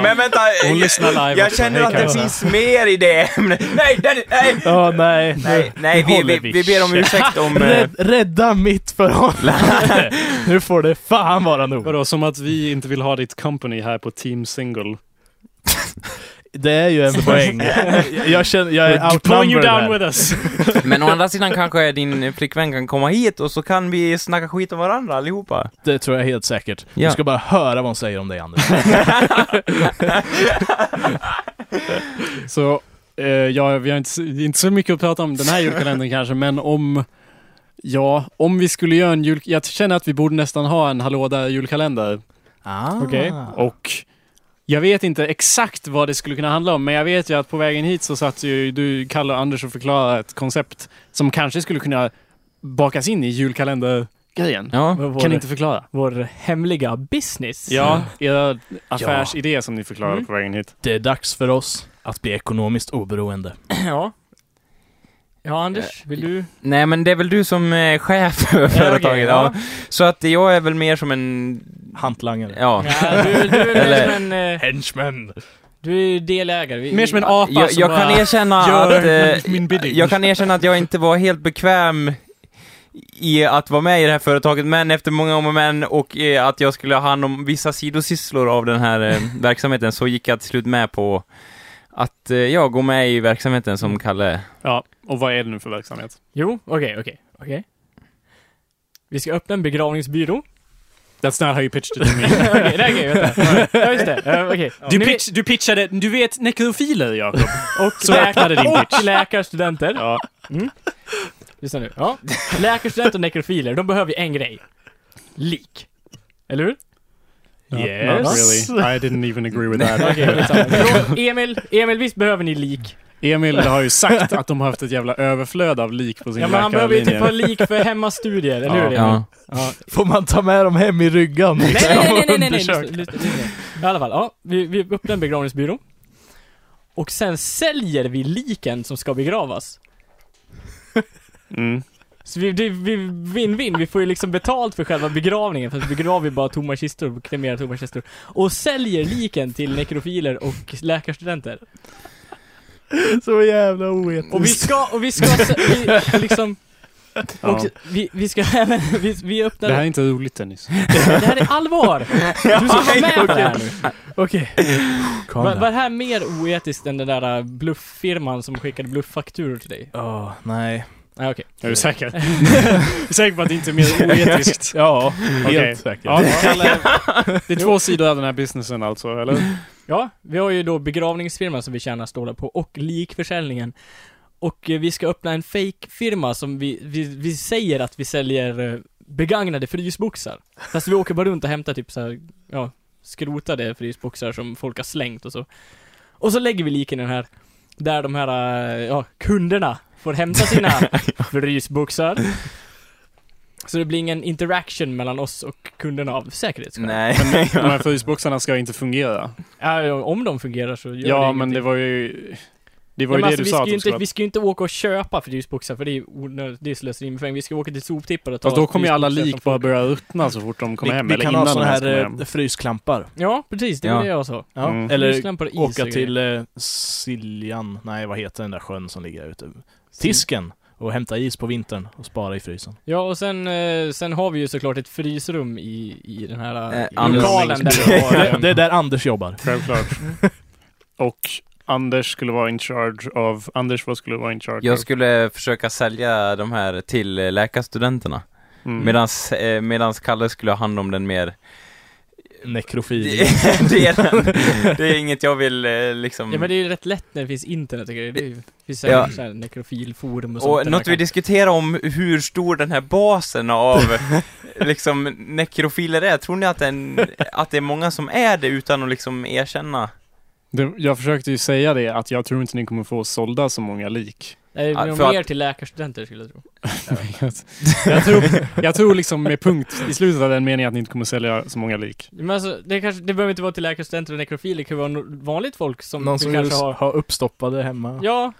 Men vänta, Hon jag, lyssnar live jag också. känner Hej, att det Kajsa. finns mer i det ämnet. Nej, den, nej! Ja, nej. Nej, nej vi, vi, håller vi vi ber om ursäkt om... eh, Rädd, rädda mitt förhållande! nu får det fan vara nog. Vadå, som att vi inte vill ha ditt company här på Team Single? Det är ju en poäng. Jag känner, jag är Pulling you Eh, outnumbered down här. with us! Men å andra sidan kanske din flickvän kan komma hit och så kan vi snacka skit om varandra allihopa. Det tror jag helt säkert. Ja. Du ska bara höra vad hon säger om dig, Anders. Så, eh, ja, vi har inte, s- inte så mycket att prata om den här julkalendern kanske, men om... Ja, om vi skulle göra en jul... Jag känner att vi borde nästan ha en Hallå där julkalender. Ah. Och jag vet inte exakt vad det skulle kunna handla om, men jag vet ju att på vägen hit så satt ju du, Kalle och Anders och förklarade ett koncept som kanske skulle kunna bakas in i julkalendergrejen. Ja. Vår, Kan ni inte förklara? vår hemliga business. Ja, er affärsidé som ni förklarade Mm. på vägen hit. Det är dags för oss att bli ekonomiskt oberoende. ja. Ja, Eh, Anders, vill du? Nej men det är väl du som är chef för företaget. okej, ja. ja. Så att jag är väl mer som en... Hantlangare. Ja. Ja, du, du, är Eller- mer som en, eh, Henchman. du är delägare. Vi, Mer som en apa Jag, som jag bara... kan erkänna gör att... eh, min bidding. jag kan erkänna att jag inte var helt bekväm i att vara med i det här företaget, men efter många om och men och eh, att jag skulle ha hand om vissa sidosysslor av den här eh, verksamheten så gick jag till slut med på att eh, ja, gå med i verksamheten som Kalle... Ja, och vad är det nu för verksamhet? e- Jo, okej, okej, okej. Vi ska öppna en begravningsbyrå. That's not how you pitched it to me. Okej, det här grejen, vänta. Ja, just det. Eh, Okej. Du, Ni vet- pitch, du pitchade, du vet nekrofiler Jakob. Och Så öppnade din pitch. läkarstudenter. Ja. Lyssna nu. Ja. Läkarstudenter och nekrofiler, de behöver ju en grej. Lik. Eller hur? Not- Not Yes. really. I didn't even agree with that. Okej, skitsamma. Förlåt, Emil, Emil, visst behöver ni lik? Emil har ju sagt att de har haft ett jävla överflöd av lik på sin Ja, men han behöver ju typ läkarlinje. ha lik för hemmastudier, eller hur Ja. Emil? Ja. Ja. Får man ta med dem hem i ryggen? Nej, nej, nej, nej, nej, nej, Undersökt. nej, lyssna, lyssna. I alla fall, ja, vi, vi öppnar en begravningsbyrå. Och sen säljer vi liken som ska begravas. Mm. Så vi, det, vi win-win, vi får ju liksom betalt för själva begravningen, för att begravar ju bara tomma kistor, och kremerar tomma kistor. Och säljer liken till nekrofiler och läkarstudenter. Så jävla oetiskt. Och vi ska, och vi ska, se- vi, liksom, Ja. och vi, vi ska även, vi, vi öppnar, Det här är inte roligt Dennis. är allvar! Du ska vara med på det här nu. Okej. Calm Var, down. var det här mer oetiskt än den där äh, blufffirman som skickade blufffakturor till dig? Ja, nej. Nej okej. Är du säker? Är du säker på att det inte är mer oetiskt? Ja, Okej. helt säkert. Ja, det är två sidor av den här businessen alltså, eller? Ja, vi har ju då begravningsfirman som vi tjänar stålar på och likförsäljningen. Och eh, vi ska öppna en fake-firma som vi, vi, vi säger att vi säljer eh, begagnade frysboxar. Fast vi åker bara runt och hämtar typ så här, ja, skrotade frysboxar som folk har slängt och så. Och så lägger vi liken i den här, där de här, eh, ja, kunderna får hämta sina frysboxar. Så det blir ingen interaction mellan oss och kunderna av säkerhetsskäl. Nej. De här frysboxarna ska inte fungera. Ja, om de fungerar så gör Ja, det men ingenting. det var ju... Det var Ja, ju men det du alltså, vi, sa ska att ju de skulle inte, ha. vi ska ju inte åka och köpa frysboxar för det är ju onödigt, det är slöseri med pengar. Vi ska åka till soptippar och ta Fast då kommer ju alla frysboxar lik från bara folk. börja ruttna så fort de kommer vi, hem, vi eller kan innan ha såna de ens kommer här hem. eh, frysklampar. Ja, precis. Det var Ja. det jag sa. Ja. Mm. Eller Ljuslampor, is och åka grejer. till eh, Siljan, nej vad heter den där sjön som ligger där ute? Tisken! Och hämta is på vintern och spara i frysen. Ja, och sen, eh, sen har vi ju såklart ett frysrum i, i den här Eh, eh, Anders- lokalen där vi har... Det, eh, det är där Anders jobbar. Självklart. Och Anders skulle vara in charge av... Anders, vad skulle vara in charge Jag skulle försöka sälja de här till eh, läkarstudenterna. av? Mm. Medans, eh, medans Kalle skulle ha hand om den mer... Nekrofil. det, är den. det är inget jag vill eh, liksom... Ja men det är ju rätt lätt när det finns internet och grejer. Det är ju- det finns Ja. säkert så här nekrofilforum och sånt. Och där man något vi kan- diskuterar om hur stor den här basen av liksom nekrofiler är. Tror ni att, den, att det är många som är det utan att liksom erkänna? Det, jag försökte ju säga det, att jag tror inte ni kommer få sålda så många lik. Nej, Ja, men för Eh, mer till läkarstudenter skulle jag tro. jag, tror, jag tror liksom med punkt i slutet av den meningen att ni inte kommer sälja så många lik. Men alltså, det kanske, det behöver inte vara till läkarstudenter och nekrofiler, det kan vara no- vanligt folk som Någon vi som vill kanske ha har... uppstoppade hemma. Ja.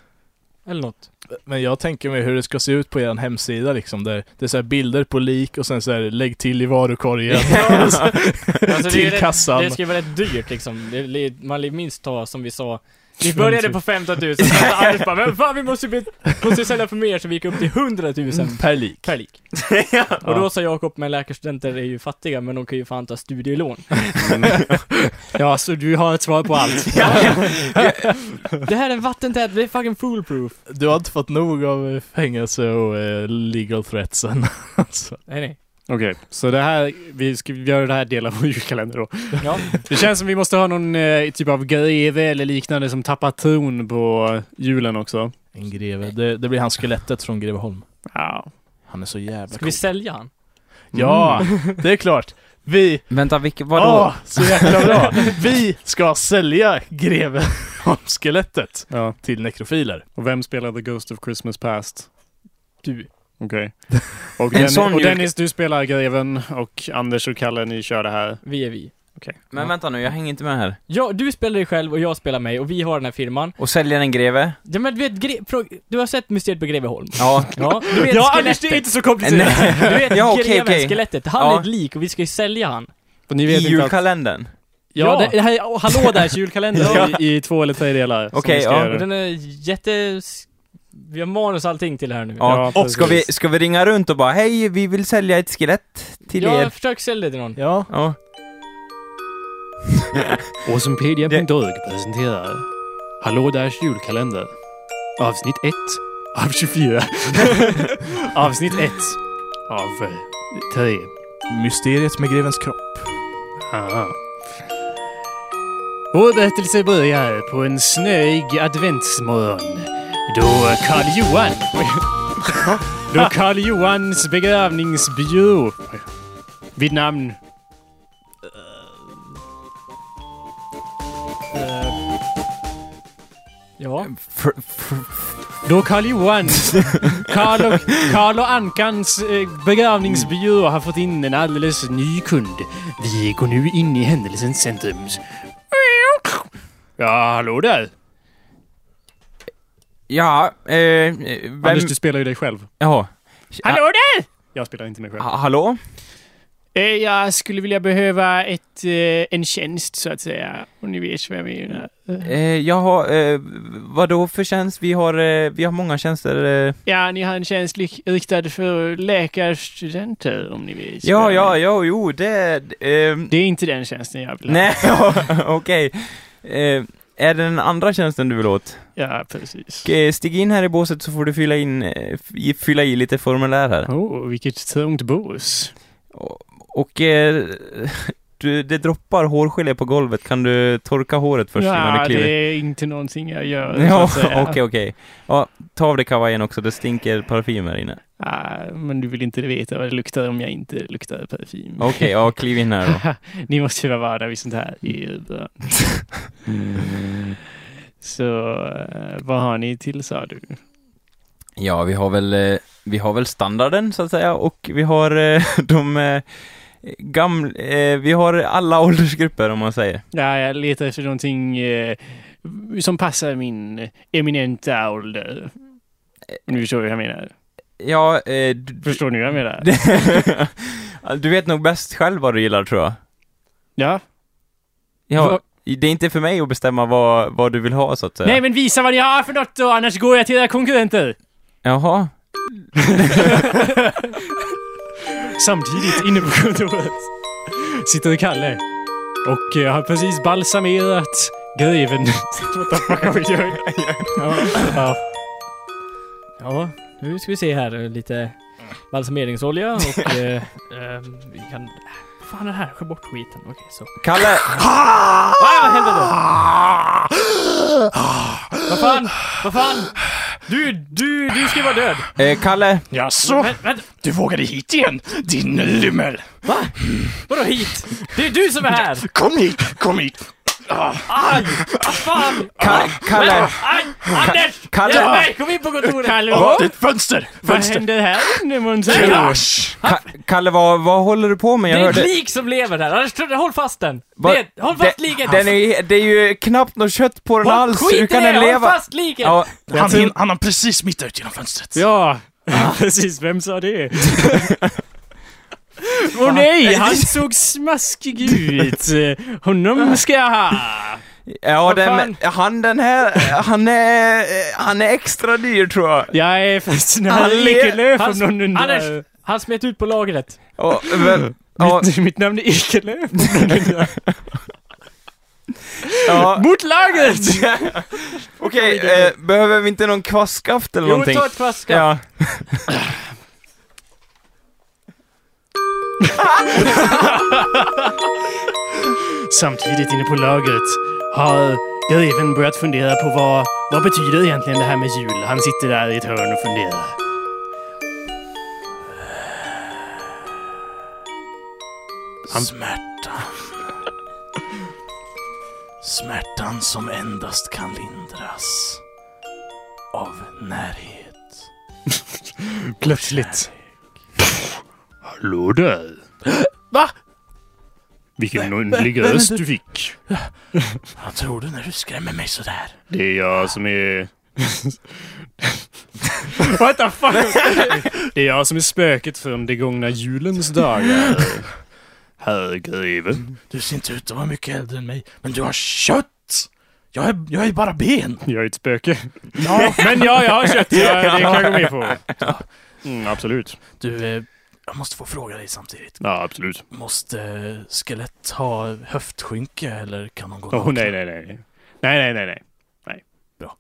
Eller något. Men jag tänker mig hur det ska se ut på er hemsida liksom. Där det är så här bilder på lik och sen så här lägg till i varukorgen. Alltså, det är ju till rätt- kassan. Det ska ju vara rätt dyrt liksom. Det- det- Man vill minst ta, som vi sa, vi 20 började på 15 000, sen sa Anders bara, men fan vi måste, ju be- måste ju sälja för mer, så vi gick upp till 100 000 Mm. Per lik. Mm. per lik. Och då sa Jakob, men läkarstudenter är ju fattiga, men de kan ju fan ta studielån. Ja, så du har ett svar på allt. Det här är vattentät, det är fucking foolproof. Du har inte fått nog av eh, fängelse och eh, legal threats än. alltså. Nej nej. Okej, så det här, vi ska göra det här del av vår julkalender då. Ja. Det känns som vi måste ha någon eh, typ av greve eller liknande som tappar tron på julen också. En greve. Det, det blir han skelettet från Greveholm. Ja. Han är så jävla Ska vi sälja Mm. han? Ja, det är klart. Vi, Vänta, vilket, vadå? åh, så jäkla bra. Vi ska sälja Greveholmsskelettet ja. till nekrofiler. Och vem spelar The Ghost of Christmas Past? Du. Okej. Och, En Dennis, sån och jul- Dennis, du spelar greven och Anders och Kalle, ni kör det här. Vi är vi. Okej. Men vänta nu, jag hänger inte med här. Ja, du spelar dig själv och jag spelar mig och vi har den här firman. Och säljer en greve? Ja men du vet, gre- pro- du har sett Mysteriet på Greveholm? Ja. Ja, du vet Ja, Anders, skelettet. det är inte så komplicerat! Du vet Ja, okej, greven, okej. skelettet, han Ja. är ett lik och vi ska ju sälja han. För ni I vet inte att... julkalendern? Ja, Ja. det, det här, oh, hallå där, julkalender i, i två eller tre delar. som Okej, vi ska ja. göra. Och den är jätte... Vi har manus och allting till här nu. Ja. Ja, ska, vi, precis. ska vi ringa runt och bara hej, vi vill sälja ett skelett till Ja, er? försök sälja det till någon. Ja, Ja. Awesomepedia.org presenterar Hallå Dash julkalender. Avsnitt 1 av 24. Avsnitt 1 av 3. mysteriet med grevens kropp. Vår berättelse börjar på en snöig adventsmorgon då Karl Johan Då Karl Johans begravningsbyrå vid namn... Ja. Fr- fr- Då Karl Johans... Karl och, Karl och Ankans eh, begravningsbyrå har fått in en alldeles ny kund. Vi går nu in i händelsens centrum. Ja, hallå där! Ja, eh, eh, vem... Anders, du spelar ju dig själv. Jaha. Hallå där! Jag spelar inte mig själv. Ha- hallå? Eh, Jag skulle vilja behöva ett, eh, en tjänst så att säga. Om ni vet vad jag menar. Eh, jag har, eh, vadå för tjänst? Vi har, eh, vi har många tjänster. Eh. Ja, ni har en tjänst lik- riktad för läkarstudenter om ni vet. Ja, vad jag ja, menar. ja, jo, det... ehm, Det är inte den tjänsten jag vill ha. nej, ja, okej. Eh, är det den andra tjänsten du vill åt? Ja, precis. Okej, Stig in här i båset så får du fylla in, eh, f- i- fylla i lite formulär här. Åh, Oh, vilket trångt bås. Och, och eh, du, det droppar hårgelé på golvet. Kan du torka håret först innan ja, du kliver? det är inte någonting jag gör. så Ja, att säga. okej, okej. Ja, ta av dig kavajen också, det stinker parfym här inne. Ja, men du vill inte veta vad det luktar om jag inte luktar parfym. Okej, ja, kliv in här då. ni måste ju vara vana vid sånt här i Uber. Mm. Så eh, vad har ni till sa du? Ja, vi har väl, eh, vi har väl standarden så att säga och vi har eh, de eh, gamla, eh, vi har alla åldersgrupper om man säger. Ja, jag letar efter någonting eh, som passar min eminenta ålder. Eh, Nu förstår du vad jag menar. Ja, eh, du, Förstår ni vad jag menar? du vet nog bäst själv vad du gillar tror jag. Ja. Ja, Va- det är inte för mig att bestämma vad, vad du vill ha så att säga. Nej, men visa vad ni har för något då, annars går jag till era konkurrenter. Jaha. Samtidigt inne på kontoret sitter Kalle och eh, har precis balsamerat greven. What the fuck are we doing? Ja. Ja, nu ska vi se här eh, lite balsameringsolja och... eh, eh, vi kan... Vad fan är det här? Skär bort skiten. Okej, så. Kalle! Ah! Aj, vad helvete! vad fan? Vad fan? Du, du, du ska ju vara död. Eh, Kalle! Jaså? Vänta, vänta. Du vågade hit igen, din lymmel! Vadå hit? Det är du som är här! Kom hit, kom hit! Aj! Vad fan? Ka- Kalle! Aj! Anders! Kalle! Hjälp mig! Kom in på kontoret! Kalle, Åh, vad, ditt fönster! vad Fönster! händer här inne månntro? Krasch! Ka- Kalle, vad, vad håller du på med? Det Jag är ett hörde... lik som lever här. Anders, tro- håll fast den. Va- Det, håll fast Det- liket! Den är, det är ju knappt något kött på den Håll- alls. skit i Hur kan det, den leva? Håll fast liket! Ja, Han, hin- han har precis smittat ut genom fönstret. Ja, precis. Vem sa det? Åh nej, han såg smaskig ut. Honom ska jag ha. Ja, Vad den, han den här, han är, han är extra dyr tror jag. Jag är förresten Han han är- Ekelöf han- om någon undrar. Anders! Han smet ut på lagret. Och, vem, ja, Mitt, mitt namn är Ekelöf. ja, Mot lagret! Okej, eh, behöver vi inte någon kvastskaft eller Jo, någonting? ta ett flaska. Ja. Samtidigt inne på lagret har greven börjat fundera på vad, vad betyder egentligen det här med jul? Han sitter där i ett hörn och funderar. Smärta. Smärtan som endast kan lindras av närhet. Plötsligt. Hallå där. Va? Vilken underlig vem är röst du? du fick. Vad tror du när du skrämmer mig sådär? Det är jag som är... What the fuck? det är jag som är spöket från de gångna julens dagar. Herr greven. Du ser inte ut att vara mycket äldre än mig, men du har kött! Jag är, jag är bara ben! Jag är ett spöke. Men ja, jag har kött. Ja, det kan jag gå med på. Mm, absolut. Du, eh, jag måste få fråga dig samtidigt. Ja, absolut. Måste eh, skelett ha höftskynke eller kan de gå Åh, nakna? nej, nej, nej. Nej, nej, nej, nej. nej. Bra.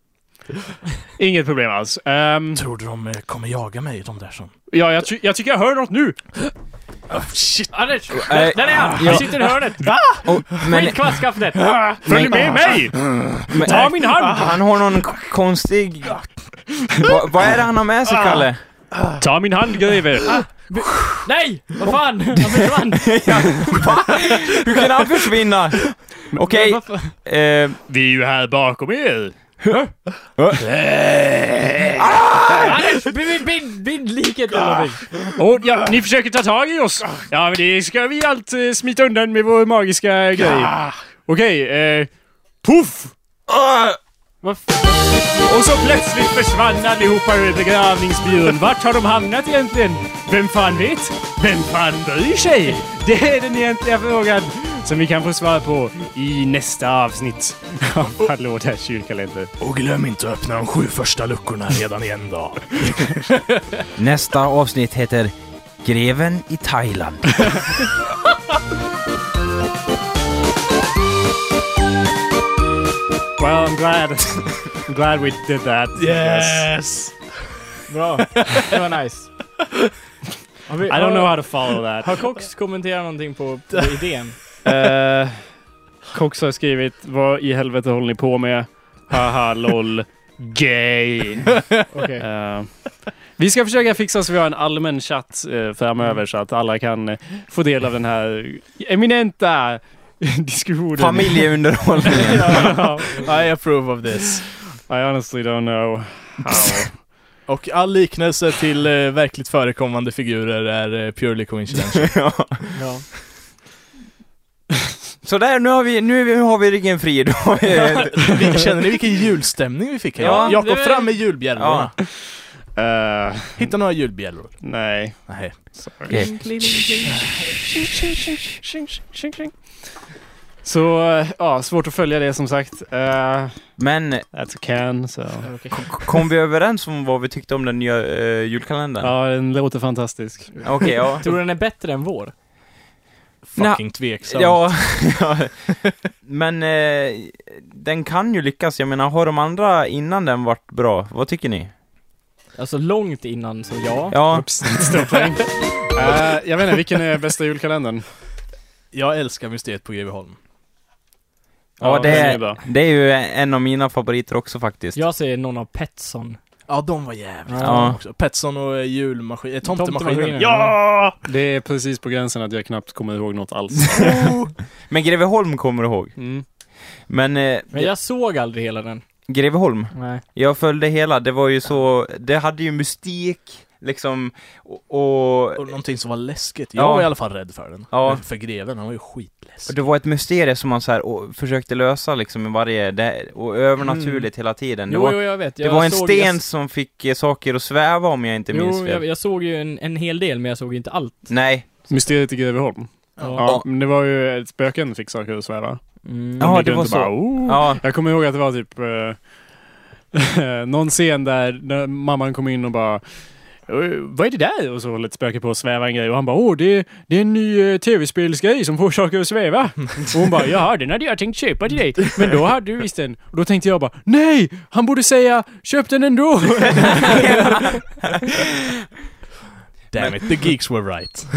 Inget problem alls. Ehm, Tror du de eh, kommer jaga mig, de där som... ja, jag, ty- jag tycker jag hör något nu. Oh, shit! Anders! Nej. Där är han! Ja. Han sitter i hörnet. eh, Och, men, Skit kvastskaftet! Men- Följ med mig! men, Ta min hand! Ah. han har någon konstig... Va, vad är det han har med sig, Kalle? Ta min hand greve! Nej! Vad fan! Han försvann! Hur kan han försvinna? Okej, Varför? eh, Vi är ju här bakom er! Anders, bind, bind, bind liket eller någonting. Och ja, ni försöker ta tag i oss! Ja, men det ska vi allt eh, smita undan med vår magiska grej. Okej, eh... Puff! Ah. Vad Och så plötsligt försvann allihopa ur begravningsbyrån. Vart har de hamnat egentligen? Vem fan vet? Vem fan bryr sig? Det är den egentliga frågan som vi kan få svar på i nästa avsnitt av Hallå där kyrkalenter. Och glöm inte att öppna de sju första luckorna redan i en dag. nästa avsnitt heter Greven i Thailand. Well, I'm glad. I'm glad we did that. Yes! Bra. Det var nice. Har vi- I don't know how to follow that. Har Cox kommenterat någonting på, på idén? Eh, Cox har skrivit Vad i helvete håller ni på med? Haha lol. Gay. Okej. Eh, vi ska försöka fixa så vi har en allmän chatt eh, framöver så att alla kan eh, få del av den här eminenta diskussionen. Familjeunderhållningen. I approve of this. I honestly don't know. Och all liknelse till eh, verkligt förekommande figurer är eh, purely coincidental. ja. Ja. Sådär, nu har vi, nu är vi- nu har vi ryggen fri. Då har vi- Eh, Vi- Känner ni vilken julstämning vi fick här? Ja, Jakob, det- fram med julbjällrorna. Eh, Hitta några julbjällror. nej. Nej. Okej. Så eh, ja, svårt att följa det som sagt. Eh, Men that's a can, så. k- kom vi överens om vad vi tyckte om den nya eh, julkalendern? Ja, den låter fantastisk. Okej, ja. Tror du den är bättre än vår? Fucking tveksam. Ja, ja. Men eh, den kan ju lyckas. Jag menar, har de andra innan den varit bra? Vad tycker ni? Alltså långt innan, så ja. Ja, Oops, stor poäng. Eh, jag vet inte, vilken är bästa julkalendern? Jag älskar Mysteriet på Greveholm. ja det, den är är, bra. det är ju en av mina favoriter också faktiskt. Jag säger någon av Petson. Ja, de var jävligt Ja. bra också. Petson och eh, julmaskin... eh, Tomtemaskinen. Tomtemaskinen. Ja! Det är precis på gränsen att jag knappt kommer ihåg något alls. Men Greveholm kommer du ihåg. Mm. Men eh, Men jag såg aldrig hela den. Greveholm, Nej. jag följde hela. Det var ju så, det hade ju mystik, liksom, och, och Och någonting som var läskigt. Jag Ja. var i alla fall rädd för den. Ja. För greven, han var ju skitläskig. Och det var ett mysterium som man så här, och, försökte lösa liksom i varje, det, och övernaturligt hela tiden. Det Mm. Jo, var, jo, jag vet. det Jag var en såg- sten jag- som fick eh, saker att sväva om jag inte minns Jo, fel. jag, jag såg ju en, en hel del, men jag såg inte allt. Nej. Mysteriet i Greveholm. Ja. Ja, men det var ju ett spöken fick saker att sväva. Mm. Ja, gick det var runt och så. Bara, "Oh." Ja. Jag kommer ihåg att det var typ eh, någon scen där när mamman kom in och bara "Eh, vad är det där? Och så håller ett spöke på att sväva en grej och han bara åh det, det är en ny eh, tv-spelsgrej som får saker att sväva. Och hon bara jaha den hade jag tänkt köpa till dig. Men då hade du visst den. Och då tänkte jag bara nej! Han borde säga köp den ändå! Damn it, the geeks were right.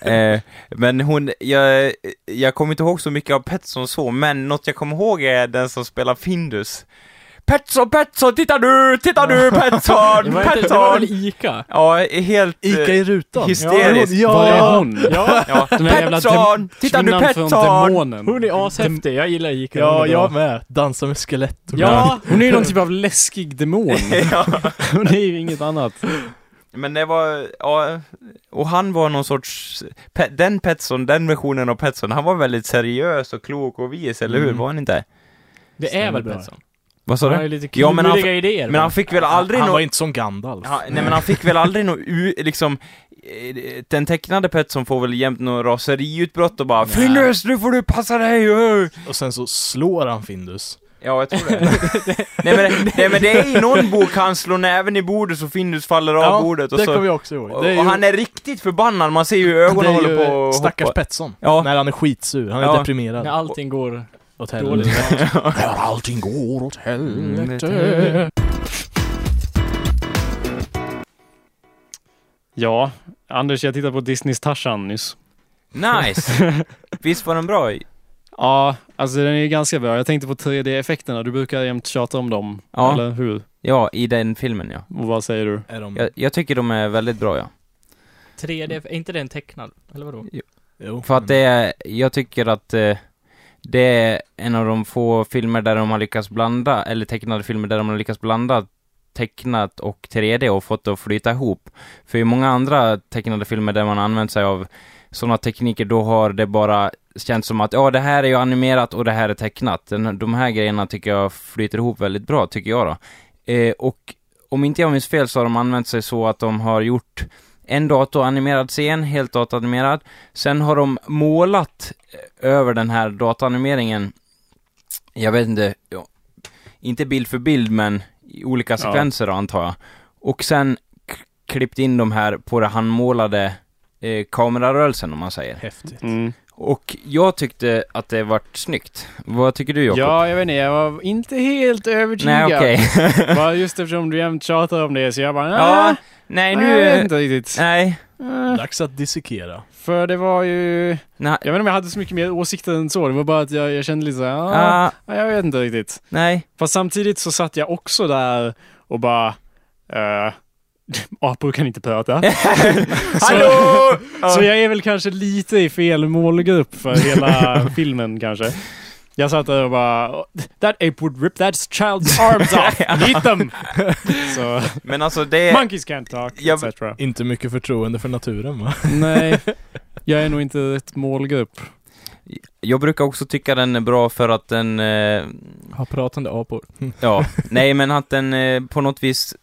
eh, men hon, jag, jag kommer inte ihåg så mycket av Petson så, men något jag kommer ihåg är den som spelar Findus. Petson, Petson, titta nu, titta nu, Det Petson, var, inte, det var väl Petson! Ica? Ja, helt... eh, Ica i rutan. hysteriskt. Ja, Var är ja. hon? Ja, Ja, Den här jävla Petson! Titta nu, Kvinnan från Petson! demonen. hon är ashäftig. Jag gillar Ica. Hon ja är bra. jag med. Dansa med skelett. och- Ja! Hon är ju någon typ av läskig demon. Ja. Hon är ju inget annat. Men det var, ja, och han var någon sorts, pe, den Petson, den versionen av Petson, han var väldigt seriös och klok och vis, eller hur? Mm. Var han inte? Det är Stämmer väl bra. Petson? Vad sa Han har ju du? lite Ja, kluriga men han- idéer. Men han fick väl aldrig han nå- var inte som Gandalf. Ja, nej men han fick väl aldrig något u- liksom, eh, den tecknade Petson får väl jämt något raseriutbrott och bara Nej. Findus, nu får du passa dig! ö." Och sen så slår han Findus. Ja, jag tror det. nej, men, nej men det är i någon bok han slår näven i bordet så Findus faller av bordet och det så... kommer jag också ihåg. Och, Det är ju, och han är riktigt förbannad, man ser ju hur det ögonen är ju håller på att stackars hoppa. Petson. Ja. När han är skitsur, han är Ja. deprimerad. När allting går Åt dåligt. helvete. När allting går åt helvete. Ja, Anders, jag tittade på Disneys Tarzan nyss. Nice! Visst var den bra? Ja, alltså den är ju ganska bra. Jag tänkte på 3D-effekterna. Du brukar jämt tjata om dem, Ja. eller hur? Ja, i den filmen ja. Och vad säger du? Är de... Jag, jag tycker de är väldigt bra ja. 3D, är inte det en tecknad? Eller vadå? Jo, För att det är, jag tycker att eh, det är en av de få filmer där de har lyckats blanda, eller tecknade filmer där de har lyckats blanda tecknat och 3D och fått det att flyta ihop. För i många andra tecknade filmer där man har använt sig av sådana tekniker, då har det bara känts som att ja, det här är ju animerat och det här är tecknat. Den, de här grejerna tycker jag flyter ihop väldigt bra, tycker jag då. Eh, och om inte jag minns fel så har de använt sig så att de har gjort en datoranimerad scen, helt datoranimerad, Sen har de målat eh, över den här dataanimeringen, jag vet inte, ja, inte bild för bild men i olika sekvenser då, antar jag. Och sen k- klippt in de här på det handmålade eh, kamerarörelsen om man säger. Häftigt. Mm. Och jag tyckte att det vart snyggt. Vad tycker du Jakob? Ja, jag vet inte. Jag var inte helt övertygad. Nej okej. Bara just eftersom du jämt tjatar om det så jag bara, ja, ja, nej nej nu... nu... Jag vet inte riktigt. Nej. Eh, Dags att dissekera. För det var ju... Nej. Jag vet inte om jag hade så mycket mer åsikter än så. Det var bara att jag, jag kände lite såhär, ja, Ah, jag vet inte riktigt. nej. Fast samtidigt så satt jag också där och bara, eh, apor kan inte prata. Hallå! Så jag är väl kanske lite i fel målgrupp för hela filmen kanske. Jag satt där och bara That ape would rip that child's arms off! Eat them! Så, Men alltså det... monkeys can't talk, Jag- etc. Inte mycket förtroende för naturen va? Nej, jag är nog inte rätt målgrupp. Jag brukar också tycka den är bra för att den... Eh, Ha pratande apor. Ja, nej men att den eh, på något vis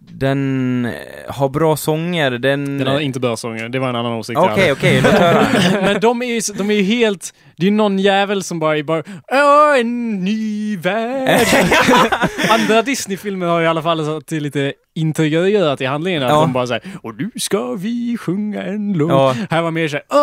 den eh, har bra sånger, den... Den har inte bra sånger, det var en annan åsikt jag Okej, okej, låt höra. hade. Men de är ju, så- de är ju helt... Det är någon jävel som bara är bara Åh, en ny värld! Andra Disney-filmer har ju i alla fall så att det är lite integrerat i handlingen. Att Ja. de bara säger och nu ska vi sjunga en låt. Ja. Här var mer såhär åh,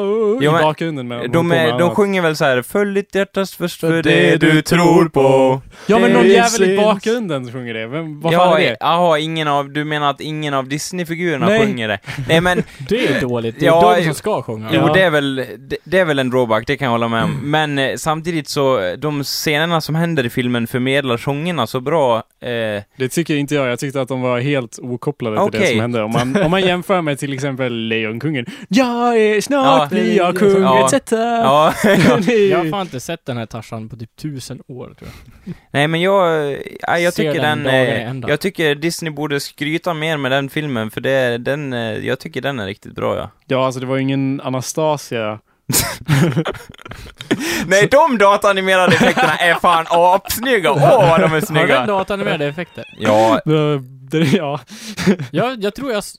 åh, Ja, men i bakgrunden. Men hon De, kommer är, de annat. sjunger väl så här Följ ditt hjärtas först för det du tror på. Ja men någon Det jävel i syns. bakgrunden sjunger det. Vem, vad fan Ja, är det? Jaha, ingen av, du menar att ingen av Disney-figurerna Nej. sjunger det? Nej men, Det är dåligt, det är Ja, de ju- som ska sjunga. jo Ja. det är väl, det, det är väl en drawback, det kan jag hålla med om. Men eh, samtidigt så, eh, de scenerna som händer i filmen förmedlar sångerna så bra. Eh, Det tycker inte jag. Jag tyckte att de var helt okopplade till det Okej. som hände. Om man, om man jämför med till exempel Lejonkungen. Jag är snart Ja. blir jag kung, Ja. etc. ja. Det är ju- Jag har fan inte sett den här Tarzan på typ tusen år tror jag. Nej men jag, äh, jag Ser tycker den den, dagen i eh, ända. jag tycker Disney borde skryta mer med den filmen för det, den, eh, jag tycker den är riktigt bra ja. Ja, alltså det var ju ingen Anastasia. Nej de dataanimerade effekterna är fan apsnygga, åh vad de är Har den snygga! datanimerade effekter? Ja, Det, det, ja. Jag, jag tror jag... s-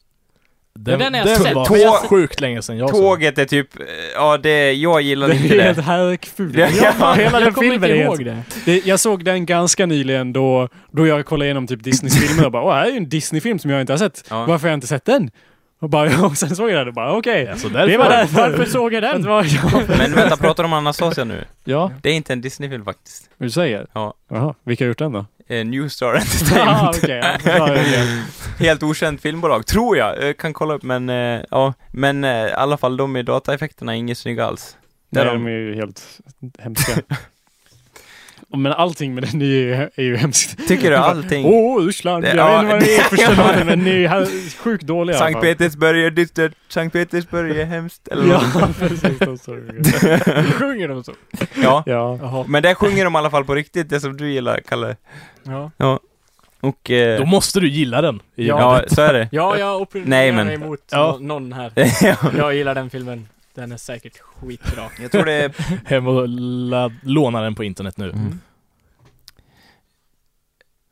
den har jag sett, var men jag har tå- sjukt länge sedan jag såg den. tåget är typ, eh, ja det, jag gillar Det inte är helt det. härkful. Ja. Ja, hela den jag kommer filmen inte är helt ihåg det. Det, jag såg den ganska nyligen då, då jag kollade igenom typ Disneys filmer och bara åh, här är ju en Disney-film som jag inte har sett. Ja. Varför har jag inte sett den? Och, bara, och sen såg jag den och bara okej. Ja, så Det var därför. därför. Varför såg jag den? Var, ja. Men vänta, pratar de om Anastasia nu? ja, Det är inte en Disney-film faktiskt. du säger? Ja. Jaha, vilka har gjort den då? Eh, New Star Ah, Entertainment. okej, ja. Ja, ja, ja. Helt okänt filmbolag, tror jag. Eh, Kan kolla upp men, eh, ja. Men eh, i alla fall de med dataeffekterna är inget snygga alls. Nej, Där de de- är ju helt hemska. Men allting med den är ju, är ju hemskt. Tycker du allting? Åh, oh, Ryssland! Det- Jag ja, vet inte vad det är för det- ställe, men ni är här- sjukt dåliga i alla Sankt fall. Petersburg är dystert, Sankt Petersburg är hemskt, eller Ja, något. precis. De sjunger. Sjunger de så? ja. Ja. Jaha. Men där sjunger de i alla fall på riktigt, det som du gillar, Kalle. Ja, Och... Eh, Då måste du gilla den. I ja, så är det. ja jag Nej, opponerar men- mig emot Ja. nå- någon här. Ja. Jag gillar den filmen. Den är säkert skitbra. Jag tror det är... Hem och la- låna den på internet nu. Mm.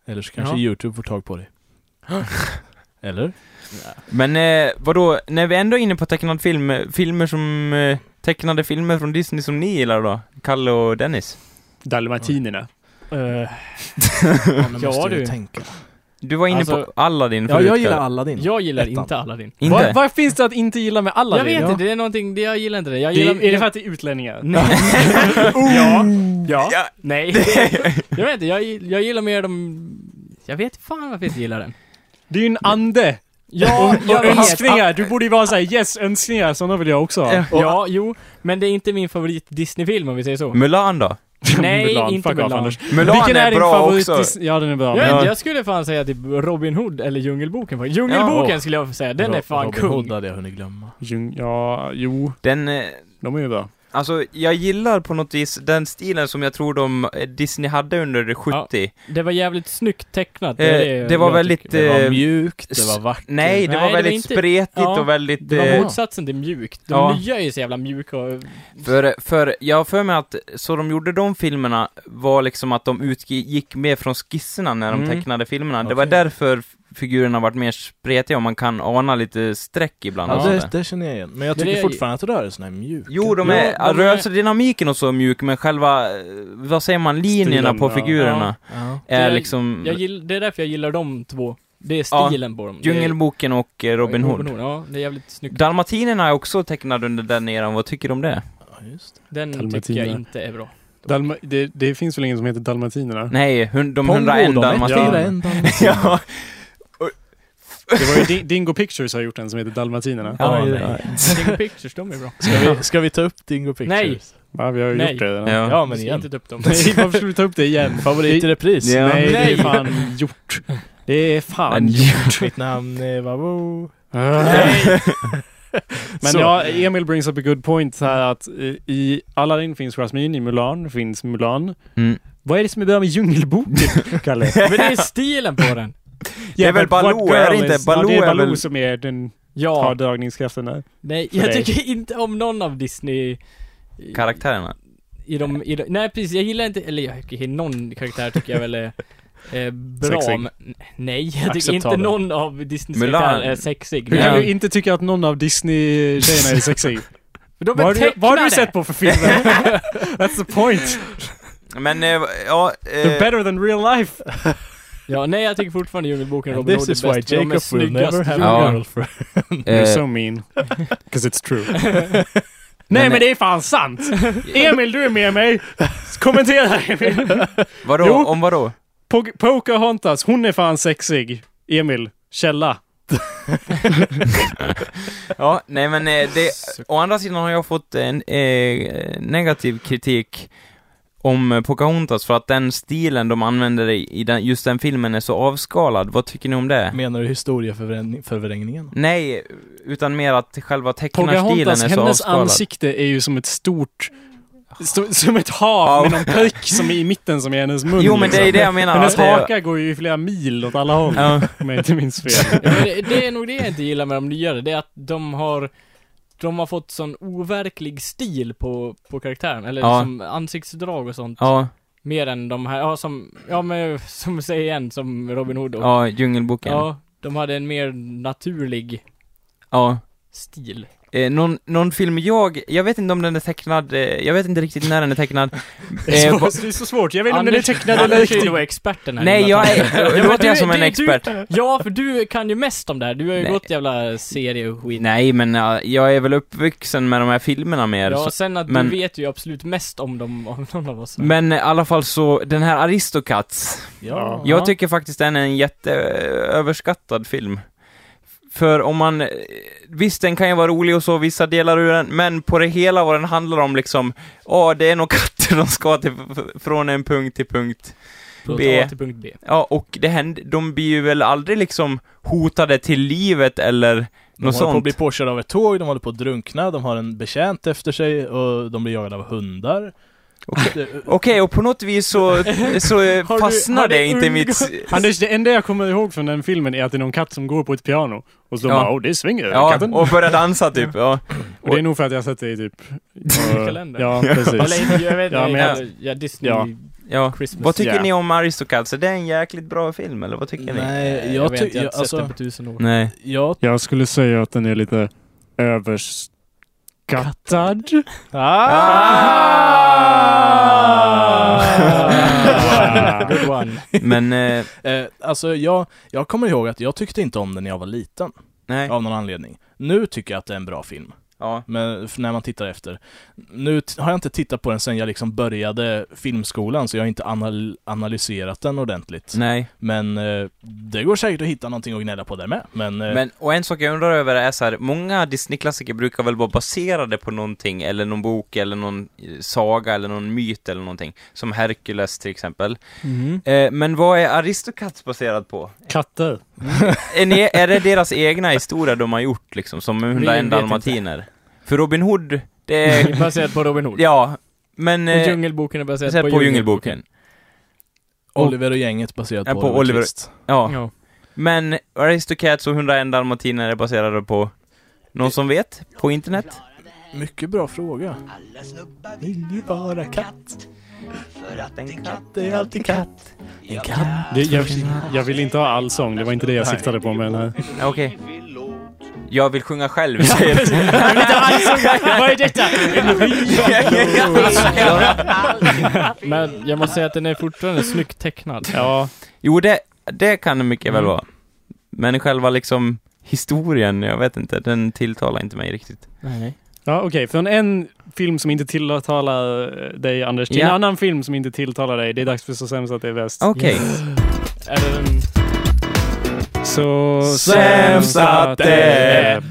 Eller så kanske Ja. Youtube får tag på dig. Eller? Men eh, vadå, när vi ändå är inne på tecknad film, eh, filmer som... Eh, tecknade filmer från Disney som ni gillar då? Kalle och Dennis? Dalmatinerna. Eh, Ja, måste jag ju tänka. Du var inne Alltså- på Aladdin Ja, förut, jag gillar Kalle. Aladdin. Jag gillar Ettan. inte Aladdin. Inte? Vad, vad finns det att inte gilla med alla Jag vet det? inte, det är någonting, det, jag gillar inte det. Jag Det, gillar, är det för att det är utlänningar? ja, ja, Ja. nej. jag vet inte, jag, jag gillar mer de... Jag vet fan varför jag inte gillar den. Det är ju en ande Ja, jag Och vet. önskningar! Du borde ju vara såhär yes, önskningar, sådana vill jag också ha. Ja, jo. Men det är inte min favorit Disney-film om vi säger så. Mulan då? Nej, Mulan. inte Fuck off, Mulan. Anders. Mulan Vilken är, är, din bra favorit? också. Dis- Ja, den är bra. Jag, men- vet Ja. inte, jag skulle fan säga typ Robin Hood eller Djungelboken faktiskt. Djungelboken skulle jag säga, den är fan Robin kung. Hood hade jag hunnit glömma. Jung- Ja, jo, Den, eh, de är ju bra. alltså jag gillar på något vis den stilen som jag tror de, eh, Disney hade under 70. Det var jävligt snyggt tecknat. Eh, är det var jag väldigt, tycker. Det var Eh, mjukt, det s- var vackert. Nej, det Nej, var det var väldigt inte- spretigt ja, och väldigt... Det var eh, motsatsen till mjukt. De Ja. nya är ju så jävla mjuka och... För, för jag har för mig att så de gjorde de filmerna var liksom att de utgick mer från skisserna när de Mm. tecknade filmerna. Det var Okej. därför f- figurerna varit mer spretiga och man kan ana lite streck ibland. och Ja, sådär. det, det känner jag igen. Men jag Men tycker det- fortfarande att rörelserna är mjuk. Jo, de Ja, är, de är- rörelsedynamiken och så mjuk, men själva, eh, vad säger man, linjerna Stilen, på ja. figurerna Ja. är Det- liksom Jag gill, det är därför jag gillar de två. Det är Ja, stilen på dem. Det är- Djungelboken och eh, Robin Hood. Ja, det är jävligt snyggt. Dalmatinerna är också tecknade under den eran, vad tycker du om det? Ja, just det. Den tycker Dalmatiner. jag inte är bra. Dalma- det, det finns väl ingen som heter dalmatinerna? Nej, hun, de Pongo, 101 de är dalmatiner. 101 dalmatiner. Ja, Det var ju Di- Dingo Pictures har gjort en som heter Dalmatinerna. Ja, Ja, nej. nej. King Pictures, de är bra. Ska vi, ska vi ta upp Dingo Pictures? Nej. Va, vi har ju Nej. gjort det redan. Ja. Ja, men Vi ska igen. Inte ta upp dem. Nej, varför skulle vi ta upp det igen? Favorit i repris. Ja. Nej, det Nej. är fan gjort. Det är fan Men- gjort. Mitt namn är Vavo. Nej. Men Så. ja, Emil brings up a good point så här att eh, i Aladdin finns Jasmine, i Mulan finns Mulan. Mm. Vad är det som är bra med Djungelboken, Kalle? Men det är stilen på den. Det är väl Baloo, är det inte? Baloo Baloo ja, det är är Baloo väl- som är den har Ja. dragningskraften där. Nej, För jag dig. tycker inte om någon av Disney... i- karaktärerna. I de, i de, nej precis, jag gillar inte, eller jag tycker någon karaktär tycker jag väl är eh, bra Sexig. men, Nej, jag tycker inte Acceptabel. någon av Disneys Mulan. karaktärer är sexig. Hur Ja. kan du inte tycka att någon av Disney-tjejerna är sexig? De vad, har är du, vad har du tecknade! sett på för filmer? That's the point. Men, eh, ja... They're Eh, better than real life. Ja, nej jag tycker fortfarande Djungelboken och Robin This Hood is är why bäst, för de är Jacob will snyggast. never have Ja. a girlfriend. You're eh, so mean. 'Cause it's true. Men- Nej men det är fan sant! Emil, du är med mig! Kommentera Emil! vadå? Jo. Om vadå? Po- Pocahontas, hon är fan sexig. Emil, källa. Ja, nej men eh, det, å andra sidan har jag fått en eh, negativ kritik om eh, Pocahontas för att den stilen de använder i, i den, just den filmen är så avskalad. Vad tycker ni om det? Menar du historieförvrängningen? Nej, utan mer att själva tecknarstilen är Pocahontas, så hennes avskalad. ansikte är ju som ett stort... st- som ett hav med någon prick som är i mitten som är hennes mun. Jo, men det liksom. är ju det jag menar. Hennes att det- haka går ju i flera mil åt alla håll. Ja. Om jag inte minns fel. Ja, men det, det är nog det jag inte gillar med de nyare, det är att de har de har fått sån overklig stil på, på karaktären, eller Ja. som ansiktsdrag och sånt. Ja, Mer än de här, ja som, ja men som vi säger igen, som Robin Hood och ja, Djungelboken. Ja. Ja, de hade en mer naturlig stil. Eh, någon, någon film jag, jag vet inte om den är tecknad, eh, jag vet inte riktigt när den är tecknad. Det är, Eh, va- svårt, det är så svårt. Jag vet inte om den är tecknad eller Anders är ju riktig. då experten här. nej, jag Jonathan. är, men låter jag du- som en du- du- expert? Ja, för du kan ju mest om det här. Du har ju Nej. gått jävla serie och skit. Nej, men ja, jag är väl uppvuxen med de här filmerna mer. Ja, så, sen att men- du vet ju absolut mest om dem, om någon av oss. men eh, i alla fall så, den här Aristocats. Ja. Jag tycker faktiskt den är en jätteöverskattad film. För om man... eh, Visst, den kan ju vara rolig och så, vissa delar ur den, men på det hela vad den handlar om liksom, ja, det är nog katter de ska till, från en punkt till punkt. Punkt B. A till punkt B. Ja, och det händer, de blir ju väl aldrig liksom hotade till livet eller De något håller på att sånt. bli påkörda av ett tåg, de håller på att drunkna, de har en betjänt efter sig och de blir jagade av hundar. Okej. Det- Okej, och på något vis så, så eh, Har du- fastnar har det det inte i mitt... Anders, det enda jag kommer ihåg från den filmen är att det är någon katt som går på ett piano. Och så Ja. bara, åh, det svänger över Ja, katten. och börjar dansa typ. Ja. Och det är nog för att jag har sett det i typ... eh, Kalender. Ja, Eller precis. inte, jag vet Ja, inte, men ja, jag- ja, Disney Ja. Ja. Christmas. Vad tycker Ja. ni om Aristocats? Är det en jäkligt bra film, eller vad tycker ni? Nej, jag jag vet, jag har tycker... inte sett den Alltså, på tusen år. Nej. jag... Jag skulle säga att den är lite överskattad. Ah! Wow. Good one. Men, eh, Eh, alltså, jag, jag kommer ihåg att jag tyckte inte om den när jag var liten, nej. av någon anledning. Nu tycker jag att det är en bra film. Ja. Men f- när man tittar efter. Nu t- har jag inte tittat på den sen jag liksom började filmskolan, så jag har inte anal- analyserat den ordentligt. Nej. Men eh, det går säkert att hitta någonting att gnälla på där med. Men, eh, Men, och en sak jag undrar över är så här, många Disney-klassiker brukar väl vara baserade på någonting, eller någon bok, eller någon eh, saga, eller någon myt eller någonting. Som Hercules till exempel. Mm. Eh, men vad är Aristocats baserad på? Katter. Är, ni, är det deras egna historia de har gjort liksom, som vet 101 inte. dalmatiner? För Robin Hood, det Det är är... baserat på Robin Hood. ja, men... Och Eh, Djungelboken är baserat baserat på, på Djungelboken. Oliver och gänget baserat Ja, på, på Oliver Oliver. Twist. Ja. Ja. Men Aristocats och 101 dalmatiner är baserade på... Någon som vet? På internet? Mycket bra fråga. Vill du vara katt? Det är alltid katt. En katt. Det, jag, jag vill inte ha all sång, det var inte det jag siktade på eh, med den här. Ja, Okej. Jag vill sjunga själv, säger Vad är detta? Men jag måste säga att den är fortfarande snyggt tecknad. Ja, Jo, det, det kan det mycket Mm. väl vara. Men själva liksom historien, jag vet inte, den tilltalar inte mig riktigt. Nej. ja okej. Från en film som inte tilltalar eh, dig, Anders, till en Ja. annan film som inte tilltalar dig. Det är dags för Så sämst att det är bäst. Okej. Är det den... Så Sämst att det är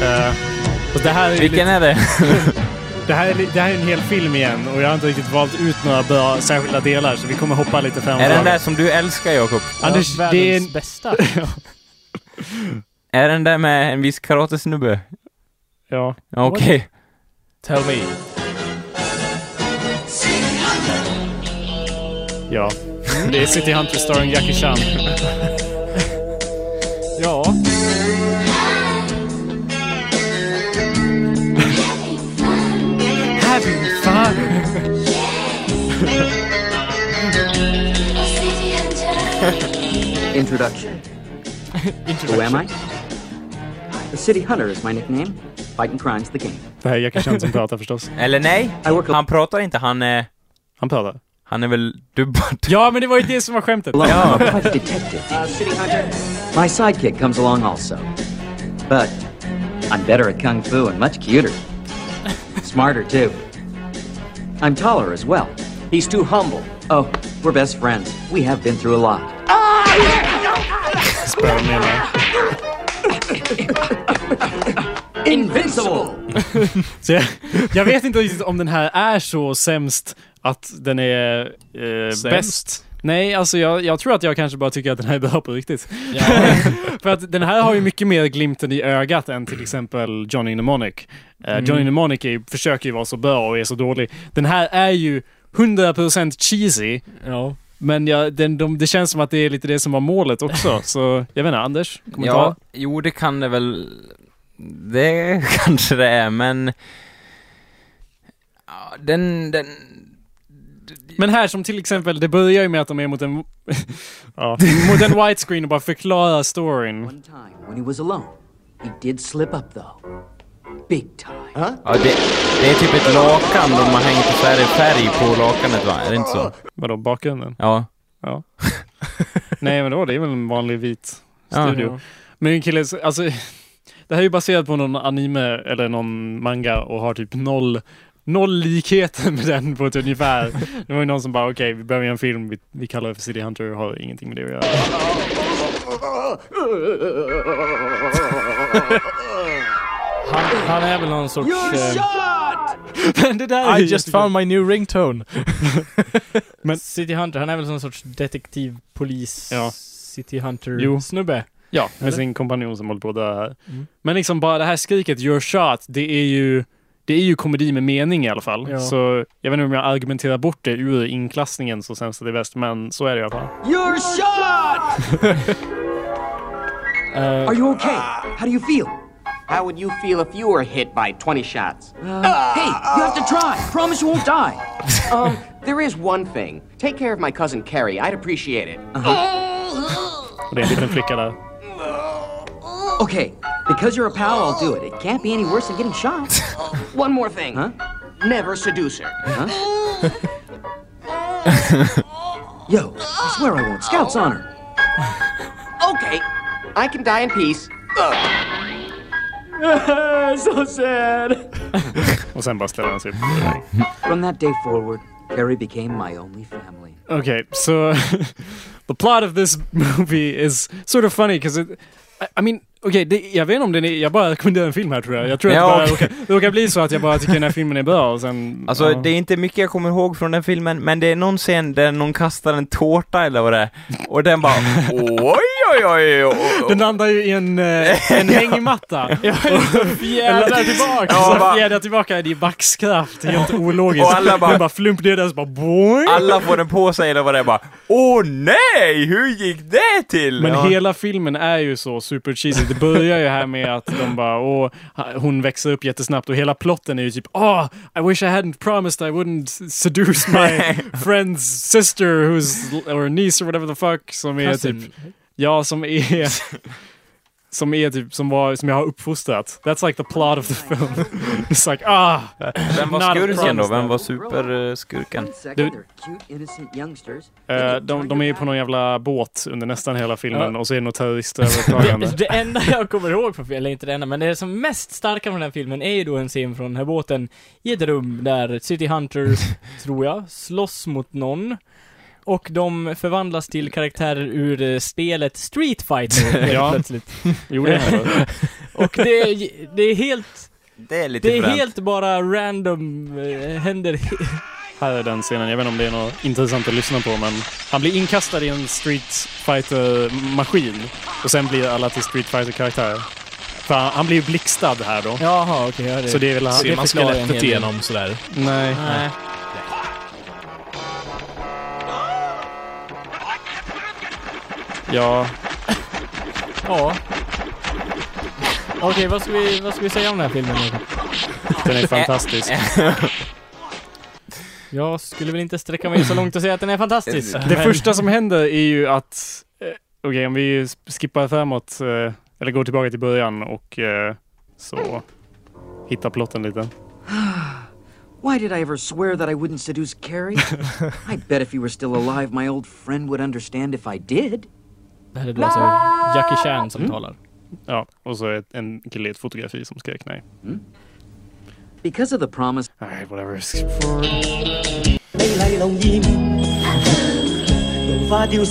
Eh, och det här är ju lite- Vilken är det? Det här, är, li- det här är en hel film igen och jag har inte riktigt valt ut några bra särskilda delar så vi kommer hoppa lite fram och Är den tillbaka. där som du älskar, Jakob? Anders, Ja, det är världens en... bästa. Är den där med en viss karatesnubbe? Ja. Ja, Okej. Tell me. ja. Det är City Hunter starring Jackie Chan. Ja. Introduction. Who am I? The City Hunter is my nickname. Fighting crime's the game. Det här är Jackie Chan som pratar förstås. Eller nej? I work alone. Han pratar inte, han är... Han pratar. Han är väl dubbad? Ja, men det var ju det som var skämtet. I'm a private detective. Uh, City Hunter. My sidekick comes along also. But I'm better at kung fu and much cuter. Smarter, too. I'm taller as well. He's too humble. Oh, we're best friends. We have been through a lot. Spöar med mig. Invincible! Så jag, jag vet inte riktigt om den här är så sämst att den är eh, bäst. Nej, alltså jag, jag tror att jag kanske bara tycker att den här är bra på riktigt. För att den här har ju mycket mer glimten i ögat än till exempel Johnny Mnemonic. Eh, Johnny Mnemonic är, ju- försöker ju vara så bra och är så dålig. Den här är ju 100% cheesy, Ja. men jag, den, de, det känns som att det är lite det som var målet också. Så jag vet inte, Anders? Kommentar? Ja, jo det kan det väl. Det kanske det är, men... Ja, Den, den... Men här som till exempel, det börjar ju med att de är mot en, ja, mot en white screen och bara förklarar storyn. One time when he was alone, he did slip up, though. Big time. Ja, det, det är typ ett lakan de har hängt så är det färg på lakanet va? Är det inte så? Vadå, bakgrunden? Ja. Ja. Nej men då, det är väl en vanlig vit studio. Ja. Men en kille, alltså, det här är ju baserat på någon anime eller någon manga och har typ noll Noll likheter med den på ett ungefär. Det var ju någon som bara okej, vi behöver göra en film, vi, vi kallar det för City Hunter och har ingenting med det att göra. Han, han är väl någon sorts... Eh, Men det där är I ju just jättekul. found my new ringtone. City Hunter, han är väl någon sorts detektiv, polis, Ja. City Hunter Jo. snubbe. Ja, med Eller? sin kompanjon som håller på att dö här. Mm. Men liksom bara det här skriket, your shot, det är ju det är ju komedi med mening i alla fall. Ja. Så jag vet inte om jag argumenterar bort det ur inklassningen så sämst att det är bäst, men så är det i alla fall. You're shot! Eh, Are you okay? How do you feel? How would you feel if you were hit by 20 shots? hey, you have to try. Promise you won't die. um, there is one thing. Take care of my cousin Carrie. I'd appreciate it. Och det är en liten flicka där. Okay, because you're a pal, I'll do it. It can't be any worse than getting shot. One more thing. Huh? Never seduce her. Huh? Yo, I swear I won't. Scout's on her. Okay, I can die in peace. Ugh. so sad. Och sen bara ställer han sig upp. From that day forward, Carrie became my only family. Okay, so the plot of this movie is sort of funny because it, I, I mean, okej, det- jag vet inte om den är, jag bara rekommenderar en film här tror jag. Jag tror att Ja, det bara okej. råkar, det råkar bli så att jag bara tycker den här filmen är bra och sen... Alltså ja. det är inte mycket jag kommer ihåg från den filmen, men det är någon scen där någon kastar en tårta eller vad det är, och den bara oj oj oj oj. Den landar ju i en, eh, en hängmatta. Jag är fjädrar tillbaka. Ja, så va? fjädrar tillbaka det är backskraft, det är helt ologiskt. Och alla bara- Den bara flump ner där så bara boing. Alla får den på sig eller vad det är bara Åh nej! Hur gick det till? Men ja. hela filmen är ju så super cheesy. Det börjar ju här med att de bara, åh, hon växer upp jättesnabbt och hela plotten är ju typ, åh, I wish I hadn't promised I wouldn't seduce my friend's sister who's, or niece or whatever the fuck, som är Alltså, typ, ja, som är, som är typ, som var, som jag har uppfostrat. That's like the plot of the film. It's like, ah! Vem Not a var skurken då? promise, Vem no. var superskurken? One second, they're cute, innocent youngsters. Eh, de, de är ju på någon jävla båt under nästan hela filmen och så är det något terroristövertagande. Det enda jag kommer ihåg från filmen, eller inte det enda, men det som mest starka från den här filmen är ju då en scen från den här båten i ett rum där City Hunters, tror jag, slåss mot någon. Och de förvandlas till karaktärer ur eh, spelet Street Fighter helt Ja. plötsligt. Jo, det är det. Och det är, det är helt, Det är lite det är fränt. helt bara random, eh, händer he- Här är den scenen, jag vet inte om det är något intressant att lyssna på men han blir inkastad i en Street fighter maskin och sen blir alla till Street fighter karaktärer För han, han blir ju blixtad här då. Jaha, okej, ja, det... Så det är väl han... Ser man förklarar en hel skelettet del. igenom sådär? Nej. Nej. Ja. Ja. Okej, vad, ska vi, vad ska vi säga om den här filmen? Jakob? Den är fantastisk. Jag skulle väl inte sträcka mig så långt och säga att den är fantastisk. Det första som händer är ju att... eh, Okej, om vi skippar framåt, eh, eller går tillbaka till början och eh, så hittar plotten lite. Why did I ever swear that I wouldn't seduce Carrie? I bet if you were still alive, my old friend would understand if I did. Det här är då alltså Jackie Chan Mm. som talar. Ja, och så ett, en kille i ett fotografi som skrek nej. Because of the promise, Alright, whatever. Skip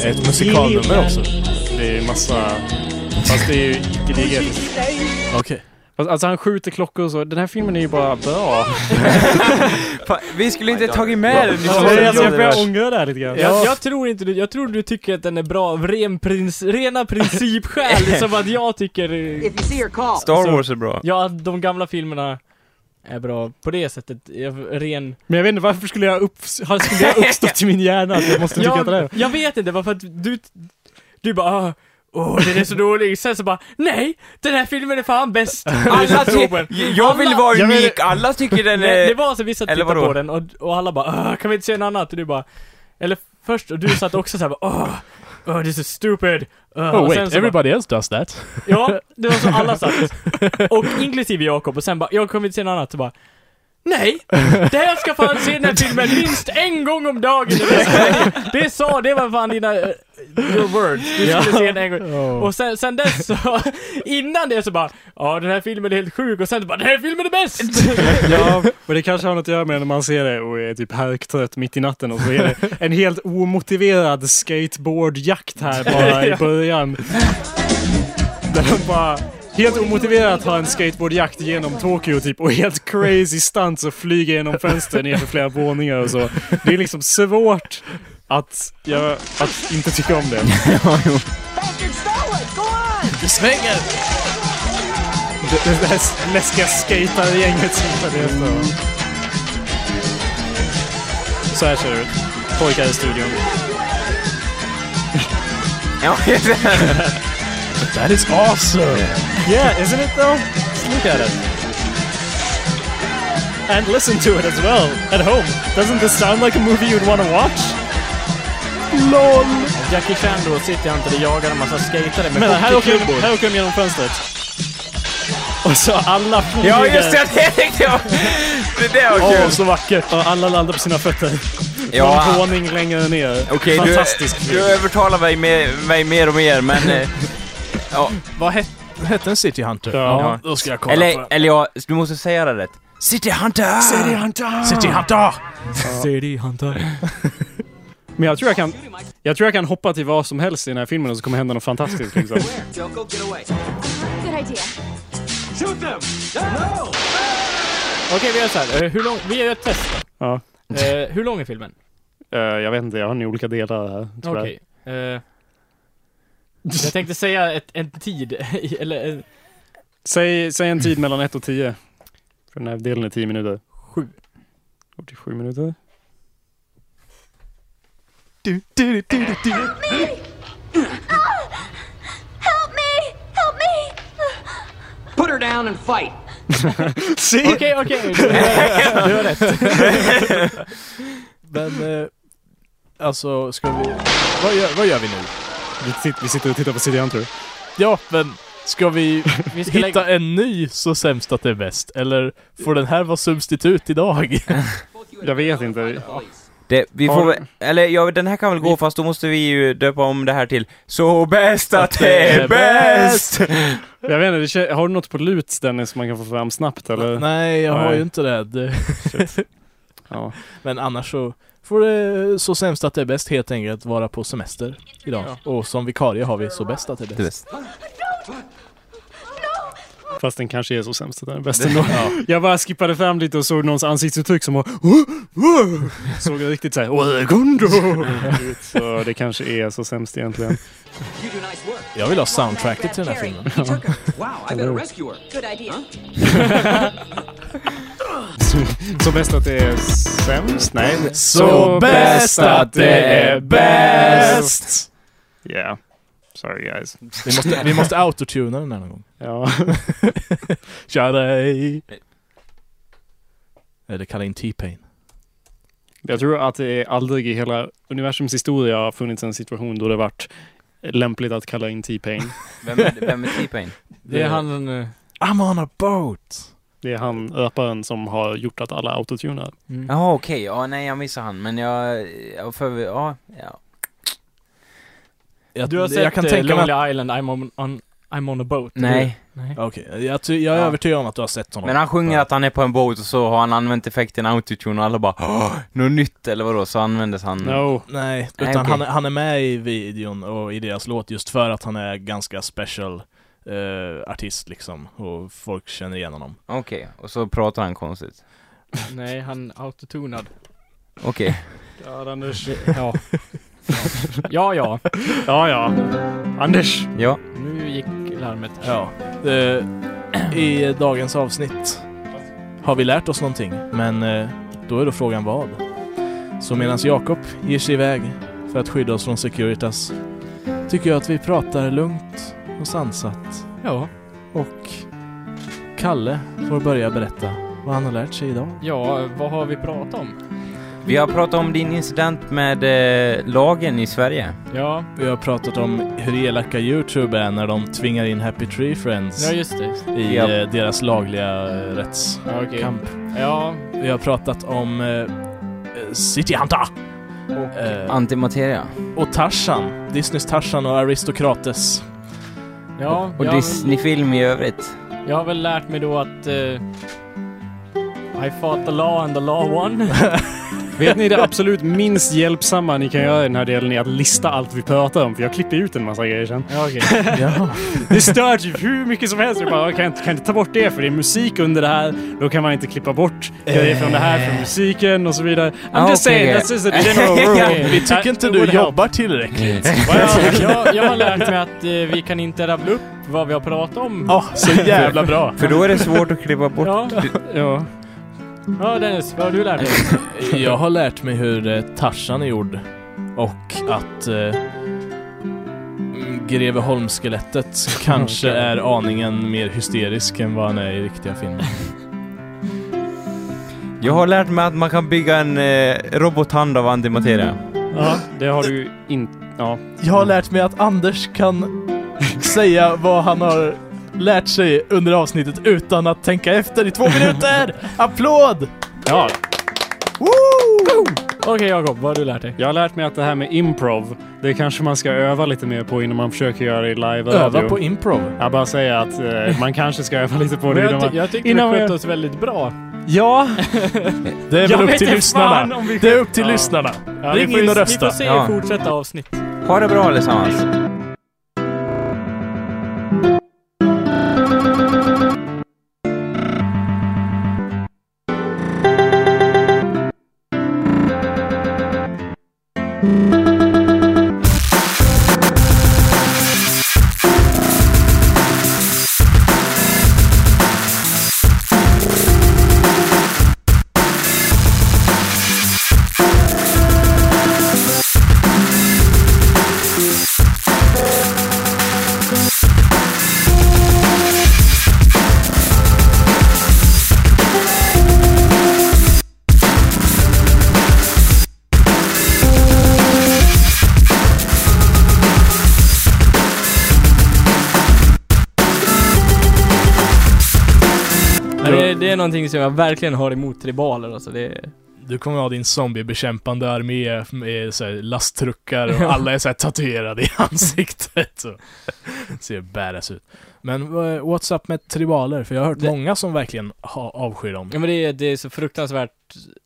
Ett musikalnummer också. Det är massa... Fast det är ju icke-digert. Okej. Fast, Alltså han skjuter klockor och så. Den här filmen är ju bara bra. Fan, Vi skulle inte tagit med den i Alltså, jag, jag slutet. börjar ångra det här lite grann. Jag, jag tror inte du, jag tror du tycker att den är bra av ren prins, rena principskäl, som att jag tycker, eh, if you see her, call. Star Wars är bra. ja att de gamla filmerna är bra på det sättet, eh, ren... Men jag vet inte varför skulle jag upp, har- skulle jag uppstått i min hjärna att jag måste tycka att det är Jag, jag vet inte, varför att du, du bara "Ah, Åh, den är så dålig. Sen så bara, nej! Den här filmen är fan bäst! Alla ty- jag vill vara Jag menar- unik, alla tycker den Nej, det är... var så vissa eh, eller tittade vadå? på den och, och alla bara "Ah, kan vi inte se en annat? Och du bara, eller först, och du satt också såhär bara åh, åh, this is stupid. Åh, Oh och wait, så bara, everybody else does that. Ja, det var så alla satt. Och inklusive Jakob, och sen bara, jag kommer inte se en annat, så bara Nej! Det här ska fan se den här filmen minst en gång om dagen! Det, är- det sa, det var fan dina, eh, your words. Du skulle se den en gång. Oh. Och sen, sen dess så, innan det så bara, ja den här filmen är helt sjuk, och sen bara, den här filmen är bäst! Ja, men det kanske har något att göra med när man ser det och är typ härktrött mitt i natten och så är det en helt omotiverad skateboardjakt här bara i början. Där de bara helt omotiverat har en skateboardjakt genom Tokyo typ och helt crazy stunts och flyger genom fönster ner för flera våningar och så. Det är liksom svårt att, göra, att inte tycka om det. Det, det här läskiga skatargänget som följer efter Så här ser det ut. Pojkar i studion. Ja, That is awesome! Yeah, isn't it though? Just look at it. And listen to it as well, at home. Doesn't this sound like a movie you'd want to watch? LOL! Jackie Chan då sitter han inte och jagar en massa skatare med Men här åker, hockeyklubbor. de, här åker de genom fönstret. Och så alla flyger. Ja, just det! Det, var, det där var Åh, kul! så vackert! Och alla landar på sina fötter. Ja, Någon våning längre ner. okej, du, Fantastisk du övertalar mig, mer- mig mer och mer, men... eh, ja, Vad het, hette den City Hunter? Ja. Då ska jag kolla på eller, den. eller ja, du måste säga det rätt. City Hunter! City Hunter! City Hunter. Men jag tror jag kan... Jag tror jag kan hoppa till vad som helst i den här filmen och så kommer hända något fantastiskt liksom. Joko, get away. Good idea. Okej, vi gör så här. Eh, Hur lång... Vi gör ett test då. Ja. Eh, hur lång är filmen? Eh, jag vet inte, jag har nog olika delar här. tror jag. Okej. Eh, jag tänkte säga ett, en tid, eller eh, en, Säg, säg en tid mellan 1 och 10. För den här delen är 10 minuter. 7. Går till 7 minuter. Ah! Help me! Help me! Put her down and fight. Okej, okej. Du har rätt. Men, eh, alltså, ska vi... Vad gör, vad gör vi nu? Vi, sit- vi sitter och tittar på City Hunter. Ja, men ska vi Vi ska lägga... hitta en ny så sämst att det är bäst? Eller får den här vara substitut idag? Jag vet inte. Det, vi Har- får väl, eller ja, den här kan väl gå fast då måste vi ju döpa om det här till Så bäst att det är bäst! Jag vet inte, det kän- har du något på lut Dennis som man kan få fram snabbt eller? Nej, jag har Nej. ju inte det. det. Ja. Men annars så får det så sämst att det är bäst helt enkelt vara på semester idag. Och som vikarie har vi så bäst att det är bäst. Fast den kanske är så sämst att den är bäst ändå. Jag bara skippade fram lite och såg någons ansiktsuttryck som var "Åh, åh", Såg jag riktigt såhär "Åh, Gundo! ut. Så det kanske är så sämst egentligen. You do nice work. Jag vill ha soundtracket till den här filmen. He took her. Wow, I gotta rescue her. Good idea. Så bäst att det är sämst? Nej. Så bäst att det är bäst! Yeah. Sorry guys. Vi måste, vi måste autotuna den här någon gång. Ja. Tja dig! Eller kalla in T-Pain. Jag tror att det är aldrig i hela universums historia har funnits en situation då det varit lämpligt att kalla in T-Pain. Vem är, vem är T-Pain? Det är han... eh, I'm on a boat! Det är han öparen som har gjort att alla autotunar. Jaha okej, ja nej jag missade han, men jag, jag för, ja, ja. Jag, Du har sett jag kan eh, tänka mig Lonely att, Island, I'm on, on, I'm on a boat. Nej. Okej, jag, ty- jag är Ja. övertygad om att du har sett honom. Men han sjunger att han är på en båt och så har han använt effekten autotune och alla bara "Åh, något nytt eller vadå, så användes han... No. Nej, utan Nej, okej. han, är- han är med i videon och i deras låt just för att han är ganska special eh, artist liksom, och folk känner igen honom. Okej, och så pratar han konstigt. Nej, han autotonad. Okej. Ja, Anders. Ja. Ja, ja. Ja, ja. Anders. Ja. Nu gick larmet. här. Ja. eh, I dagens avsnitt har vi lärt oss någonting, men eh, då är då frågan vad? Så medan Jakob ger sig iväg för att skydda oss från Securitas tycker jag att vi pratar lugnt och sansat Ja. och Kalle får börja berätta vad han har lärt sig idag. Ja, vad har vi pratat om? Vi har pratat om din incident med eh, lagen i Sverige. Ja, Vi har pratat om hur elaka Youtube är när de tvingar in Happy Tree Friends ja just det. i Ja. eh, deras lagliga eh, rättskamp. Ja, okej. Ja, Vi har pratat om eh, eh, City Hunter! Och, eh, Antimateria. och Tarzan. Disneys Tarzan och Aristokrates. ja. Och jag, Disney-film i övrigt. jag har väl lärt mig då att... eh, I fought the law and the law won. Vet ni det absolut minst hjälpsamma ni kan göra i den här delen är att lista allt vi pratar om, för jag klipper ut en massa grejer sen. Ja, okej. ja. Det stör typ hur mycket som helst. Jag bara, kan jag inte, kan jag inte ta bort det för det är musik under det här. Då kan man inte klippa bort grejer från det här från musiken och så vidare. I'm Ah, just okej. saying, that's just a general rule. Vi tycker inte du jobbar tillräckligt. Ja, jag, jag har lärt mig att eh, vi kan inte rabbla upp vad vi har pratat om. Ja, Ah, så jävla bra. För då är det svårt att klippa bort. Ja. Ja. ja, Dennis, vad har du lärt dig? Jag har lärt mig hur eh, Tarzan är gjord och att eh, Greveholmsskelettet kanske är aningen mer hysterisk än vad han är i riktiga filmer. Jag har lärt mig att man kan bygga en eh, robothand av antimateria. ja, det har du inte... Ja. Jag har lärt mig att Anders kan säga vad han har lärt sig under avsnittet utan att tänka efter i två minuter! Applåd! Ja, Woo! Okej Jakob, vad har du lärt dig? jag har lärt mig att det här med improv, det kanske man ska öva lite mer på innan man försöker göra det i live Öva på improv. Jag bara säger att eh, man kanske ska öva lite på Men det jag, innan ty- man... jag tyckte innan vi man- skötte oss väldigt bra. Ja, Det är Jag väl upp vet till inte lyssnarna. fan om vi- Det är upp till lyssnarna. vi Ring får in och ju- Vi får rösta. se Ja. i fortsatta avsnitt. Ha det bra allesammans. Men det, det är någonting som jag verkligen har emot tribaler alltså. Det är... Du kommer ha din zombiebekämpande armé med så här lasttruckar och alla är så här tatuerade i ansiktet. Så. Ser badass ut. Men eh, what's up med tribaler? För jag har hört Det- många som verkligen ha, avskyr dem. Ja men det är, det är så fruktansvärt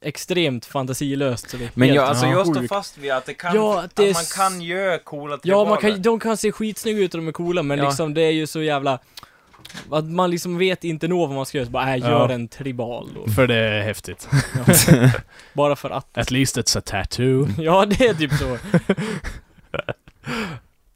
extremt fantasilöst så det är Men helt jag, alltså, jag står sjukt. fast vid att det kan... Ja, att det är man s- kan göra coola Ja, man tribaler. kan, de kan se skitsnygga ut och de är coola, men Ja. liksom det är ju så jävla... Att man liksom vet inte nå vad man ska göra, så bara äh, gör en tribal då. För det är häftigt. Bara för att. At least it's a tattoo. Ja, det är typ så.